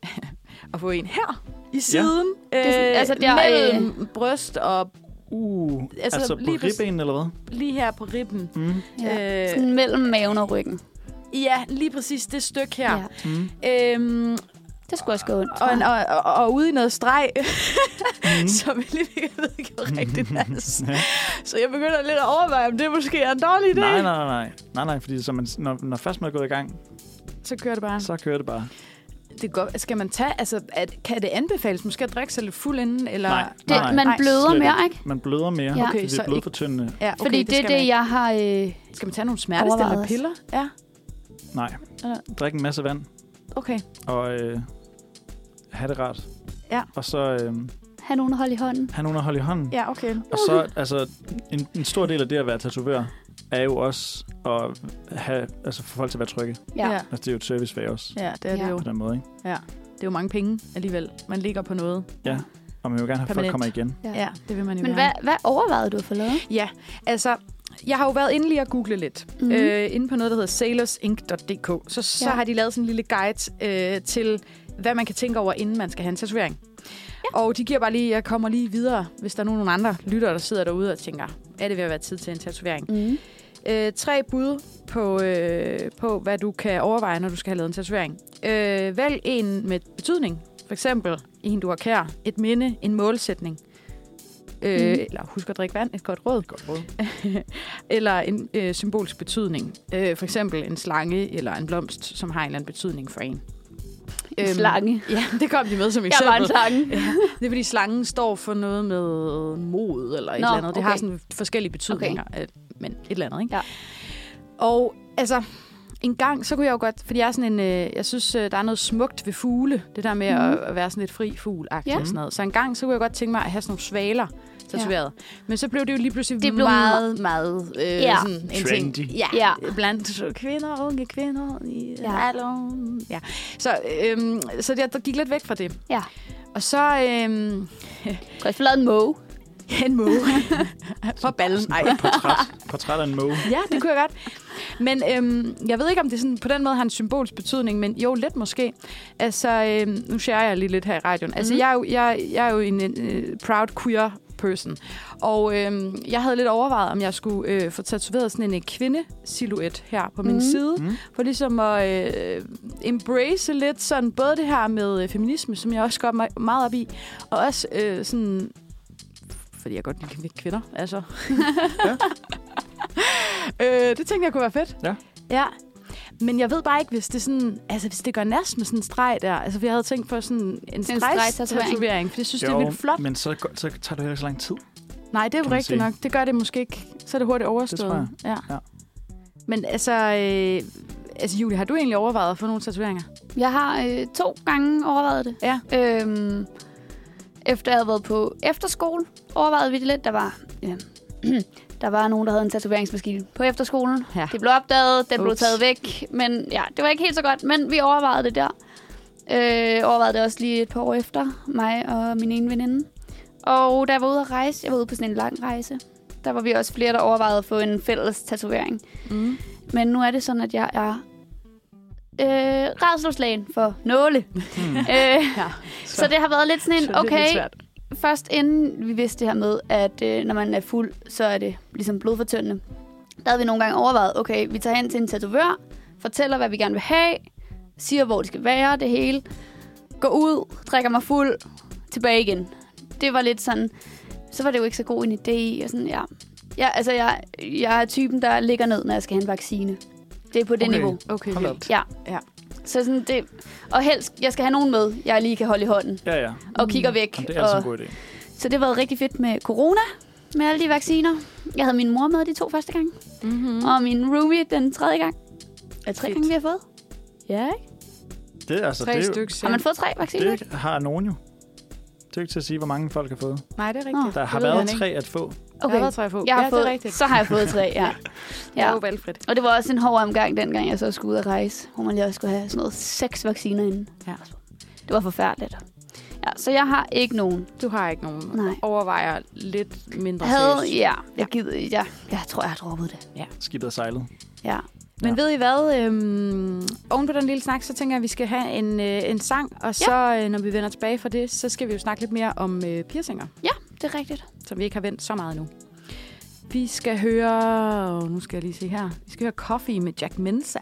Speaker 2: at få en her i siden. Ja. Øh,
Speaker 3: Det er sådan-
Speaker 2: altså
Speaker 3: altså, der, øh,
Speaker 2: mellem øh... bryst og
Speaker 1: Uh, altså,
Speaker 2: Altså,
Speaker 1: altså
Speaker 2: lige
Speaker 1: på ribben eller hvad?
Speaker 2: lige her på ribben.
Speaker 1: Mm.
Speaker 3: Ja.
Speaker 2: Ja. Øh,
Speaker 3: Sådan mellem maven og ryggen.
Speaker 2: ja, lige præcis det stykke her. Ja.
Speaker 1: Mm.
Speaker 2: Øhm,
Speaker 3: Det skulle også gå ondt.
Speaker 2: og,
Speaker 3: tror jeg.
Speaker 2: og, og, og ude i noget streg, (laughs) mm. som jeg lige ikke ved ikke var
Speaker 1: (laughs)
Speaker 2: rigtigt altså.
Speaker 1: Ja.
Speaker 2: Så jeg begynder lidt at overveje, om det måske er en dårlig idé.
Speaker 1: Nej, nej, nej. Nej, nej, fordi så man, når, når først man er gået i gang,
Speaker 2: så kører det bare.
Speaker 1: Så kører det bare.
Speaker 2: Det går, skal man tage, altså, at, kan det anbefales måske at drikke sig lidt fuld inden? Eller?
Speaker 1: Nej.
Speaker 3: Det,
Speaker 1: Nej,
Speaker 3: man
Speaker 2: nej,
Speaker 3: bløder
Speaker 1: slet
Speaker 3: mere, ikke?
Speaker 1: Man bløder mere,
Speaker 3: Ja.
Speaker 1: ja.
Speaker 2: Okay,
Speaker 1: okay, det
Speaker 2: så
Speaker 1: er blod
Speaker 2: ikke-
Speaker 1: for tyndende.
Speaker 2: Ja, okay,
Speaker 3: Fordi det, det er
Speaker 2: skal
Speaker 3: det,
Speaker 2: man,
Speaker 3: jeg har... Øh,
Speaker 2: Skal man tage nogle smertestillende
Speaker 3: overvejet.
Speaker 2: piller? Ja,
Speaker 1: Nej,
Speaker 2: Eller-
Speaker 1: drik en masse vand
Speaker 2: okay.
Speaker 1: og øh, have det rart.
Speaker 2: Ja.
Speaker 1: Og så øh,
Speaker 3: have nogen at holde i hånden.
Speaker 1: have nogen at holde i hånden.
Speaker 2: Ja, okay.
Speaker 1: Og så, altså, en, en stor del af det at være tatovør er jo også at have, altså få folk til at være trygge.
Speaker 3: Ja.
Speaker 2: ja.
Speaker 1: Altså, det er jo et servicefag også,
Speaker 2: Ja, det er
Speaker 3: Ja.
Speaker 2: det jo.
Speaker 1: på den måde, ikke?
Speaker 2: Det er jo mange penge alligevel. Man ligger på noget.
Speaker 1: Og man vil jo gerne have, at folk
Speaker 2: Permanent.
Speaker 1: kommer igen.
Speaker 3: Ja.
Speaker 2: Ja, det vil man jo
Speaker 3: Men
Speaker 2: gerne.
Speaker 3: hvad, hvad overvejede du at få lavet?
Speaker 2: Ja, altså, jeg har jo været inde lige at google lidt.
Speaker 3: Mhm.
Speaker 2: Mm-hmm. Øh, inde på noget, der hedder sailorsinc.dk. Så, så
Speaker 3: Ja.
Speaker 2: ja. har de lavet sådan en lille guide øh, til, hvad man kan tænke over, inden man skal have en tatovering. Ja. Og de giver bare lige, jeg kommer lige videre, hvis der er nogen andre lyttere, der sidder derude og tænker, er det ved at være tid til en tatovering?
Speaker 3: Mm.
Speaker 2: Øh, tre bud på, øh, på, hvad du kan overveje, når du skal have lavet en tatovering. Øh, vælg en med betydning. For eksempel en, du har kær. Et minde, en målsætning. Øh,
Speaker 3: Mhm.
Speaker 2: Eller husk at drikke vand, et godt råd
Speaker 1: Godt råd.
Speaker 2: (laughs) eller en øh, symbolsk betydning. Øh, for eksempel en slange eller en blomst, som har en eller anden betydning for en.
Speaker 3: En
Speaker 2: Øhm,
Speaker 3: slange.
Speaker 2: (laughs) Ja, det kom de med som
Speaker 3: Jeg
Speaker 2: eksempel.
Speaker 3: var en
Speaker 2: (laughs)
Speaker 3: slange.
Speaker 2: Det er fordi slangen står for noget med øh, mod eller et
Speaker 3: Nå,
Speaker 2: eller andet. Det
Speaker 3: okay.
Speaker 2: har sådan forskellige betydninger, okay. men et eller andet, ikke?
Speaker 3: Ja.
Speaker 2: Og altså, en gang, så kunne jeg jo godt, fordi jeg er sådan en, øh, jeg synes, øh, der er noget smukt ved fugle, det der med mm. at,
Speaker 3: Mhm.
Speaker 2: at være sådan lidt fri fugl og
Speaker 3: Ja.
Speaker 2: sådan noget. Så en gang, så kunne jeg godt tænke mig at have sådan nogle svaler tatoveret. Ja. Men så blev det jo lige pludselig
Speaker 3: Det blev
Speaker 2: meget, meget øh,
Speaker 3: Ja.
Speaker 2: sådan en ting.
Speaker 1: Trendy.
Speaker 2: Ja,
Speaker 3: Ja.
Speaker 2: ja, blandt kvinder, unge kvinder. I,
Speaker 3: Ja.
Speaker 2: ja. ja. Så, øhm, så jeg der gik lidt væk fra det.
Speaker 3: Ja.
Speaker 2: Og så,
Speaker 3: (laughs)
Speaker 2: øhm,
Speaker 3: Du har også lavet en måge.
Speaker 2: Ja, en måge. For ballen. Nej.
Speaker 1: Portræt, portræt af en
Speaker 2: (laughs)
Speaker 1: måge.
Speaker 2: (laughs) Ja, det kunne jeg godt. Men øhm, jeg ved ikke, om det sådan, på den måde har en symbolsk betydning, men jo, lidt måske. Altså, øhm, nu share jeg lige lidt her i radioen. Altså,
Speaker 3: Mhm.
Speaker 2: mm. jeg, er jo, jeg, jeg er jo en, en øh, proud queer person. Og øhm, jeg havde lidt overvejet, om jeg skulle øh, få tatoveret sådan en øh, kvindesilhuet her på min
Speaker 3: Mhm.
Speaker 2: side.
Speaker 1: Mm.
Speaker 2: For ligesom at øh, embrace lidt sådan både det her med øh, feminisme, som jeg også går me- meget op i, og også øh, sådan, fordi jeg godt kan lide kvinder, altså.
Speaker 1: Ja.
Speaker 2: (laughs) øh, det tænkte jeg kunne være fedt.
Speaker 1: Ja.
Speaker 2: Ja. Men jeg ved bare ikke, hvis det, sådan, altså, hvis det gør næst med sådan en streg der. Altså, for jeg havde tænkt på sådan en stregstatovering, for jeg synes, jo, det er vildt flot. Men...
Speaker 1: men så, går- så tager det heller ikke så lang tid.
Speaker 2: Nej, det er
Speaker 1: kan
Speaker 2: jo
Speaker 1: man
Speaker 2: rigtigt
Speaker 1: sige.
Speaker 2: nok. Det gør det måske ikke. Så er det hurtigt overstået.
Speaker 1: Det
Speaker 2: Ja.
Speaker 1: Ja.
Speaker 2: Men altså, øh, altså, Julie, har du egentlig overvejet at få nogle tatoveringer?
Speaker 3: Jeg har øh, to gange overvejet det.
Speaker 2: Ja.
Speaker 3: Øhm, efter jeg havde været på efterskole, overvejede vi det lidt. Der var, ja, (clears throat) der var nogen, der havde en tatoveringsmaskine på efterskolen.
Speaker 2: Ja.
Speaker 3: Det blev opdaget, den blev
Speaker 2: Ups.
Speaker 3: taget væk. Men ja, det var ikke helt så godt, men vi overvejede det der. Øh, overvejede det også lige et par år efter, mig og min ene veninde. Og da jeg var ude at rejse, jeg var ude på sådan en lang rejse, der var vi også flere, der overvejede at få en fælles tatovering.
Speaker 2: Mm.
Speaker 3: Men nu er det sådan, at jeg er øh, rædselslagen for nåle.
Speaker 1: Hmm.
Speaker 3: øh,
Speaker 2: (laughs) Ja.
Speaker 3: så det har været lidt sådan en,
Speaker 2: Så det er lidt
Speaker 3: okay,
Speaker 2: svært.
Speaker 3: først inden vi vidste det her med, at øh, når man er fuld, så er det ligesom blodfortyndende. Der havde vi nogle gange overvejet, okay, vi tager hen til en tatovør, fortæller, hvad vi gerne vil have, siger, hvor det skal være, det hele, går ud, drikker mig fuld, tilbage igen. Det var lidt sådan, så var det jo ikke så god en idé, og sådan, ja. Jeg, altså, jeg, jeg er typen, der ligger ned, når jeg skal have en vaccine. Det er på det
Speaker 1: Okay.
Speaker 3: niveau.
Speaker 2: Okay,
Speaker 1: Hold
Speaker 2: vildt.
Speaker 3: Ja.
Speaker 2: Ja.
Speaker 3: Så sådan det, og helst, jeg skal have nogen med, jeg lige kan holde i hånden,
Speaker 1: Ja, ja.
Speaker 3: og kigger væk.
Speaker 1: Jamen, det er altså
Speaker 3: og,
Speaker 1: en god idé.
Speaker 3: så det har været rigtig fedt med corona, med alle de vacciner. Jeg havde min mor med de to første gange,
Speaker 2: Mm-hmm.
Speaker 3: og min roomie den tredje gang. Er tre
Speaker 2: Fedt.
Speaker 3: gange, vi har fået? Ja, ikke?
Speaker 1: Det, er altså,
Speaker 2: Tre
Speaker 1: det, er jo-
Speaker 2: stykker.
Speaker 3: Har man fået tre vacciner?
Speaker 1: det har nogen jo. Det er jo ikke til at sige, hvor mange folk har fået.
Speaker 2: Nej, det er
Speaker 3: rigtigt.
Speaker 2: rigtigt.
Speaker 1: Der har været tre at få.
Speaker 2: Okay. Der har
Speaker 3: Okay,
Speaker 2: været tre få.
Speaker 3: jeg har
Speaker 2: ja,
Speaker 3: fået,
Speaker 2: det er rigtigt.
Speaker 3: så har jeg fået
Speaker 2: (laughs)
Speaker 3: tre, ja.
Speaker 2: Ja.
Speaker 3: ja.
Speaker 2: Det er jo valgfrit.
Speaker 3: Og det var også en hård omgang, dengang jeg så skulle ud og rejse, hvor man lige også skulle have sådan noget seks vacciner inden.
Speaker 2: Ja.
Speaker 3: Det var forfærdeligt. Ja, så jeg har ikke nogen.
Speaker 2: Du har ikke nogen.
Speaker 3: Nej.
Speaker 2: Overvejer lidt mindre
Speaker 3: Jeg havde,
Speaker 2: seriøst.
Speaker 3: ja, jeg, gider, ja, jeg tror, jeg har droppet det.
Speaker 1: Skibet er sejlet.
Speaker 3: Ja.
Speaker 2: Men
Speaker 1: Ja.
Speaker 2: ved I hvad? Øhm, oven på den lille snak, så tænker jeg, at vi skal have en, øh, en sang. Og så, øh, når vi vender tilbage fra det, så skal vi jo snakke lidt mere om øh, piercinger,
Speaker 3: Det er rigtigt.
Speaker 2: som vi ikke har vendt så meget nu. Vi skal høre... Nu skal jeg lige se her. Vi skal høre Coffee med Jack Mensa.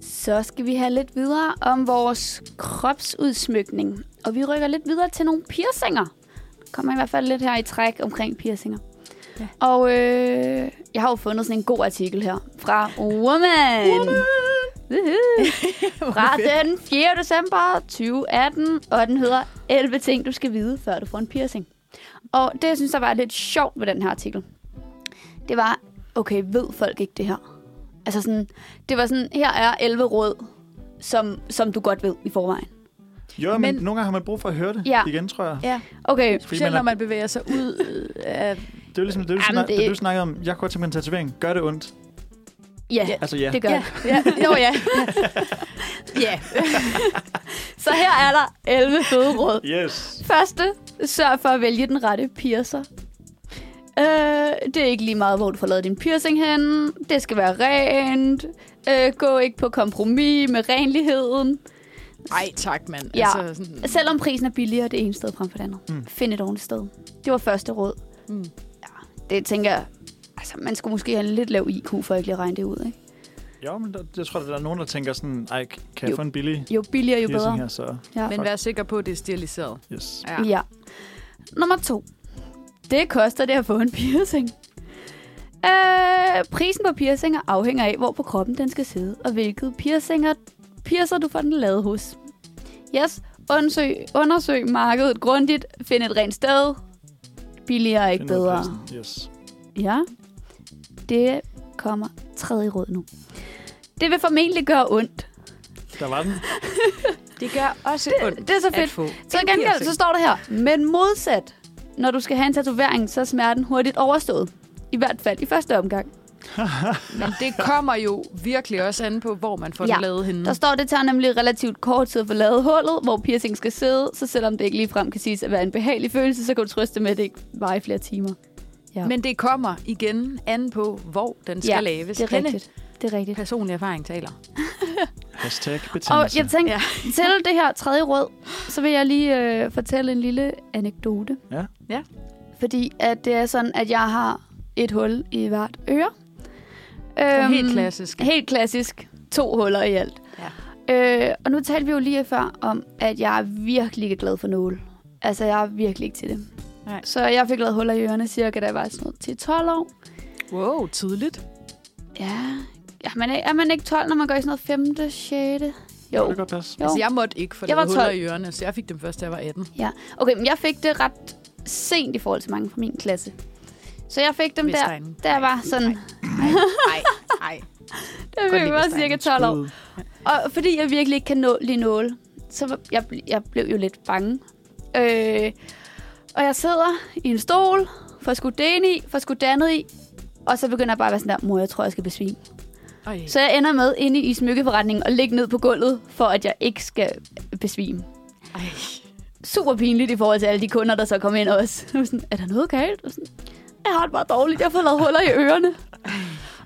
Speaker 3: Så skal vi have lidt videre om vores kropsudsmykning. Og vi rykker lidt videre til nogle piercinger. Der kommer i hvert fald lidt her i træk omkring piercinger.
Speaker 2: Ja.
Speaker 3: Og øh, jeg har jo fundet sådan en god artikel her fra Woman. Woohoo. (laughs) fra den 4. december 2018, og den hedder 11 ting, du skal vide, før du får en piercing. Og det, jeg synes, der var lidt sjovt ved den her artikel, det var, okay, ved folk ikke det her? Altså sådan, det var sådan, her er 11 råd, som, som du godt ved i forvejen.
Speaker 1: Jo, men, men
Speaker 2: Men-
Speaker 1: nogle gange har man brug for at høre det
Speaker 3: Ja.
Speaker 1: igen, tror jeg.
Speaker 2: Ja,
Speaker 3: Okay,
Speaker 2: specielt når man bevæger sig ud øh, af...
Speaker 1: Det er jo ligesom det, du,
Speaker 3: Jamen,
Speaker 1: snak, det...
Speaker 3: det-
Speaker 1: det, du snakkede om. Jeg kunne godt tænke mig en tatovering. Gør det ondt?
Speaker 3: ja,
Speaker 2: Ja.
Speaker 3: ja.
Speaker 1: Altså ja.
Speaker 3: det gør
Speaker 2: Ja,
Speaker 3: det.
Speaker 2: ja, jo, ja.
Speaker 3: Ja. (laughs) Så her er der 11 fede råd.
Speaker 1: Yes.
Speaker 3: Første, sørg for at vælge den rette piercer. Øh, det er ikke lige meget, hvor du får lavet din piercing hen. Det skal være rent. Øh, gå ikke på kompromis med renligheden.
Speaker 2: Ej, tak, mand.
Speaker 3: Ja.
Speaker 2: Altså, sådan,
Speaker 3: Selvom prisen er billigere det ene sted frem for det andet.
Speaker 1: Mm.
Speaker 3: Mm. Find et ordentligt sted. Det var første råd.
Speaker 2: mm.
Speaker 3: Det tænker jeg, altså man skulle måske have en lidt lav IQ for at ikke lige at regne det ud. Ikke?
Speaker 1: Jo, men der, jeg tror, der er nogen, der tænker sådan, ej, kan jeg
Speaker 3: Jo.
Speaker 1: få en billig
Speaker 3: Jo billigere, jo
Speaker 1: piercing
Speaker 3: bedre.
Speaker 1: her, så
Speaker 3: Ja.
Speaker 2: Men vær sikker på, at det er steriliseret.
Speaker 1: yes.
Speaker 2: Ja.
Speaker 3: Ja. Nummer to. Det koster det at få en piercing. Øh, prisen på piercinger afhænger af, hvor på kroppen den skal sidde, og hvilket piercinger, piercer du får den lavet hos. Yes, undersøg, undersøg markedet grundigt, find et rent sted. Billigere er ikke
Speaker 1: Find noget
Speaker 3: bedre.
Speaker 1: passende. Yes.
Speaker 3: Ja. Det kommer tredje råd nu. Det vil formentlig gøre ondt.
Speaker 1: Der var
Speaker 3: (laughs)
Speaker 1: den.
Speaker 2: Det gør også ondt
Speaker 3: Det er så fedt.
Speaker 2: at få.
Speaker 3: Så
Speaker 2: en
Speaker 3: gengæld,
Speaker 2: piercing.
Speaker 3: så står der her, men modsat, når du skal have en tatovering, så er smerten hurtigt overstået. I hvert fald i første omgang.
Speaker 2: Men det kommer jo virkelig også an på, hvor man får ja.
Speaker 3: Ja.
Speaker 2: det lavet henne.
Speaker 3: Der står, det tager nemlig relativt kort tid at få lavet hullet, hvor piercing skal sidde, så selvom det ikke ligefrem kan siges at være en behagelig følelse, så kan du trøste med, at det ikke varer i flere timer. Ja.
Speaker 2: Men det kommer igen an på, hvor den skal
Speaker 3: Ja,
Speaker 2: laves.
Speaker 3: det er
Speaker 2: Henne.
Speaker 3: rigtigt. Det er rigtigt.
Speaker 2: Personlig erfaring taler.
Speaker 1: Hashtag
Speaker 3: Og
Speaker 1: betændelse.
Speaker 3: jeg tænkte,
Speaker 2: Ja.
Speaker 3: ja. til det her tredje råd, så vil jeg lige øh, fortælle en lille anekdote.
Speaker 1: Ja.
Speaker 2: Ja.
Speaker 3: Fordi at det er sådan, at jeg har et hul i hvert øre.
Speaker 2: Øhm,
Speaker 3: Øhm,
Speaker 2: helt klassisk.
Speaker 3: Helt klassisk. To huller i alt. Ja. Øh, og nu talte vi jo lige før om, at jeg er virkelig ikke glad for nåle. Altså, jeg er virkelig ikke til det.
Speaker 2: Nej.
Speaker 3: Så jeg fik lavet huller i ørerne cirka, da jeg var sådan noget 10-12 år.
Speaker 2: Wow, tidligt.
Speaker 3: Ja, er man, ikke- er man ikke 12, når man går i sådan noget 5. 6.
Speaker 1: Kan
Speaker 3: Jo.
Speaker 1: det godt passe?
Speaker 3: jo.
Speaker 2: Altså, jeg måtte ikke få
Speaker 3: Jeg var
Speaker 2: lavet huller
Speaker 3: 12.
Speaker 2: i ørerne, så jeg fik dem først, da jeg var 18.
Speaker 3: Okay, men jeg fik det ret sent i forhold til mange fra min klasse. Så jeg fik dem der,
Speaker 2: (laughs) Vestegnen.
Speaker 3: der var sådan...
Speaker 2: Nej, nej.
Speaker 3: Der
Speaker 2: Godt
Speaker 3: fik jeg
Speaker 2: lide
Speaker 3: var
Speaker 2: Vestegnen.
Speaker 3: cirka 12 år.
Speaker 1: Skud.
Speaker 3: Og fordi jeg virkelig ikke kan nå lige nåle, så var- jeg, bl- jeg blev jo lidt bange. Øh, og jeg sidder i en stol, får skudt det ind i, får skudt det andet i, og så begynder jeg bare at være sådan der, mor, jeg tror, jeg skal besvime.
Speaker 2: Ej.
Speaker 3: Så jeg ender med inde i smykkeforretningen og ligge ned på gulvet, for at jeg ikke skal besvime.
Speaker 2: Ej.
Speaker 3: Super pinligt i forhold til alle de kunder, der så kom ind også. (laughs) Jeg var sådan, er der noget galt? Og sådan, jeg har det bare dårligt, jeg har fået lavet huller i ørerne.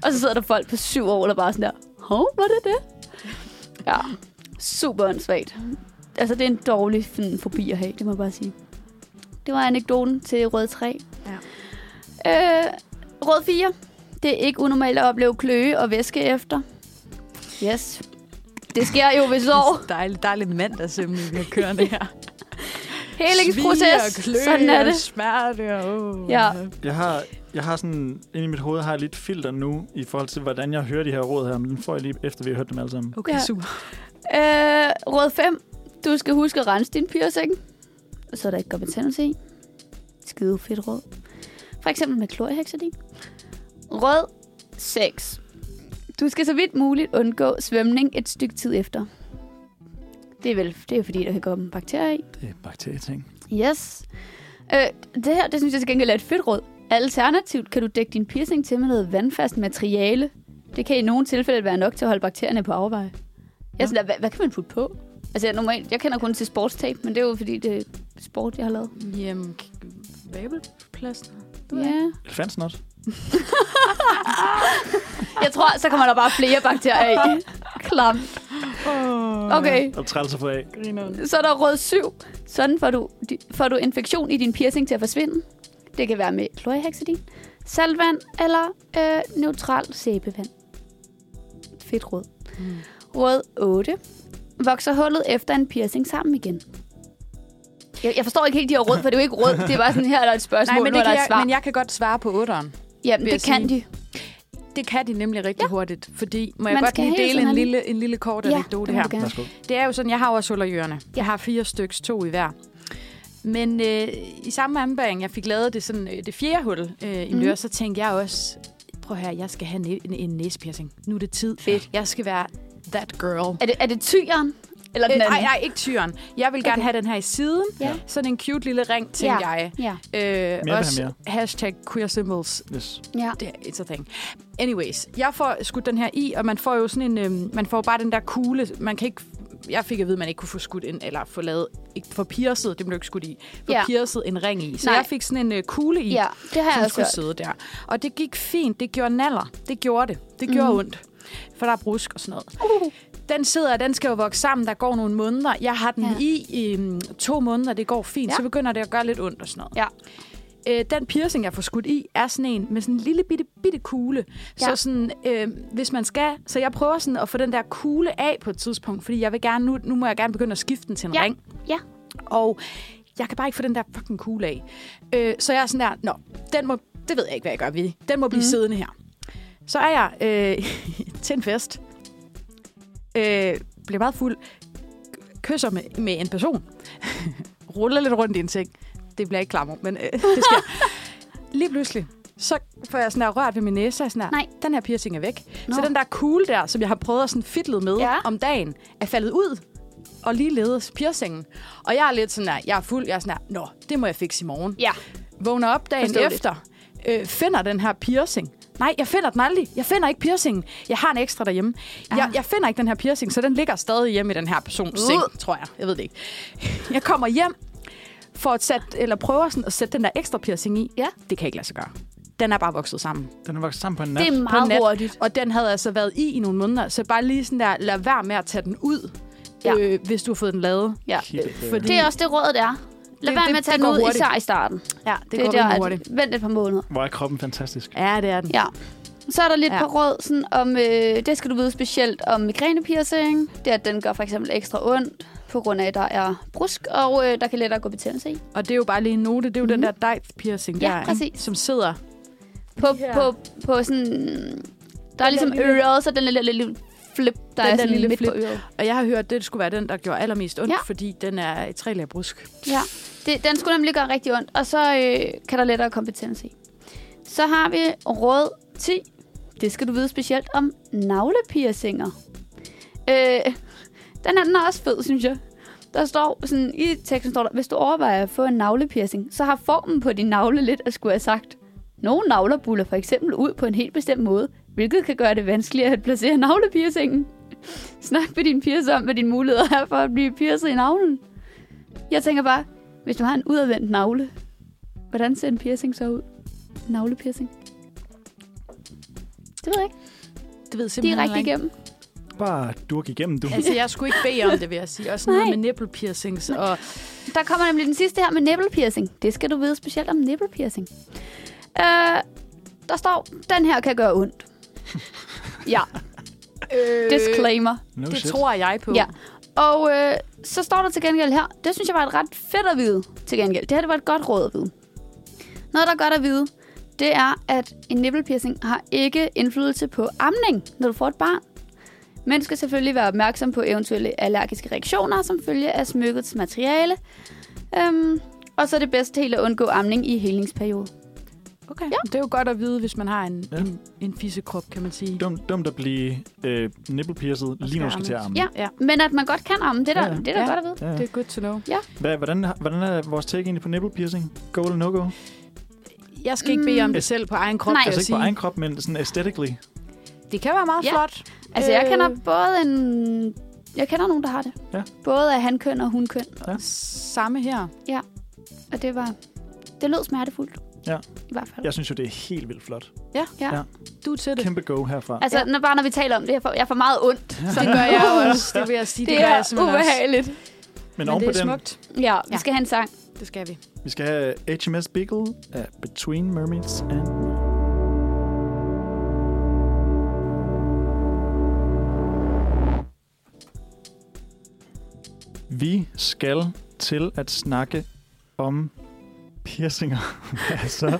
Speaker 3: Og så sidder der folk på syv år, der bare er sådan der, hov, var det det? Ja, super åndssvagt. Altså, det er en dårlig sådan, fobi at have, det må jeg bare sige. Det var anekdoten til rød 3.
Speaker 2: Ja.
Speaker 3: Øh, rød 4. Det er ikke unormalt at opleve kløe og væske efter. Yes. Det sker jo
Speaker 2: (laughs)
Speaker 3: ved sår.
Speaker 2: Dejlig, dejlig mandagssømning, vi har kørende her.
Speaker 3: Helingsproces.
Speaker 2: Svie og kløe
Speaker 3: Sådan er
Speaker 2: og
Speaker 3: det.
Speaker 2: smerte og... Oh.
Speaker 3: Ja.
Speaker 1: Jeg har, jeg har sådan, inde i mit hoved har jeg lidt filter nu, i forhold til, hvordan jeg hører de her råd her, men den får jeg lige efter, vi har hørt dem alle sammen.
Speaker 2: Okay,
Speaker 3: Ja.
Speaker 2: super.
Speaker 3: Øh, råd 5. Du skal huske at rense din piercing. Så der ikke går betændelse i. Skide fedt råd. For eksempel med klorhexadin. Råd 6. Du skal så vidt muligt undgå svømning et stykke tid efter. Det er vel det er fordi, der kan komme bakterier i.
Speaker 1: Det er bakterieting.
Speaker 3: Yes. Øh, det her, det synes jeg til gengæld er et fedt råd. Alternativt kan du dække din piercing til med noget vandfast materiale. Det kan i nogle tilfælde være nok til at holde bakterierne på afveje. Jeg er sådan, der, hvad, hvad kan man putte på? Altså, jeg, normalt, jeg kender kun til sportstape, men det er jo fordi, det er sport, jeg har lavet.
Speaker 2: Jamen, k- vabelplaster?
Speaker 3: Ja.
Speaker 2: ved jeg
Speaker 3: Yeah.
Speaker 1: Elefantsnot.
Speaker 3: Jeg tror, så kommer der bare flere bakterier i. Klam.
Speaker 2: Oh,
Speaker 3: Okay.
Speaker 1: Og trælser på af.
Speaker 2: Grineren.
Speaker 3: Så er der råd 7. Sådan får du, di- får du infektion i din piercing til at forsvinde. Det kan være med chlorhexidin, saltvand eller øh, neutral sæbevand. Fedt råd.
Speaker 2: Mm.
Speaker 3: Råd 8. Vokser hullet efter en piercing sammen igen. Jeg, jeg forstår ikke helt de her råd, for det er jo ikke råd. Det er bare sådan her, der er et spørgsmål,
Speaker 2: (laughs) Nej, men, det
Speaker 3: nu er der
Speaker 2: kan
Speaker 3: et
Speaker 2: jeg,
Speaker 3: svar.
Speaker 2: men jeg kan godt svare på otteren.
Speaker 3: Jamen,
Speaker 2: vil
Speaker 3: det
Speaker 2: jeg
Speaker 3: kan de.
Speaker 2: Det kan de nemlig rigtig ja. hurtigt, fordi må jeg
Speaker 3: Man
Speaker 2: godt
Speaker 3: skal
Speaker 2: lige
Speaker 3: hele
Speaker 2: dele
Speaker 3: tiden
Speaker 2: en
Speaker 3: have
Speaker 2: lille, en lille kort
Speaker 3: Ja,
Speaker 2: anekdote
Speaker 3: det må
Speaker 2: her.
Speaker 3: du gerne.
Speaker 1: Værsgo.
Speaker 2: Det er jo sådan, jeg har også hullejørene. Jeg har fire styks, to i hver. Men øh, i samme anbæring, jeg fik lavet det, sådan, øh, det fjerde hul øh, i
Speaker 3: Mhm.
Speaker 2: mm. så tænkte jeg også, prøv her, jeg skal have en, en, en næsepiercing. Nu er det tid.
Speaker 3: Fedt.
Speaker 2: Jeg skal være that girl.
Speaker 3: Er det, er det tyren? Eller den
Speaker 2: Øh, nej,
Speaker 3: anden?
Speaker 2: nej, ikke tyren. Jeg vil gerne okay.
Speaker 3: Okay.
Speaker 2: have den her i siden.
Speaker 3: Ja.
Speaker 2: Sådan en cute lille ring, tænkte jeg.
Speaker 3: Ja.
Speaker 2: Øh,
Speaker 1: vil have
Speaker 2: også
Speaker 1: mere.
Speaker 2: hashtag queer symbols.
Speaker 1: Yes.
Speaker 3: ja.
Speaker 2: Det er it's a thing. Anyways, jeg får skudt den her i, og man får jo sådan en, øhm, man får bare den der kugle. Man kan ikke, jeg fik at vide, at man ikke kunne få skudt en, eller få lavet, ikke, få piercet, det blev ikke skudt i, få
Speaker 3: Ja.
Speaker 2: ja. piercet en ring i. Så
Speaker 3: Nej.
Speaker 2: Nej. jeg fik sådan en øh, kugle i,
Speaker 3: ja, det har jeg
Speaker 2: som
Speaker 3: også
Speaker 2: skulle
Speaker 3: hørt.
Speaker 2: sidde der. Og det gik fint, det gjorde naller, det gjorde det, det gjorde
Speaker 3: Mhm.
Speaker 2: mm. ondt. For der er brusk og sådan noget. Den sidder, og den skal jo vokse sammen. Der går nogle måneder. Jeg har den
Speaker 3: Ja.
Speaker 2: ja. i øhm, to måneder. Det går fint.
Speaker 3: Ja.
Speaker 2: Ja. Så begynder det at gøre lidt ondt og sådan noget.
Speaker 3: Ja.
Speaker 2: Øh, den piercing, jeg får skudt i, er sådan en med sådan en lille bitte, bitte kugle. Ja.
Speaker 3: Ja.
Speaker 2: Så sådan, øh, hvis man skal... Så jeg prøver sådan at få den der kugle af på et tidspunkt, fordi jeg vil gerne nu, nu må jeg gerne begynde at skifte den til en
Speaker 3: Ja.
Speaker 2: ring.
Speaker 3: Ja.
Speaker 2: Og jeg kan bare ikke få den der fucking kugle af. Øh, så jeg er sådan der, nå, den må, det ved jeg ikke, hvad jeg gør ved. Den må blive
Speaker 3: Mhm.
Speaker 2: mm. siddende her. Så er jeg øh, (laughs) til en fest. Øh, bliver meget fuld. Kysser med, med en person. (laughs) Ruller lidt rundt i en ting. Det bliver ikke klammer, men øh, det sker.
Speaker 3: (laughs)
Speaker 2: Lige pludselig, så får jeg sådan der rørt ved min næse. Og sådan der,
Speaker 3: Nej.
Speaker 2: Den her piercing er væk. Nå. Så
Speaker 3: Nå.
Speaker 2: den der kugle der, som jeg har prøvet at sådan fidlet med
Speaker 3: Ja.
Speaker 2: ja. om dagen, er faldet ud og ligeledes piercingen. Og jeg er lidt sådan der, jeg er fuld, jeg er sådan der, nå, det må jeg fikse i morgen.
Speaker 3: Ja.
Speaker 2: Vågner op dagen
Speaker 3: Forståeligt.
Speaker 2: efter, øh, finder den her piercing. Nej, jeg finder den aldrig. Jeg finder ikke piercingen. Jeg har en ekstra derhjemme. Jeg,
Speaker 3: Ah.
Speaker 2: jeg finder ikke den her piercing, så den ligger stadig hjemme i den her persons seng,
Speaker 3: Uh.
Speaker 2: tror jeg. Jeg ved det ikke. Jeg kommer hjem for at sætte, eller prøver sådan at sætte den der ekstra piercing i.
Speaker 3: Ja.
Speaker 2: Det kan jeg ikke lade sig gøre. Den er bare vokset sammen
Speaker 1: Den er vokset sammen på en nat.
Speaker 3: Det er
Speaker 2: på
Speaker 3: meget
Speaker 2: nat,
Speaker 3: hurtigt.
Speaker 2: Og den havde altså været i i nogle måneder, så bare lige sådan der, lad være med at tage den ud,
Speaker 3: Ja.
Speaker 2: ja. øh, hvis du har fået den lavet.
Speaker 3: Ja.
Speaker 1: Kigge på.
Speaker 2: Fordi,
Speaker 3: Det er også det råd, det er. Lad
Speaker 2: Det-
Speaker 3: være
Speaker 2: det-
Speaker 3: med at tage
Speaker 2: det
Speaker 3: den
Speaker 2: går
Speaker 3: ud,
Speaker 2: hurtigt.
Speaker 3: især i starten.
Speaker 2: ja, det,
Speaker 3: er
Speaker 2: går
Speaker 3: der,
Speaker 2: rimelig
Speaker 3: at-
Speaker 2: hurtigt.
Speaker 3: Vent et par måneder.
Speaker 1: Hvor er kroppen fantastisk.
Speaker 2: Ja, det er den.
Speaker 3: Ja. Så er der lidt
Speaker 2: Ja.
Speaker 3: ja. par råd sådan om, øh, det skal du vide specielt om migrænepiercing. Det er, at den gør for eksempel ekstra ondt, på grund af, at der er brusk, og øh, der kan lettere gå betændelse i.
Speaker 2: Og det er jo bare lige en note, det er jo mm-hmm. den der dive piercing
Speaker 3: Mhm. Ja,
Speaker 2: der, ikke?
Speaker 3: præcis.
Speaker 2: som sidder.
Speaker 3: På,
Speaker 2: Ja.
Speaker 3: på, på sådan... Der er ligesom
Speaker 2: lille-
Speaker 3: øret, så den lille, lille flip, der
Speaker 2: der
Speaker 3: er sådan
Speaker 2: lille
Speaker 3: midt på
Speaker 2: flip.
Speaker 3: øret.
Speaker 2: Og jeg har hørt, at det skulle være den, der gjorde allermest ondt,
Speaker 3: Ja.
Speaker 2: ja. fordi den er et trælag brusk.
Speaker 3: Ja, det, den skulle nemlig gøre rigtig ondt, og så øh, kan der lettere komme betændelse i. Så har vi råd 10. Det skal du vide specielt om navlepiercinger. Øh, den anden er også fed, synes jeg. Der står sådan, i teksten står der, hvis du overvejer at få en navlepiercing, så har formen på din navle lidt at skulle have sagt. Nogle navler buller for eksempel ud på en helt bestemt måde, hvilket kan gøre det vanskeligere at placere navlepiercingen. Snak med din piercer om, hvad dine muligheder er for at blive piercet i navlen. Jeg tænker bare, hvis du har en udadvendt navle, hvordan ser en piercing så ud? En Navlepiercing? Det ved jeg ikke.
Speaker 2: Det ved simpelthen
Speaker 3: Direkte
Speaker 2: heller ikke.
Speaker 3: igennem.
Speaker 1: Bare durk igennem, du.
Speaker 2: Altså, jeg skulle ikke bede om det, vil jeg sige. Og sådan noget
Speaker 3: Nej.
Speaker 2: med nipple piercings. Og
Speaker 3: Der kommer nemlig den sidste her med nipple piercing. Det skal du vide specielt om nipple piercing. Øh, der står, den her kan gøre ondt. ja,
Speaker 2: øh,
Speaker 3: disclaimer.
Speaker 1: No
Speaker 2: det
Speaker 1: shit.
Speaker 2: tror jeg på.
Speaker 3: Ja. Og øh, så står der til gengæld her, det synes jeg var et ret fedt at vide til gengæld. Det her det var et godt råd at vide. Noget, der er godt at vide, det er, at en nipple piercing har ikke indflydelse på amning, når du får et barn. Man skal selvfølgelig være opmærksom på eventuelle allergiske reaktioner, som følge af smykkets materiale. Øhm, og så er det bedst helt at undgå amning i helningsperioden.
Speaker 2: Okay. Ja. Det er jo godt at vide, hvis man har en,
Speaker 1: Ja.
Speaker 2: ja. en, en fissekrop, kan man sige.
Speaker 1: Dumt, dumt at blive øh, nippelpiercet lige nu skal til armen.
Speaker 2: ammes.
Speaker 3: Ja,
Speaker 2: Ja.
Speaker 3: men at man godt kan amme, det er da,
Speaker 1: Ja, ja.
Speaker 3: det er da
Speaker 2: Ja.
Speaker 3: godt at vide.
Speaker 1: Ja.
Speaker 2: Det er good to know.
Speaker 1: Hvad, hvordan, hvordan er vores take egentlig på nippelpiercing? Go eller no go?
Speaker 2: Jeg skal ikke bede om
Speaker 1: Mm.
Speaker 2: det selv på egen krop,
Speaker 3: Nej.
Speaker 2: vil
Speaker 1: Altså
Speaker 2: jeg
Speaker 1: ikke på
Speaker 2: sige.
Speaker 1: egen krop, men sådan aesthetically.
Speaker 2: Det kan være meget
Speaker 3: Ja.
Speaker 2: flot.
Speaker 3: Altså, jeg
Speaker 2: Øh.
Speaker 3: kender både en... Jeg kender nogen, der har det.
Speaker 1: Ja.
Speaker 3: Både af hankøn og hunkøn.
Speaker 2: Samme her.
Speaker 3: Og det var... Det lød smertefuldt.
Speaker 1: Ja.
Speaker 3: I hvert fald.
Speaker 1: Jeg synes jo, det er helt vildt flot.
Speaker 2: Du er til det.
Speaker 1: Kæmpe go herfra.
Speaker 3: Altså,
Speaker 2: Ja.
Speaker 3: når, bare når vi taler om det, jeg får, jeg får meget ondt.
Speaker 2: Så gør
Speaker 1: (laughs)
Speaker 3: (laughs)
Speaker 2: jeg jo også. Det vil jeg sige.
Speaker 3: Det, det
Speaker 2: gør
Speaker 3: er
Speaker 2: jeg simpelthen
Speaker 3: ubehageligt.
Speaker 1: Men,
Speaker 2: Også.
Speaker 1: oven
Speaker 2: Men
Speaker 1: på
Speaker 2: det er
Speaker 1: den,
Speaker 2: smukt.
Speaker 3: Ja, vi
Speaker 2: Ja.
Speaker 3: skal have en
Speaker 2: (laughs)
Speaker 3: sang.
Speaker 2: Det skal vi.
Speaker 1: vi skal have HMS Beagle af Between Mermaids and Vi skal til at snakke om
Speaker 3: (laughs)
Speaker 1: piercinger. Hvad så?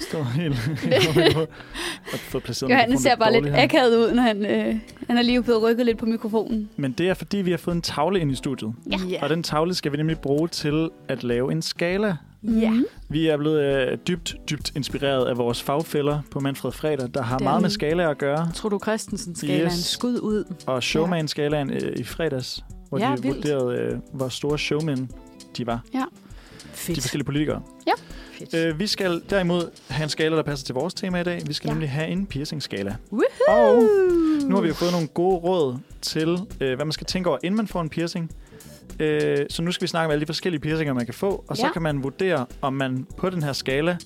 Speaker 1: Står
Speaker 3: (laughs)
Speaker 1: helt... (laughs) helt oppe på- og få placeret
Speaker 3: Johannes
Speaker 1: mikrofonen
Speaker 3: ser bare lidt
Speaker 1: dårligt her.
Speaker 3: akavet ud, når han, øh, han har lige blevet rykket lidt på mikrofonen.
Speaker 1: Men det er, fordi vi har fået en tavle ind i studiet.
Speaker 2: Ja.
Speaker 1: Og den tavle skal vi nemlig bruge til at lave en skala.
Speaker 2: Ja.
Speaker 3: Mhm.
Speaker 1: Vi er blevet øh, dybt, dybt inspireret af vores fagfælder på Manfred Fredag, der har
Speaker 2: Det er
Speaker 1: meget med
Speaker 2: vi.
Speaker 1: skala at gøre.
Speaker 2: Tror du, Christensen skal yes.
Speaker 1: Yes.
Speaker 2: en skud ud?
Speaker 1: Og showman-skalaen øh, i fredags, hvor
Speaker 2: Ja,
Speaker 1: de
Speaker 2: vildt.
Speaker 1: vurderede, øh, hvor store showmen de var. De
Speaker 2: Fedt.
Speaker 1: forskellige politikere.
Speaker 2: Fedt.
Speaker 1: Øh, vi skal derimod have en skala, der passer til vores tema i dag. Vi skal
Speaker 3: Ja.
Speaker 1: ja. nemlig have en piercing-skala.
Speaker 2: Woohoo!
Speaker 1: Og nu har vi jo fået nogle gode råd til, øh, hvad man skal tænke over, inden man får en piercing. Øh, så nu skal vi snakke om alle de forskellige piercinger, man kan få. Og så
Speaker 3: Ja.
Speaker 1: kan man vurdere, om man på den her skala,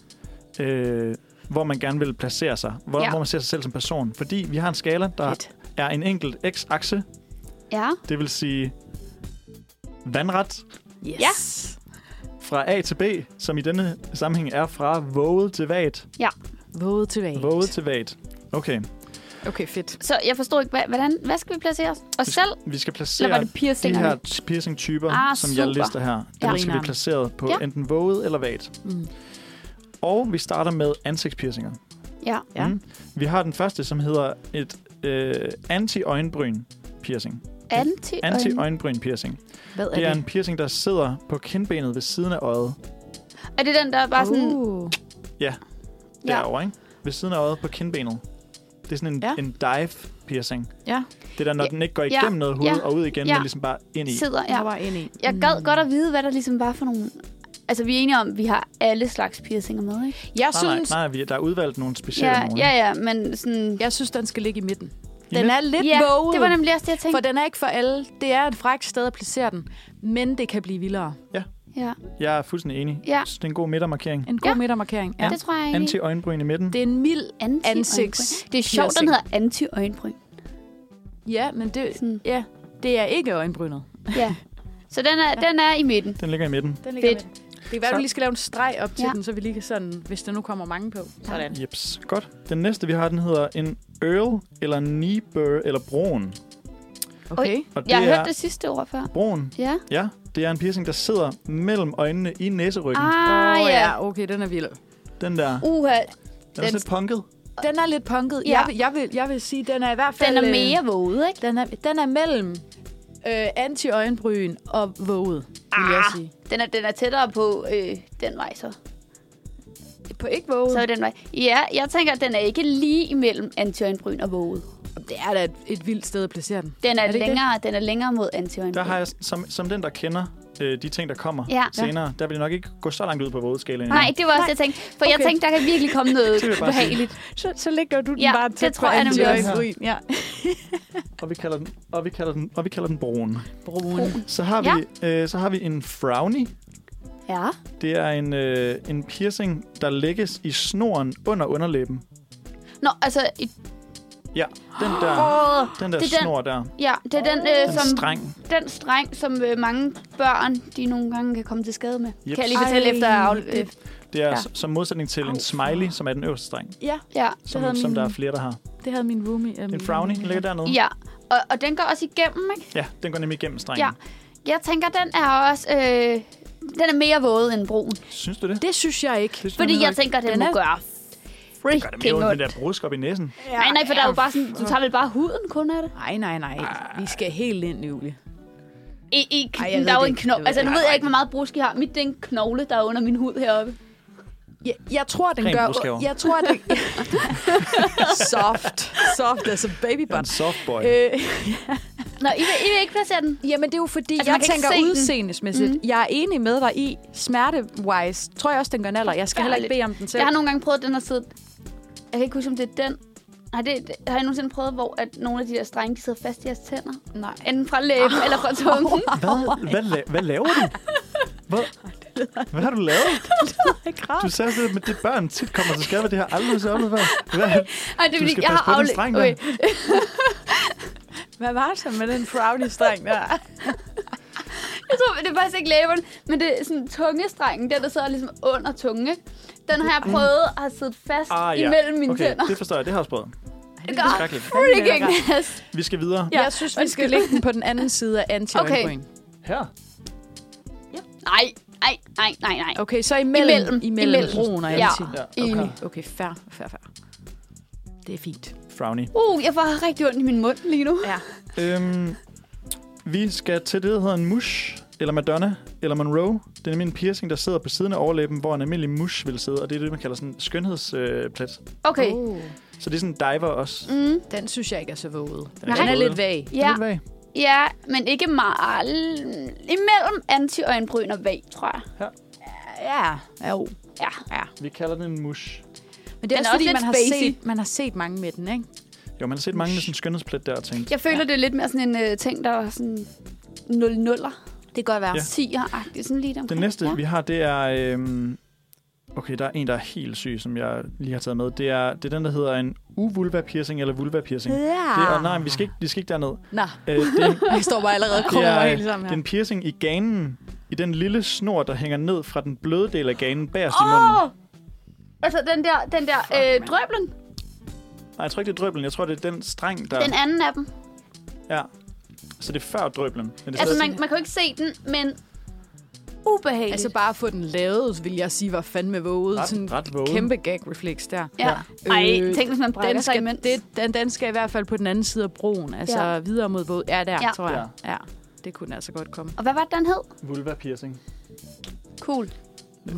Speaker 1: øh, hvor man gerne vil placere sig. Hvor,
Speaker 3: Ja.
Speaker 1: ja. hvor man ser sig selv som person. Fordi vi har en skala, der
Speaker 2: Fedt.
Speaker 1: er en enkelt x-akse.
Speaker 3: Ja.
Speaker 1: Det vil sige vandret
Speaker 2: Yes.
Speaker 3: Ja.
Speaker 1: fra A til B, som i denne sammenhæng er fra våget til vagt.
Speaker 2: Våget tilbage.
Speaker 1: Våget til vagt. Okay,
Speaker 2: Okay, fedt.
Speaker 3: Så jeg forstår ikke, hvad, hvordan, hvad skal vi placere os? Os selv?
Speaker 1: vi skal placere
Speaker 3: Eller var det
Speaker 1: de
Speaker 3: piercingerne?
Speaker 1: her t- piercing-typer,
Speaker 3: Ah,
Speaker 1: ah, som
Speaker 3: super.
Speaker 1: jeg lister her, dem
Speaker 3: Ja.
Speaker 1: ja. skal blive placeret på
Speaker 3: Ja.
Speaker 1: ja. enten våget eller vagt.
Speaker 2: Mm.
Speaker 1: Og vi starter med ansigtspiercinger.
Speaker 3: Ja.
Speaker 2: Ja.
Speaker 1: Mm. Vi har den første, som hedder et øh, anti-øjenbryn-piercing.
Speaker 3: Anti,
Speaker 1: Anti-øjenbryn-piercing.
Speaker 2: Hvad er
Speaker 1: Det er
Speaker 2: det?
Speaker 1: en piercing, der sidder på kindbenet ved siden af øjet.
Speaker 3: Er det den, der er bare
Speaker 1: Oh,
Speaker 3: sådan...
Speaker 2: Uh.
Speaker 3: Ja.
Speaker 1: Derovre, ikke? Ved siden af øjet på kindbenet. Det er sådan en,
Speaker 2: Ja.
Speaker 1: ja. en dive-piercing.
Speaker 2: Ja,
Speaker 1: Det er der, når
Speaker 3: Ja.
Speaker 1: ja. den ikke går
Speaker 3: Ja.
Speaker 1: igennem ja. noget hud
Speaker 3: Ja.
Speaker 1: ja. og ud igen,
Speaker 3: Ja.
Speaker 1: men ligesom bare ind i.
Speaker 3: Sidder, ja.
Speaker 2: jeg var Mm. inde i.
Speaker 3: Jeg gad godt at vide, hvad der ligesom var for nogle... Altså, vi er enige om, at vi har alle slags piercinger med, ikke?
Speaker 2: Jeg
Speaker 1: Nej, nej,
Speaker 2: synes,
Speaker 1: nej, vi- der er udvalgt nogle specielle
Speaker 3: Ja,
Speaker 1: nogle.
Speaker 3: ja, ja, men sådan...
Speaker 2: jeg synes, den skal ligge i midten.
Speaker 1: I
Speaker 2: Den
Speaker 1: midten?
Speaker 2: er lidt
Speaker 3: ja,
Speaker 2: våget.
Speaker 3: det var nemlig også det, jeg tænkte.
Speaker 2: For den er ikke for alle. Det er et frækt sted at placere den. Men det kan blive vildere.
Speaker 3: Ja,
Speaker 1: Jeg er fuldstændig enig.
Speaker 3: Ja.
Speaker 1: Så det er en god midtermarkering.
Speaker 2: En god
Speaker 3: Ja.
Speaker 2: ja. midtermarkering. Ja.
Speaker 3: det tror jeg egentlig.
Speaker 1: Anti-øjenbryn i midten.
Speaker 2: Det er en mild...
Speaker 3: Anti
Speaker 2: Ansigts-
Speaker 3: Det er sjovt,
Speaker 2: piercing.
Speaker 3: den hedder anti-øjenbryn.
Speaker 2: Ja, men det,
Speaker 3: Sådan.
Speaker 2: ja, det er ikke øjenbrynet. (laughs)
Speaker 3: Ja. Så den er, den er i midten.
Speaker 1: Den ligger i midten.
Speaker 2: Den
Speaker 3: ligger Fedt.
Speaker 2: Det kan være,
Speaker 1: Så-
Speaker 2: du lige skal lave en streg op til
Speaker 3: Ja.
Speaker 2: ja. den, så vi lige kan sådan, hvis der nu kommer mange på. Sådan.
Speaker 1: Jeps. Godt. Den næste, vi har, den hedder en Earl eller Niebuhr eller Broen.
Speaker 2: Okay.
Speaker 1: Og det
Speaker 3: Jeg har
Speaker 1: er
Speaker 3: hørt det sidste ord før.
Speaker 1: Broen.
Speaker 3: Ja.
Speaker 1: Ja, det er en piercing, der sidder mellem øjnene i næseryggen. Ah.
Speaker 3: Ah,
Speaker 2: Åh,
Speaker 3: ja.
Speaker 2: Okay, den er vild.
Speaker 1: Den der. Den
Speaker 3: Uha,
Speaker 1: er
Speaker 3: den-
Speaker 1: sådan lidt punket.
Speaker 2: Den er lidt punket.
Speaker 3: Ja.
Speaker 2: Ja. Jeg, vil, jeg, vil, jeg vil sige, den er i hvert fald...
Speaker 3: den er
Speaker 2: øh,
Speaker 3: mere våget, ikke?
Speaker 2: Den er, den er mellem øh, anti-øjenbryn og våget, vil
Speaker 3: Ah.
Speaker 2: jeg sige.
Speaker 3: Den er, den er tættere på øh, den vej, så.
Speaker 2: På ikke våget.
Speaker 3: Så er den vej. Ja, jeg tænker, at den er ikke lige imellem antiøjenbryn og våget.
Speaker 2: det er da et, et vildt sted at placere den.
Speaker 3: Den er,
Speaker 2: Er det ikke
Speaker 3: længere, den er længere mod antiøjenbryn.
Speaker 1: Der har jeg, som, som den, der kender øh, de ting, der kommer
Speaker 3: Ja.
Speaker 1: senere, der vil jeg nok ikke gå så langt ud på vådskalaen.
Speaker 3: Nej, det var også det, jeg tænkte. For okay. jeg
Speaker 2: Okay.
Speaker 3: tænkte, der kan virkelig komme noget
Speaker 1: vil jeg bare sige.
Speaker 3: behageligt.
Speaker 2: Så, så lægger du den
Speaker 3: Ja,
Speaker 2: bare
Speaker 3: det
Speaker 2: tæt
Speaker 3: tror
Speaker 2: på
Speaker 3: jeg nemlig
Speaker 1: også.
Speaker 2: anti-øjenbryn. Ja.
Speaker 1: Og vi kalder den, og vi kalder den, og vi kalder den Broen.
Speaker 2: Brun.
Speaker 1: Så har vi, ja. øh, så har vi en Frowny.
Speaker 3: Ja.
Speaker 1: Det er en, øh, en piercing, der lægges i snoren under underlæben.
Speaker 3: Nå, altså, i,
Speaker 1: Ja, den der,
Speaker 3: åh,
Speaker 1: den der
Speaker 3: det er den-
Speaker 1: snor der.
Speaker 3: ja, det er den, øh,
Speaker 1: Den
Speaker 3: som,
Speaker 1: streng.
Speaker 3: den streng, som øh, mange børn, de nogle gange kan komme til skade med.
Speaker 1: Jeps.
Speaker 3: Kan jeg lige fortælle
Speaker 2: Ej,
Speaker 3: efter at afle-
Speaker 2: det-
Speaker 3: øh,
Speaker 1: Det er
Speaker 3: Ja.
Speaker 1: ja. som modsætning til en smiley, som er den øverste streng,
Speaker 2: Ja,
Speaker 3: Ja,
Speaker 1: som,
Speaker 2: hedder
Speaker 1: som
Speaker 2: min-
Speaker 1: der er flere, der har.
Speaker 2: det havde min roomie. øhm,
Speaker 1: En frowny den ligger dernede.
Speaker 3: Mm. ja. Og, og den går også igennem, ikke?
Speaker 1: Ja, den går nemlig igennem strengen.
Speaker 3: Ja. Jeg tænker, den er også... Øh, den er mere våd end broen.
Speaker 1: Synes du det?
Speaker 2: Det synes jeg ikke.
Speaker 1: Det synes
Speaker 3: Fordi
Speaker 1: jeg
Speaker 3: jeg tænker, den, den
Speaker 2: Den
Speaker 3: må
Speaker 2: er-
Speaker 3: gøre
Speaker 1: det gør det
Speaker 3: freaking
Speaker 1: mere ondt,
Speaker 3: ondt.
Speaker 1: den der brusk op i næsen.
Speaker 3: Nej, nej, for der er jo bare sådan... Du tager vel bare huden kun af det?
Speaker 2: Nej, nej, nej. Vi skal helt ind, Julie.
Speaker 3: I, i,
Speaker 2: Ej,
Speaker 3: Ej,
Speaker 2: jeg
Speaker 3: der
Speaker 2: ved
Speaker 3: er jo
Speaker 2: det
Speaker 3: en
Speaker 2: ikke.
Speaker 3: knogle.
Speaker 2: Jeg ved
Speaker 3: Altså, nu
Speaker 2: det
Speaker 3: ved
Speaker 2: ikke.
Speaker 3: jeg ikke, hvor meget brusk jeg har. Mit, det er en knogle, der er under min hud heroppe.
Speaker 2: Jeg, jeg tror, den
Speaker 1: Ren
Speaker 2: gør...
Speaker 1: brudskæver.
Speaker 2: Jeg tror, den... (laughs) soft. Soft as a baby
Speaker 1: En
Speaker 2: butt.
Speaker 1: softboy. Øh.
Speaker 2: Øh,
Speaker 3: Nå, I vil, I vil ikke placere den?
Speaker 2: jamen, det er jo fordi,
Speaker 3: Altså,
Speaker 2: altså,
Speaker 3: man
Speaker 2: jeg
Speaker 3: kan ikke
Speaker 2: tænker
Speaker 3: se den.
Speaker 2: udseendesmæssigt. Mm. Jeg er enig med dig i, smerte-wise, tror jeg også, den gør naller. Jeg skal heller ikke bede om den selv.
Speaker 3: Jeg har nogle gange prøvet den her side. Jeg kan ikke huske, om det er den. Nej, det, det, har jeg nogensinde prøvet, hvor at nogle af de der strenge, de sidder fast i jeres tænder? (laughs)
Speaker 2: Nej.
Speaker 3: Enten fra læben eller fra tungen. (laughs)
Speaker 1: Hvad, hvad, la- hvad laver du? Hvad, hvad har du lavet? Du sagde også, at det børn tit kommer til skade, ved det har jeg aldrig set oplevet før. Hvad?
Speaker 3: Ej, det er
Speaker 1: Du
Speaker 3: fordi,
Speaker 1: skal
Speaker 3: jeg
Speaker 1: passe
Speaker 3: har
Speaker 1: på den
Speaker 3: afledt.
Speaker 1: streng der.
Speaker 3: Okay.
Speaker 2: Hvad var det så med den frowny-streng der?
Speaker 3: Jeg tror, det er faktisk ikke læberne, men det er sådan tungestrengen, der der sidder ligesom under tunge. Den har jeg prøvet at have siddet fast ah, ja. imellem mine
Speaker 1: okay,
Speaker 3: tænder.
Speaker 1: det forstår jeg. Det har jeg også prøvet.
Speaker 3: Det gør
Speaker 1: Skrækkeligt.
Speaker 3: freaking
Speaker 2: Det
Speaker 3: nasty.
Speaker 1: Vi skal videre.
Speaker 2: Ja, jeg synes, vi skal lægge den på den anden side af anti
Speaker 3: Okay.
Speaker 2: okay.
Speaker 1: Her.
Speaker 3: Nej, nej, nej, nej, nej.
Speaker 2: Okay, så imellem,
Speaker 3: Imellem.
Speaker 2: imellem,
Speaker 3: Imellem.
Speaker 2: imellem. broen og
Speaker 3: Ja.
Speaker 2: Anti.
Speaker 1: Ja,
Speaker 3: Enig.
Speaker 2: Okay, fair, fair, fair. Det er fint.
Speaker 1: Frowny.
Speaker 3: Uh, jeg får rigtig ondt i min mund lige nu.
Speaker 2: Ja.
Speaker 1: Øhm, vi skal til det, der hedder en mush, eller Madonna, eller Monroe. Det er nemlig en piercing, der sidder på siden af overlæben, hvor en almindelig mush vil sidde, og det er det, man kalder sådan en skønhedsplet. Øh, plet.
Speaker 3: Okay.
Speaker 2: Oh.
Speaker 1: så det er sådan en diver også.
Speaker 3: Mm.
Speaker 2: Den synes jeg ikke er så våget.
Speaker 1: Nej.
Speaker 2: Den er lidt vag.
Speaker 1: Det er
Speaker 3: Ja,
Speaker 1: lidt vag.
Speaker 3: ja, men ikke meget. Imellem antiøjenbryn og vag, tror jeg.
Speaker 2: Ja, jo.
Speaker 3: Ja.
Speaker 2: ja.
Speaker 1: Vi kalder den en mush.
Speaker 2: Men det er,
Speaker 3: Den
Speaker 2: også,
Speaker 3: er også
Speaker 2: fordi,
Speaker 3: lidt
Speaker 2: man har,
Speaker 3: spacey.
Speaker 2: set, man har set mange med den, ikke?
Speaker 1: Jo, man har set mange med
Speaker 2: Mush.
Speaker 1: sådan en skønhedsplet der og tænkt,
Speaker 3: Jeg føler, ja. det er lidt mere sådan en øh, ting, der er sådan 0-0'er,
Speaker 2: Det kan godt være.
Speaker 1: Ja.
Speaker 3: 10'er-agtigt, sådan lige omkring.
Speaker 1: Den næste,
Speaker 3: ja.
Speaker 1: vi har, det er... Øhm, okay, der er en, der er helt syg, som jeg lige har taget med. Det er, det er den, der hedder en uvulva-piercing eller vulva-piercing. Det er, nej, men vi skal ikke, vi skal ikke derned.
Speaker 2: Nå,
Speaker 1: Øh, det, er-
Speaker 2: jeg står bare allerede og
Speaker 1: det,
Speaker 2: krummer
Speaker 1: er,
Speaker 2: helt sammen
Speaker 1: det
Speaker 2: her.
Speaker 1: er en piercing i ganen. I den lille snor, der hænger ned fra den bløde del af ganen bagerst i
Speaker 3: Åh!
Speaker 1: munden.
Speaker 3: Oh! Altså, den der, den der
Speaker 2: Fuck,
Speaker 3: øh,
Speaker 2: mand.
Speaker 3: drøblen,
Speaker 1: Nej, jeg tror ikke, det er drøblen. Jeg tror, det er den streng, der...
Speaker 3: den anden af dem.
Speaker 1: Ja. Så det er før drøblen. Men det er
Speaker 3: Altså,
Speaker 1: stadig-
Speaker 3: man, man kan jo ikke se den, men ubehageligt.
Speaker 2: Altså bare at få den lavet, vil jeg sige, var fandme våget. Sådan
Speaker 1: ret, ret våget.
Speaker 2: kæmpe gag-refleks der.
Speaker 3: ja.
Speaker 2: Ja.
Speaker 3: Ej,
Speaker 2: Øh,
Speaker 3: tænk, hvis man brækker
Speaker 2: Den
Speaker 3: sig
Speaker 2: skal,
Speaker 3: imens.
Speaker 2: det, den, den skal i hvert fald på den anden side af broen. Altså
Speaker 3: Ja.
Speaker 2: ja. videre mod våget. Ja, der,
Speaker 3: Ja.
Speaker 2: ja. tror jeg. Ja. ja. Det kunne altså godt komme.
Speaker 3: Og hvad var det, den hed?
Speaker 1: Vulva-piercing.
Speaker 3: Cool.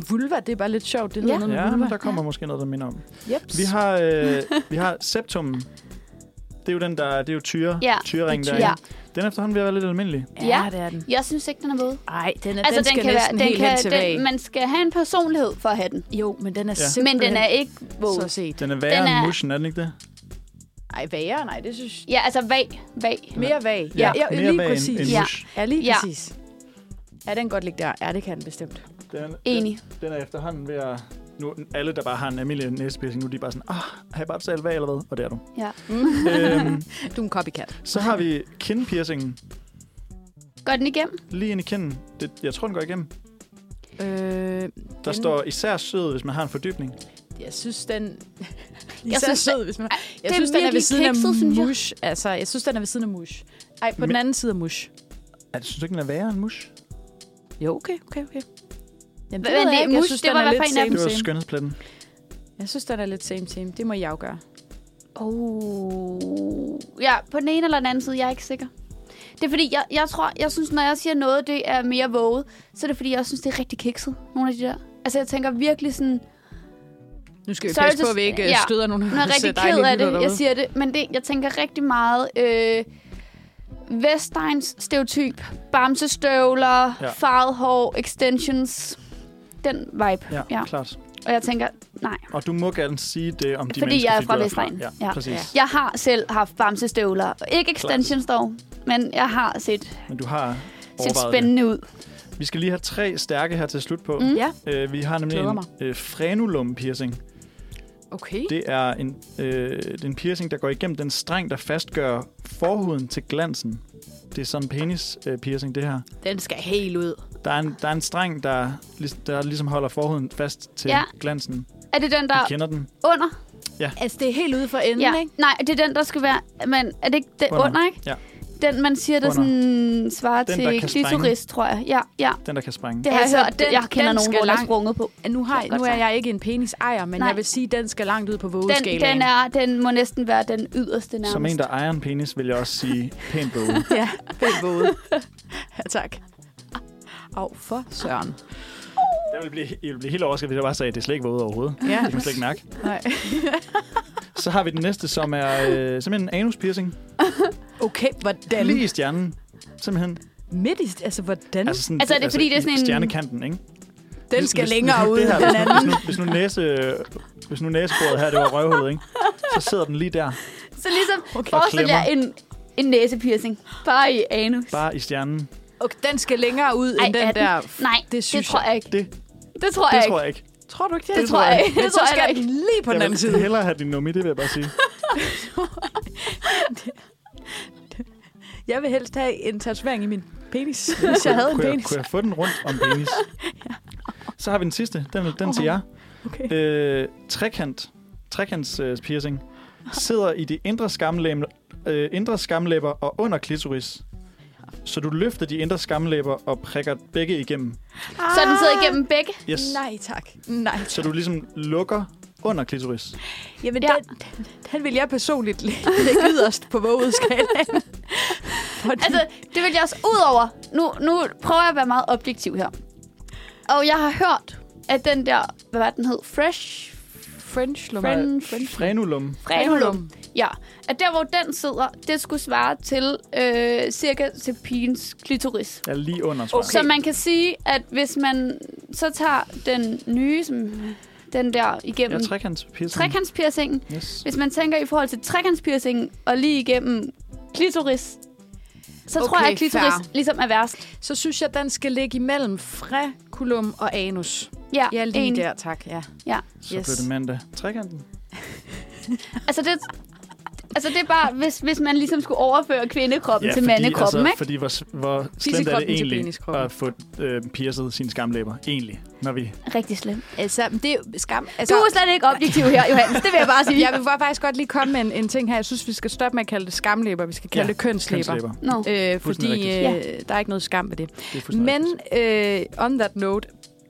Speaker 2: Vulva, det er bare lidt sjovt. Det hedder
Speaker 3: Ja.
Speaker 2: noget med
Speaker 1: Ja, men
Speaker 2: vulva.
Speaker 1: der kommer måske noget, der minder om.
Speaker 2: Jeps.
Speaker 1: Vi har,
Speaker 3: (laughs)
Speaker 1: øh, vi har septum. Det er jo den, der det er jo tyre,
Speaker 3: Ja,
Speaker 1: tyreringen
Speaker 2: det er
Speaker 1: der.
Speaker 2: tyre.
Speaker 1: Ja. Den er efterhånden ved at være lidt almindelig.
Speaker 2: Ja,
Speaker 3: Ja.
Speaker 2: det er den.
Speaker 3: Jeg synes ikke, den er våd.
Speaker 2: Nej, den, er,
Speaker 3: Altså,
Speaker 2: den skal
Speaker 3: kan være,
Speaker 2: næsten
Speaker 3: den
Speaker 2: helt
Speaker 3: kan,
Speaker 2: hen til vag.
Speaker 3: den, man skal have en personlighed for at have den.
Speaker 2: Jo, men den er
Speaker 1: Ja.
Speaker 2: simpelthen
Speaker 3: Men den er ikke våd.
Speaker 2: så set.
Speaker 1: Den er værre
Speaker 3: Den
Speaker 1: end
Speaker 3: er-
Speaker 1: mushen, er den ikke det?
Speaker 2: Ej, værre? Nej, det synes jeg.
Speaker 3: Ja, altså vag, vag.
Speaker 2: Mere vag. Ja, ja, ja
Speaker 1: mere
Speaker 2: lige
Speaker 1: vag
Speaker 2: præcis.
Speaker 1: End, end
Speaker 3: Ja.
Speaker 1: ja. mush.
Speaker 2: Ja, lige
Speaker 3: Ja.
Speaker 2: præcis. Ja, den kan godt ligge der. Ja, det kan den bestemt.
Speaker 1: Den, er-
Speaker 3: Enig.
Speaker 1: Den, den er efterhånden ved at... Nu, alle, der bare har en almindelig næsepiercing, nu er de bare sådan, ah, har jeg bare betalt hvad eller hvad? Og det
Speaker 3: (laughs)
Speaker 1: er du.
Speaker 3: Ja.
Speaker 1: øhm,
Speaker 2: Du er en copycat.
Speaker 1: så har vi kindpiercingen
Speaker 3: Går den igennem?
Speaker 1: lige ind i kinden. Det, jeg tror, den går igennem.
Speaker 2: Øh,
Speaker 1: Der
Speaker 2: den,
Speaker 1: står især sød, hvis man har en fordybning.
Speaker 2: Jeg synes, den... (laughs)
Speaker 3: Jeg
Speaker 2: Jeg
Speaker 3: synes,
Speaker 2: synes, sød, hvis man... Jeg
Speaker 3: er
Speaker 2: synes, den er ved
Speaker 3: virkelig
Speaker 2: siden
Speaker 3: kikset,
Speaker 2: af
Speaker 3: synes jeg.
Speaker 2: mush. Altså, jeg synes, den er ved siden af mush. Ej, på
Speaker 1: Men-
Speaker 2: den anden side af mush.
Speaker 1: Er det, synes du ikke, den er værre end mush?
Speaker 2: Jo, okay, okay, okay. Jamen,
Speaker 3: Hvad- men det-
Speaker 2: Jeg
Speaker 3: mush,
Speaker 2: synes,
Speaker 3: det
Speaker 2: den
Speaker 3: var
Speaker 2: er
Speaker 3: i hvert
Speaker 2: lidt
Speaker 3: fald en af
Speaker 1: Det
Speaker 2: same,
Speaker 1: var
Speaker 2: same.
Speaker 1: skønhedspletten.
Speaker 2: Jeg synes, den er lidt same, same. Det må jeg afgøre.
Speaker 3: Oh. Ja, på den ene eller den anden side, jeg er ikke sikker. Det er fordi, jeg, jeg tror, jeg synes, når jeg siger noget, det er mere våget, så er det fordi, jeg også synes, det er rigtig kikset, nogle af de der. Altså, jeg tænker
Speaker 1: (laughs)
Speaker 3: virkelig sådan,
Speaker 2: Nu skal vi
Speaker 3: Så er
Speaker 2: passe
Speaker 3: det-
Speaker 2: på, at vi ikke øh,
Speaker 3: ja.
Speaker 2: støder nogen.
Speaker 3: nu er jeg rigtig ked af det, jeg siger det, men det, jeg tænker rigtig meget, øh, Vestegns stereotyp, bamsestøvler, ja.
Speaker 1: Ja.
Speaker 3: farvet hår, extensions, den vibe.
Speaker 1: Ja,
Speaker 3: Ja.
Speaker 1: ja, klart.
Speaker 3: Og jeg tænker, nej.
Speaker 1: Og du må gerne sige det om de
Speaker 3: Fordi
Speaker 1: mennesker,
Speaker 3: jeg er fra
Speaker 1: du
Speaker 3: Vestegnen.
Speaker 1: Ja,
Speaker 3: Ja.
Speaker 1: ja, præcis.
Speaker 2: Ja.
Speaker 1: Ja.
Speaker 3: Jeg har selv haft bamsestøvler. Ikke extensions dog, men jeg har set,
Speaker 1: Men du har
Speaker 3: set
Speaker 1: overvejet det.
Speaker 3: spændende ud.
Speaker 1: Vi skal lige have tre stærke her til slut på.
Speaker 3: Mm.
Speaker 1: Mm.
Speaker 2: Ja,
Speaker 1: Øh, vi har nemlig
Speaker 2: Glæder
Speaker 1: en
Speaker 2: mig.
Speaker 1: øh, frenulum piercing.
Speaker 2: okay.
Speaker 1: Det er en, øh, det er en piercing, der går igennem den streng, der fastgør forhuden til glansen. Det er sådan en penis øh, piercing, det her.
Speaker 2: Den skal helt ud.
Speaker 1: Der er en, der er en streng, der, lig- der ligesom holder forhuden fast til
Speaker 3: Ja.
Speaker 1: ja. glansen.
Speaker 3: Er det den,
Speaker 1: Du
Speaker 3: der
Speaker 1: kender den.
Speaker 3: under?
Speaker 2: Altså, det er helt ude for enden,
Speaker 3: Ja.
Speaker 2: ikke?
Speaker 3: Nej, det er den, der skal være... Men er det ikke den under,
Speaker 1: Under.
Speaker 3: under ikke?
Speaker 1: Ja.
Speaker 3: Den, man siger, der
Speaker 1: Under.
Speaker 3: sådan svarer
Speaker 1: Den, der
Speaker 3: til
Speaker 1: kan
Speaker 3: klitoris, tror jeg. Ja, ja.
Speaker 1: Den, der kan sprænge.
Speaker 3: Det har altså,
Speaker 2: Altså,
Speaker 3: jeg hørt. Den,
Speaker 2: den-
Speaker 3: jeg kender
Speaker 2: den
Speaker 3: nogen,
Speaker 2: skal
Speaker 3: hvor der er
Speaker 2: langt.
Speaker 3: sprunget på.
Speaker 2: Nu,
Speaker 3: Det kan
Speaker 2: har,
Speaker 3: godt
Speaker 2: nu er
Speaker 3: være.
Speaker 2: jeg ikke en penisejer, men
Speaker 3: Nej.
Speaker 2: jeg vil sige, at den skal langt ud på
Speaker 3: Den,
Speaker 2: vågeskalaen.
Speaker 3: den, er, den må næsten være den yderste nærmest.
Speaker 1: Som en, der ejer en penis, vil jeg også sige pænt våget.
Speaker 2: (laughs) Ja, pænt våget. ja, tak. Au, for søren.
Speaker 1: Jeg vil blive, I vil blive helt overrasket, hvis jeg bare sagde, at det er slet ikke våget overhovedet.
Speaker 2: Ja.
Speaker 1: Det kan man slet ikke mærke.
Speaker 2: Nej.
Speaker 1: Så har vi den næste, som er øh, simpelthen en anus piercing.
Speaker 2: Okay, hvordan?
Speaker 1: Lige i stjernen. Simpelthen.
Speaker 2: Midt i, altså, hvordan?
Speaker 1: Altså, sådan,
Speaker 3: Altså, er det fordi, det er
Speaker 1: i
Speaker 3: sådan en-
Speaker 1: Stjernekanten, ikke?
Speaker 2: den
Speaker 1: Hvis-
Speaker 2: skal
Speaker 1: hvis-
Speaker 2: længere
Speaker 1: hvis-
Speaker 2: ud
Speaker 1: det her,
Speaker 2: end den
Speaker 1: hvis nu-
Speaker 2: anden.
Speaker 1: Hvis nu, hvis nu, næse, hvis nu næsebordet her, det var røvhullet, ikke? Så sidder den lige der,
Speaker 3: Så ligesom okay.
Speaker 2: Okay.
Speaker 3: forestil jer
Speaker 1: Og
Speaker 3: en, en næsepiercing. Bare i anus.
Speaker 1: bare i stjernen.
Speaker 2: Okay, den skal længere ud end
Speaker 3: er
Speaker 2: den
Speaker 3: den?
Speaker 2: der.
Speaker 3: Nej,
Speaker 2: det
Speaker 3: det,
Speaker 2: synes
Speaker 3: tror jeg ikke.
Speaker 1: Det,
Speaker 3: Det tror
Speaker 1: det
Speaker 3: jeg
Speaker 1: tror
Speaker 3: ikke.
Speaker 1: jeg ikke.
Speaker 2: Tror du ikke det?
Speaker 3: Det tror jeg ikke.
Speaker 2: Men
Speaker 3: Det
Speaker 2: så
Speaker 3: tror jeg
Speaker 2: skal
Speaker 3: ikke.
Speaker 2: den lige på den
Speaker 1: Jeg
Speaker 2: anden
Speaker 1: vil
Speaker 2: side.
Speaker 1: hellere have din nummi, det vil jeg bare sige.
Speaker 2: Jeg vil helst have en tatovering i min penis, hvis jeg havde en
Speaker 1: Kunne jeg,
Speaker 2: penis.
Speaker 1: kunne jeg få den rundt om
Speaker 2: (laughs)
Speaker 1: penis? Så har vi den sidste, den, den til jer.
Speaker 2: Okay.
Speaker 1: Øh, trekant, trekants øh, piercing, sidder i de indre skamlæber, øh, indre skamlæber og under klitoris. Så du løfter de indre skamlæber og prikker begge igennem.
Speaker 3: Så den
Speaker 2: Ah.
Speaker 3: sidder igennem begge.
Speaker 1: Yes.
Speaker 2: Nej tak. Nej tak.
Speaker 1: Så du ligesom lukker under klitoris.
Speaker 2: Jamen,
Speaker 3: Ja.
Speaker 2: ja. den, den, den vil jeg personligt (laughs) lægge yderst på (laughs) vågeskalaen. Fordi,
Speaker 3: Altså, det vil jeg også ud over. Nu, nu prøver jeg at være meget objektiv her. Og jeg har hørt, at den der, hvad var den hed? Fresh
Speaker 2: French lummer.
Speaker 3: French-
Speaker 1: Frenulum.
Speaker 3: Frenulum. Ja, at der, hvor den sidder, det skulle svare til øh, cirka til pigens klitoris.
Speaker 1: Ja, lige under, tror
Speaker 3: Okay. Så man kan sige, at hvis man så tager den nye, som den der
Speaker 1: jeg.
Speaker 3: igennem
Speaker 1: Ja, trekantspiercing.
Speaker 3: trekantspiercingen,
Speaker 1: Yes.
Speaker 3: hvis man tænker i forhold til trekantspiercingen og lige igennem klitoris, så okay, tror
Speaker 2: Okay,
Speaker 3: jeg, at klitoris
Speaker 2: fair.
Speaker 3: ligesom er værst.
Speaker 2: Så synes jeg, den skal ligge imellem frekulum og anus.
Speaker 3: Ja,
Speaker 2: Ja, lige
Speaker 3: enig.
Speaker 2: der, tak. Ja.
Speaker 1: Så
Speaker 2: Yes.
Speaker 1: yes. blev det mandag. Trekanten.
Speaker 3: Altså det, altså det er bare, hvis, hvis man ligesom skulle overføre kvindekroppen ja, til
Speaker 1: fordi,
Speaker 3: mandekroppen,
Speaker 1: altså,
Speaker 3: ikke?
Speaker 1: Fordi hvor, hvor slemt er
Speaker 2: Tissekroppen
Speaker 1: det
Speaker 2: til
Speaker 1: egentlig
Speaker 2: peniskroppen.
Speaker 1: at få øh, piercet sine skamlæber? Egentlig. Når vi...
Speaker 3: Rigtig slemt.
Speaker 2: Altså, det er jo skam.
Speaker 3: Du
Speaker 2: Altså,
Speaker 3: er slet ikke objektiv her, Johannes. Det vil jeg
Speaker 2: (laughs)
Speaker 3: bare sige.
Speaker 2: jeg vil bare faktisk godt lige komme med en, en ting her. Jeg synes, vi skal stoppe med at kalde det skamlæber. Vi skal kalde
Speaker 1: Ja,
Speaker 2: det kønslæber.
Speaker 1: Kønslæber.
Speaker 3: Nå.
Speaker 2: Øh,
Speaker 1: Fuldstændig
Speaker 2: fordi
Speaker 3: rigtigt.
Speaker 2: øh, der er ikke noget skam ved det.
Speaker 1: Det er fuldstændig
Speaker 2: Men
Speaker 1: rigtigt.
Speaker 2: øh, on that note,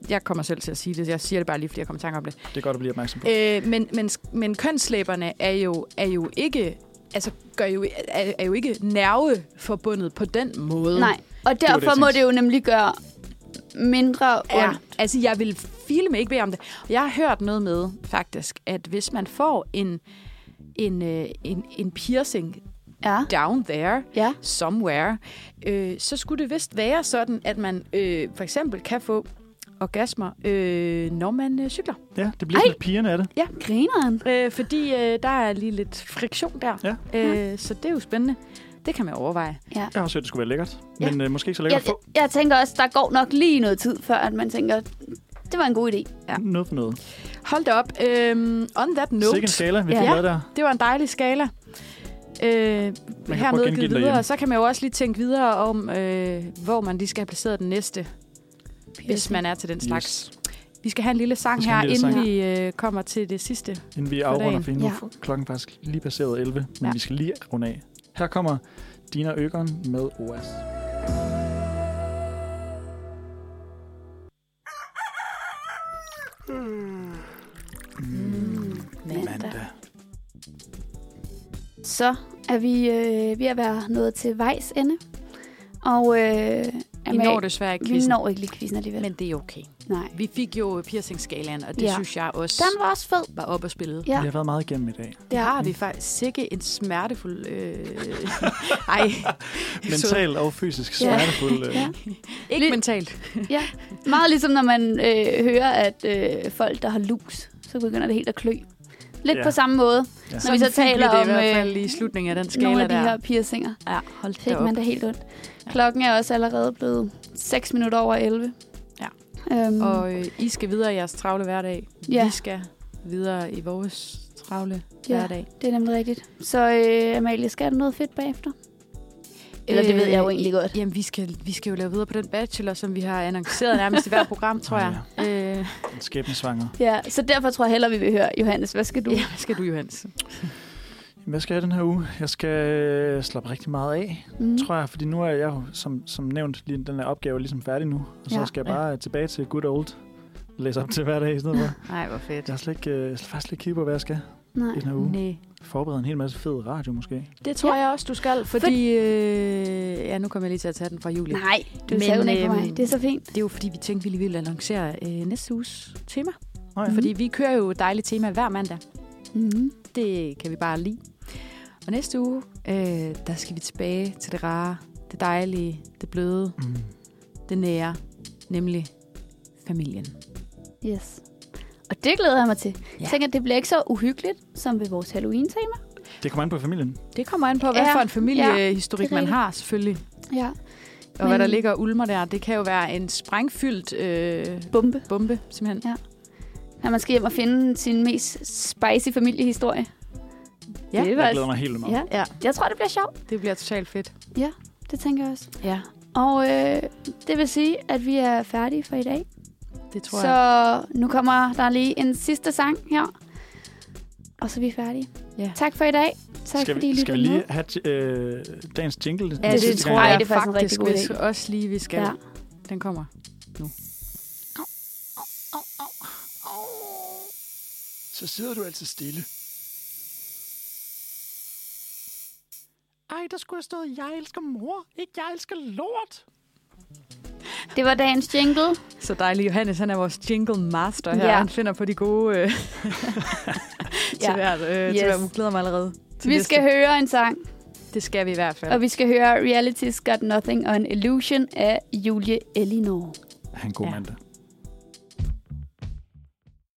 Speaker 2: jeg kommer selv til at sige det. Jeg siger det bare lige, fordi jeg kommer i tanke om det.
Speaker 1: Det er godt at blive opmærksom på.
Speaker 2: Øh, men, men, men kønslæberne er jo, er jo ikke... Altså, gør jo, er, er jo ikke nerveforbundet på den måde.
Speaker 3: Nej, og
Speaker 1: jeg
Speaker 3: derfor må
Speaker 1: tænkte.
Speaker 3: det jo nemlig gøre mindre
Speaker 2: Ja,
Speaker 3: ondt.
Speaker 2: altså, jeg vil filme ikke bede om det. Og jeg har hørt noget med, faktisk, at hvis man får en, en, øh, en, en piercing
Speaker 3: Ja.
Speaker 2: down there,
Speaker 3: Ja.
Speaker 2: somewhere, øh, så skulle det vist være sådan, at man øh, for eksempel kan få orgasmer, øh, når man øh, cykler.
Speaker 1: Ja, det bliver sådan lidt pigerne af det.
Speaker 3: Grineren.
Speaker 2: Øh, fordi øh, der er lige lidt friktion der.
Speaker 1: Ja.
Speaker 2: Øh, så det er jo spændende. Det kan man overveje.
Speaker 1: Jeg har også hørt, det skulle være lækkert.
Speaker 3: Ja.
Speaker 1: Men øh, måske ikke så
Speaker 3: Jeg,
Speaker 1: lækkert at få
Speaker 3: jeg, jeg tænker også, der går nok lige noget tid, før at man tænker, det var en god idé.
Speaker 2: ja.
Speaker 1: noget for noget.
Speaker 2: Hold da op. Øhm, on that note.
Speaker 1: Sikke en skala, vi
Speaker 2: Ja.
Speaker 1: fik lavet der.
Speaker 2: Det var en dejlig skala.
Speaker 1: godt
Speaker 2: Øh, hermed
Speaker 1: gengive den
Speaker 2: givet videre.
Speaker 1: derhjemme.
Speaker 2: Og så kan man jo også lige tænke videre om, øh, hvor man lige skal have placeret den næste, hvis man er til den slags.
Speaker 1: Yes.
Speaker 2: Vi skal have en lille sang
Speaker 1: Vi skal
Speaker 2: her,
Speaker 1: have en
Speaker 2: inden
Speaker 1: lille
Speaker 2: sang.
Speaker 3: sang.
Speaker 2: vi øh, kommer til det sidste.
Speaker 1: Inden vi afrunder,
Speaker 2: dagen.
Speaker 1: for nu
Speaker 3: Ja.
Speaker 1: er klokken faktisk lige passeret 11, men
Speaker 2: Ja.
Speaker 1: vi skal lige runde af. Her kommer Dina Økeren med OAS.
Speaker 4: Hmm.
Speaker 1: Mandag.
Speaker 3: Så er vi øh, ved at være nået til vejs ende. Og øh,
Speaker 2: Vi når desværre ikke
Speaker 3: vi
Speaker 2: quizzen,
Speaker 3: når ikke lige quizzen alligevel. Men,
Speaker 2: men det er okay.
Speaker 3: Nej.
Speaker 2: Vi fik jo piercing-skalaen, og det
Speaker 3: Ja.
Speaker 2: ja. synes jeg også
Speaker 3: Den var også fed.
Speaker 2: var op at spille.
Speaker 1: Ja.
Speaker 3: Ja.
Speaker 1: Vi har været meget igennem i dag.
Speaker 2: Det har vi faktisk. Sikke en smertefuld... (laughs) Øh, ej.
Speaker 1: Mentalt og fysisk
Speaker 3: Ja.
Speaker 1: smertefuld. Øh,
Speaker 3: Ja.
Speaker 2: Ikke
Speaker 3: Lidt-
Speaker 2: mentalt.
Speaker 3: Meget ligesom når man øh, hører, at øh, folk, der har lus, så begynder det helt at klø. Lidt
Speaker 1: Ja.
Speaker 3: på samme måde.
Speaker 1: Ja.
Speaker 3: Når vi så
Speaker 2: Sådan fik
Speaker 3: taler
Speaker 2: det
Speaker 3: om
Speaker 2: i hvert
Speaker 3: øh,
Speaker 2: fald i slutningen af den
Speaker 3: nogle
Speaker 2: skala
Speaker 3: af de
Speaker 2: der.
Speaker 3: her piercinger,
Speaker 2: Ja, hold da
Speaker 3: fik
Speaker 2: op.
Speaker 3: man da helt ondt. Klokken er også allerede blevet 6 minutter over 11.
Speaker 2: Ja.
Speaker 3: Øhm,
Speaker 2: Og øh, I skal videre i jeres travle hverdag.
Speaker 3: Ja.
Speaker 2: Ja. Vi skal videre i vores travle
Speaker 3: Ja.
Speaker 2: ja. hverdag.
Speaker 3: det er nemlig rigtigt. Så øh, Amalie, skal der noget fedt bagefter? Øh, Eller det ved jeg jo egentlig godt.
Speaker 2: Øh, Jamen, vi skal, vi skal jo lave videre på den bachelor, som vi har annonceret nærmest i hver program, tror jeg. Øh,
Speaker 1: En skæbnesvanger.
Speaker 3: Ja, så derfor tror jeg hellere, vi vil høre. Johannes, hvad skal du?
Speaker 2: ja, skal du, Johannes?
Speaker 1: Hvad skal jeg den her uge? Jeg skal øh, slappe rigtig meget af,
Speaker 3: Mm.
Speaker 1: tror jeg. Fordi nu er jeg jo, som, som nævnt, lige den her opgave er ligesom færdig nu. Og så
Speaker 2: Ja.
Speaker 1: ja. skal jeg bare øh, tilbage til good old. Læse op til hver dag i stedet
Speaker 3: (laughs)
Speaker 1: for.
Speaker 2: Nej, hvor fedt.
Speaker 1: Jeg har slet ikke, øh, jeg har faktisk slet ikke kigget på, hvad jeg skal
Speaker 3: Nej.
Speaker 1: i den her uge.
Speaker 2: Nej.
Speaker 1: Forberede en hel masse fed radio måske.
Speaker 2: Det tror
Speaker 3: Ja.
Speaker 2: ja. jeg også, du skal, fordi... Øh, ja, nu kommer jeg lige til at tage den fra Julie.
Speaker 3: Nej, du
Speaker 2: Men,
Speaker 3: Men, sagde ikke på
Speaker 2: øhm,
Speaker 3: mig. Det er så fint.
Speaker 2: Det er jo, fordi vi tænkte, vi lige ville annoncere øh, næste uges tema.
Speaker 1: Nå ja.
Speaker 2: Mm. Fordi vi kører jo et dejligt tema hver mandag.
Speaker 3: Mm.
Speaker 2: Det kan vi bare lide. Og næste uge, øh, der skal vi tilbage til det rare, det dejlige, det bløde,
Speaker 1: Mm.
Speaker 2: det nære, nemlig familien.
Speaker 3: Yes. Og det glæder jeg mig til. Ja.
Speaker 2: Ja.
Speaker 3: Jeg tænker, det bliver ikke så uhyggeligt som ved vores Halloween-tema.
Speaker 1: Det kommer an på familien.
Speaker 2: Det kommer an på, hvad
Speaker 3: Ja,
Speaker 2: for en
Speaker 3: det
Speaker 2: familiehistorik
Speaker 3: er
Speaker 2: man
Speaker 3: rigtigt.
Speaker 2: har, selvfølgelig.
Speaker 3: Ja.
Speaker 2: Og hvad
Speaker 3: Men-
Speaker 2: der ligger og ulmer der, det kan jo være en sprængfyldt øh,
Speaker 3: Bombe.
Speaker 2: bombe, simpelthen.
Speaker 3: Når man skal hjem og finde sin mest spicy familiehistorie.
Speaker 2: Ja.
Speaker 3: det var
Speaker 1: Jeg glæder mig helt meget.
Speaker 3: Ja.
Speaker 2: Ja,
Speaker 3: Jeg tror, det bliver sjovt.
Speaker 2: det bliver totalt fedt.
Speaker 3: Det tænker jeg også.
Speaker 2: Ja,
Speaker 3: Og øh, det vil sige, at vi er færdige for i dag.
Speaker 2: det tror
Speaker 3: så
Speaker 2: jeg.
Speaker 3: nu kommer der lige en sidste sang her. Og så er vi færdige.
Speaker 2: Ja.
Speaker 3: Tak for i dag. Tak
Speaker 1: skal,
Speaker 3: fordi I
Speaker 1: vi, skal vi
Speaker 3: lyttede
Speaker 1: lige
Speaker 3: med.
Speaker 1: have øh, dagens jingle?
Speaker 2: Ja,
Speaker 3: det
Speaker 2: det,
Speaker 1: sidste
Speaker 2: det
Speaker 3: synes
Speaker 1: gang?
Speaker 2: tror
Speaker 3: jeg-
Speaker 2: jeg
Speaker 3: det er faktisk en rigtig
Speaker 2: faktisk,
Speaker 3: god
Speaker 2: hvis
Speaker 3: idé.
Speaker 2: også lige vi skal.
Speaker 3: Ja.
Speaker 2: Ja. Den kommer.
Speaker 4: Så sidder du altså stille.
Speaker 1: Ej, der skulle have stået, jeg elsker mor, ikke jeg elsker lort.
Speaker 3: Det var dagens jingle.
Speaker 2: Så dejlig Johannes, han er vores jingle master her.
Speaker 3: Ja.
Speaker 2: Ja. Han finder på de gode øh, (laughs) til,
Speaker 3: Ja.
Speaker 2: ja. hvert, øh,
Speaker 3: Yes.
Speaker 2: til hvert. Jeg glæder mig allerede. Til
Speaker 3: Vi
Speaker 2: næste.
Speaker 3: skal høre en sang,
Speaker 2: Det skal vi i hvert fald.
Speaker 3: og vi skal høre Reality's Got Nothing og en Illusion af Julie Elinor.
Speaker 1: Han god
Speaker 2: Ja.
Speaker 1: mandag.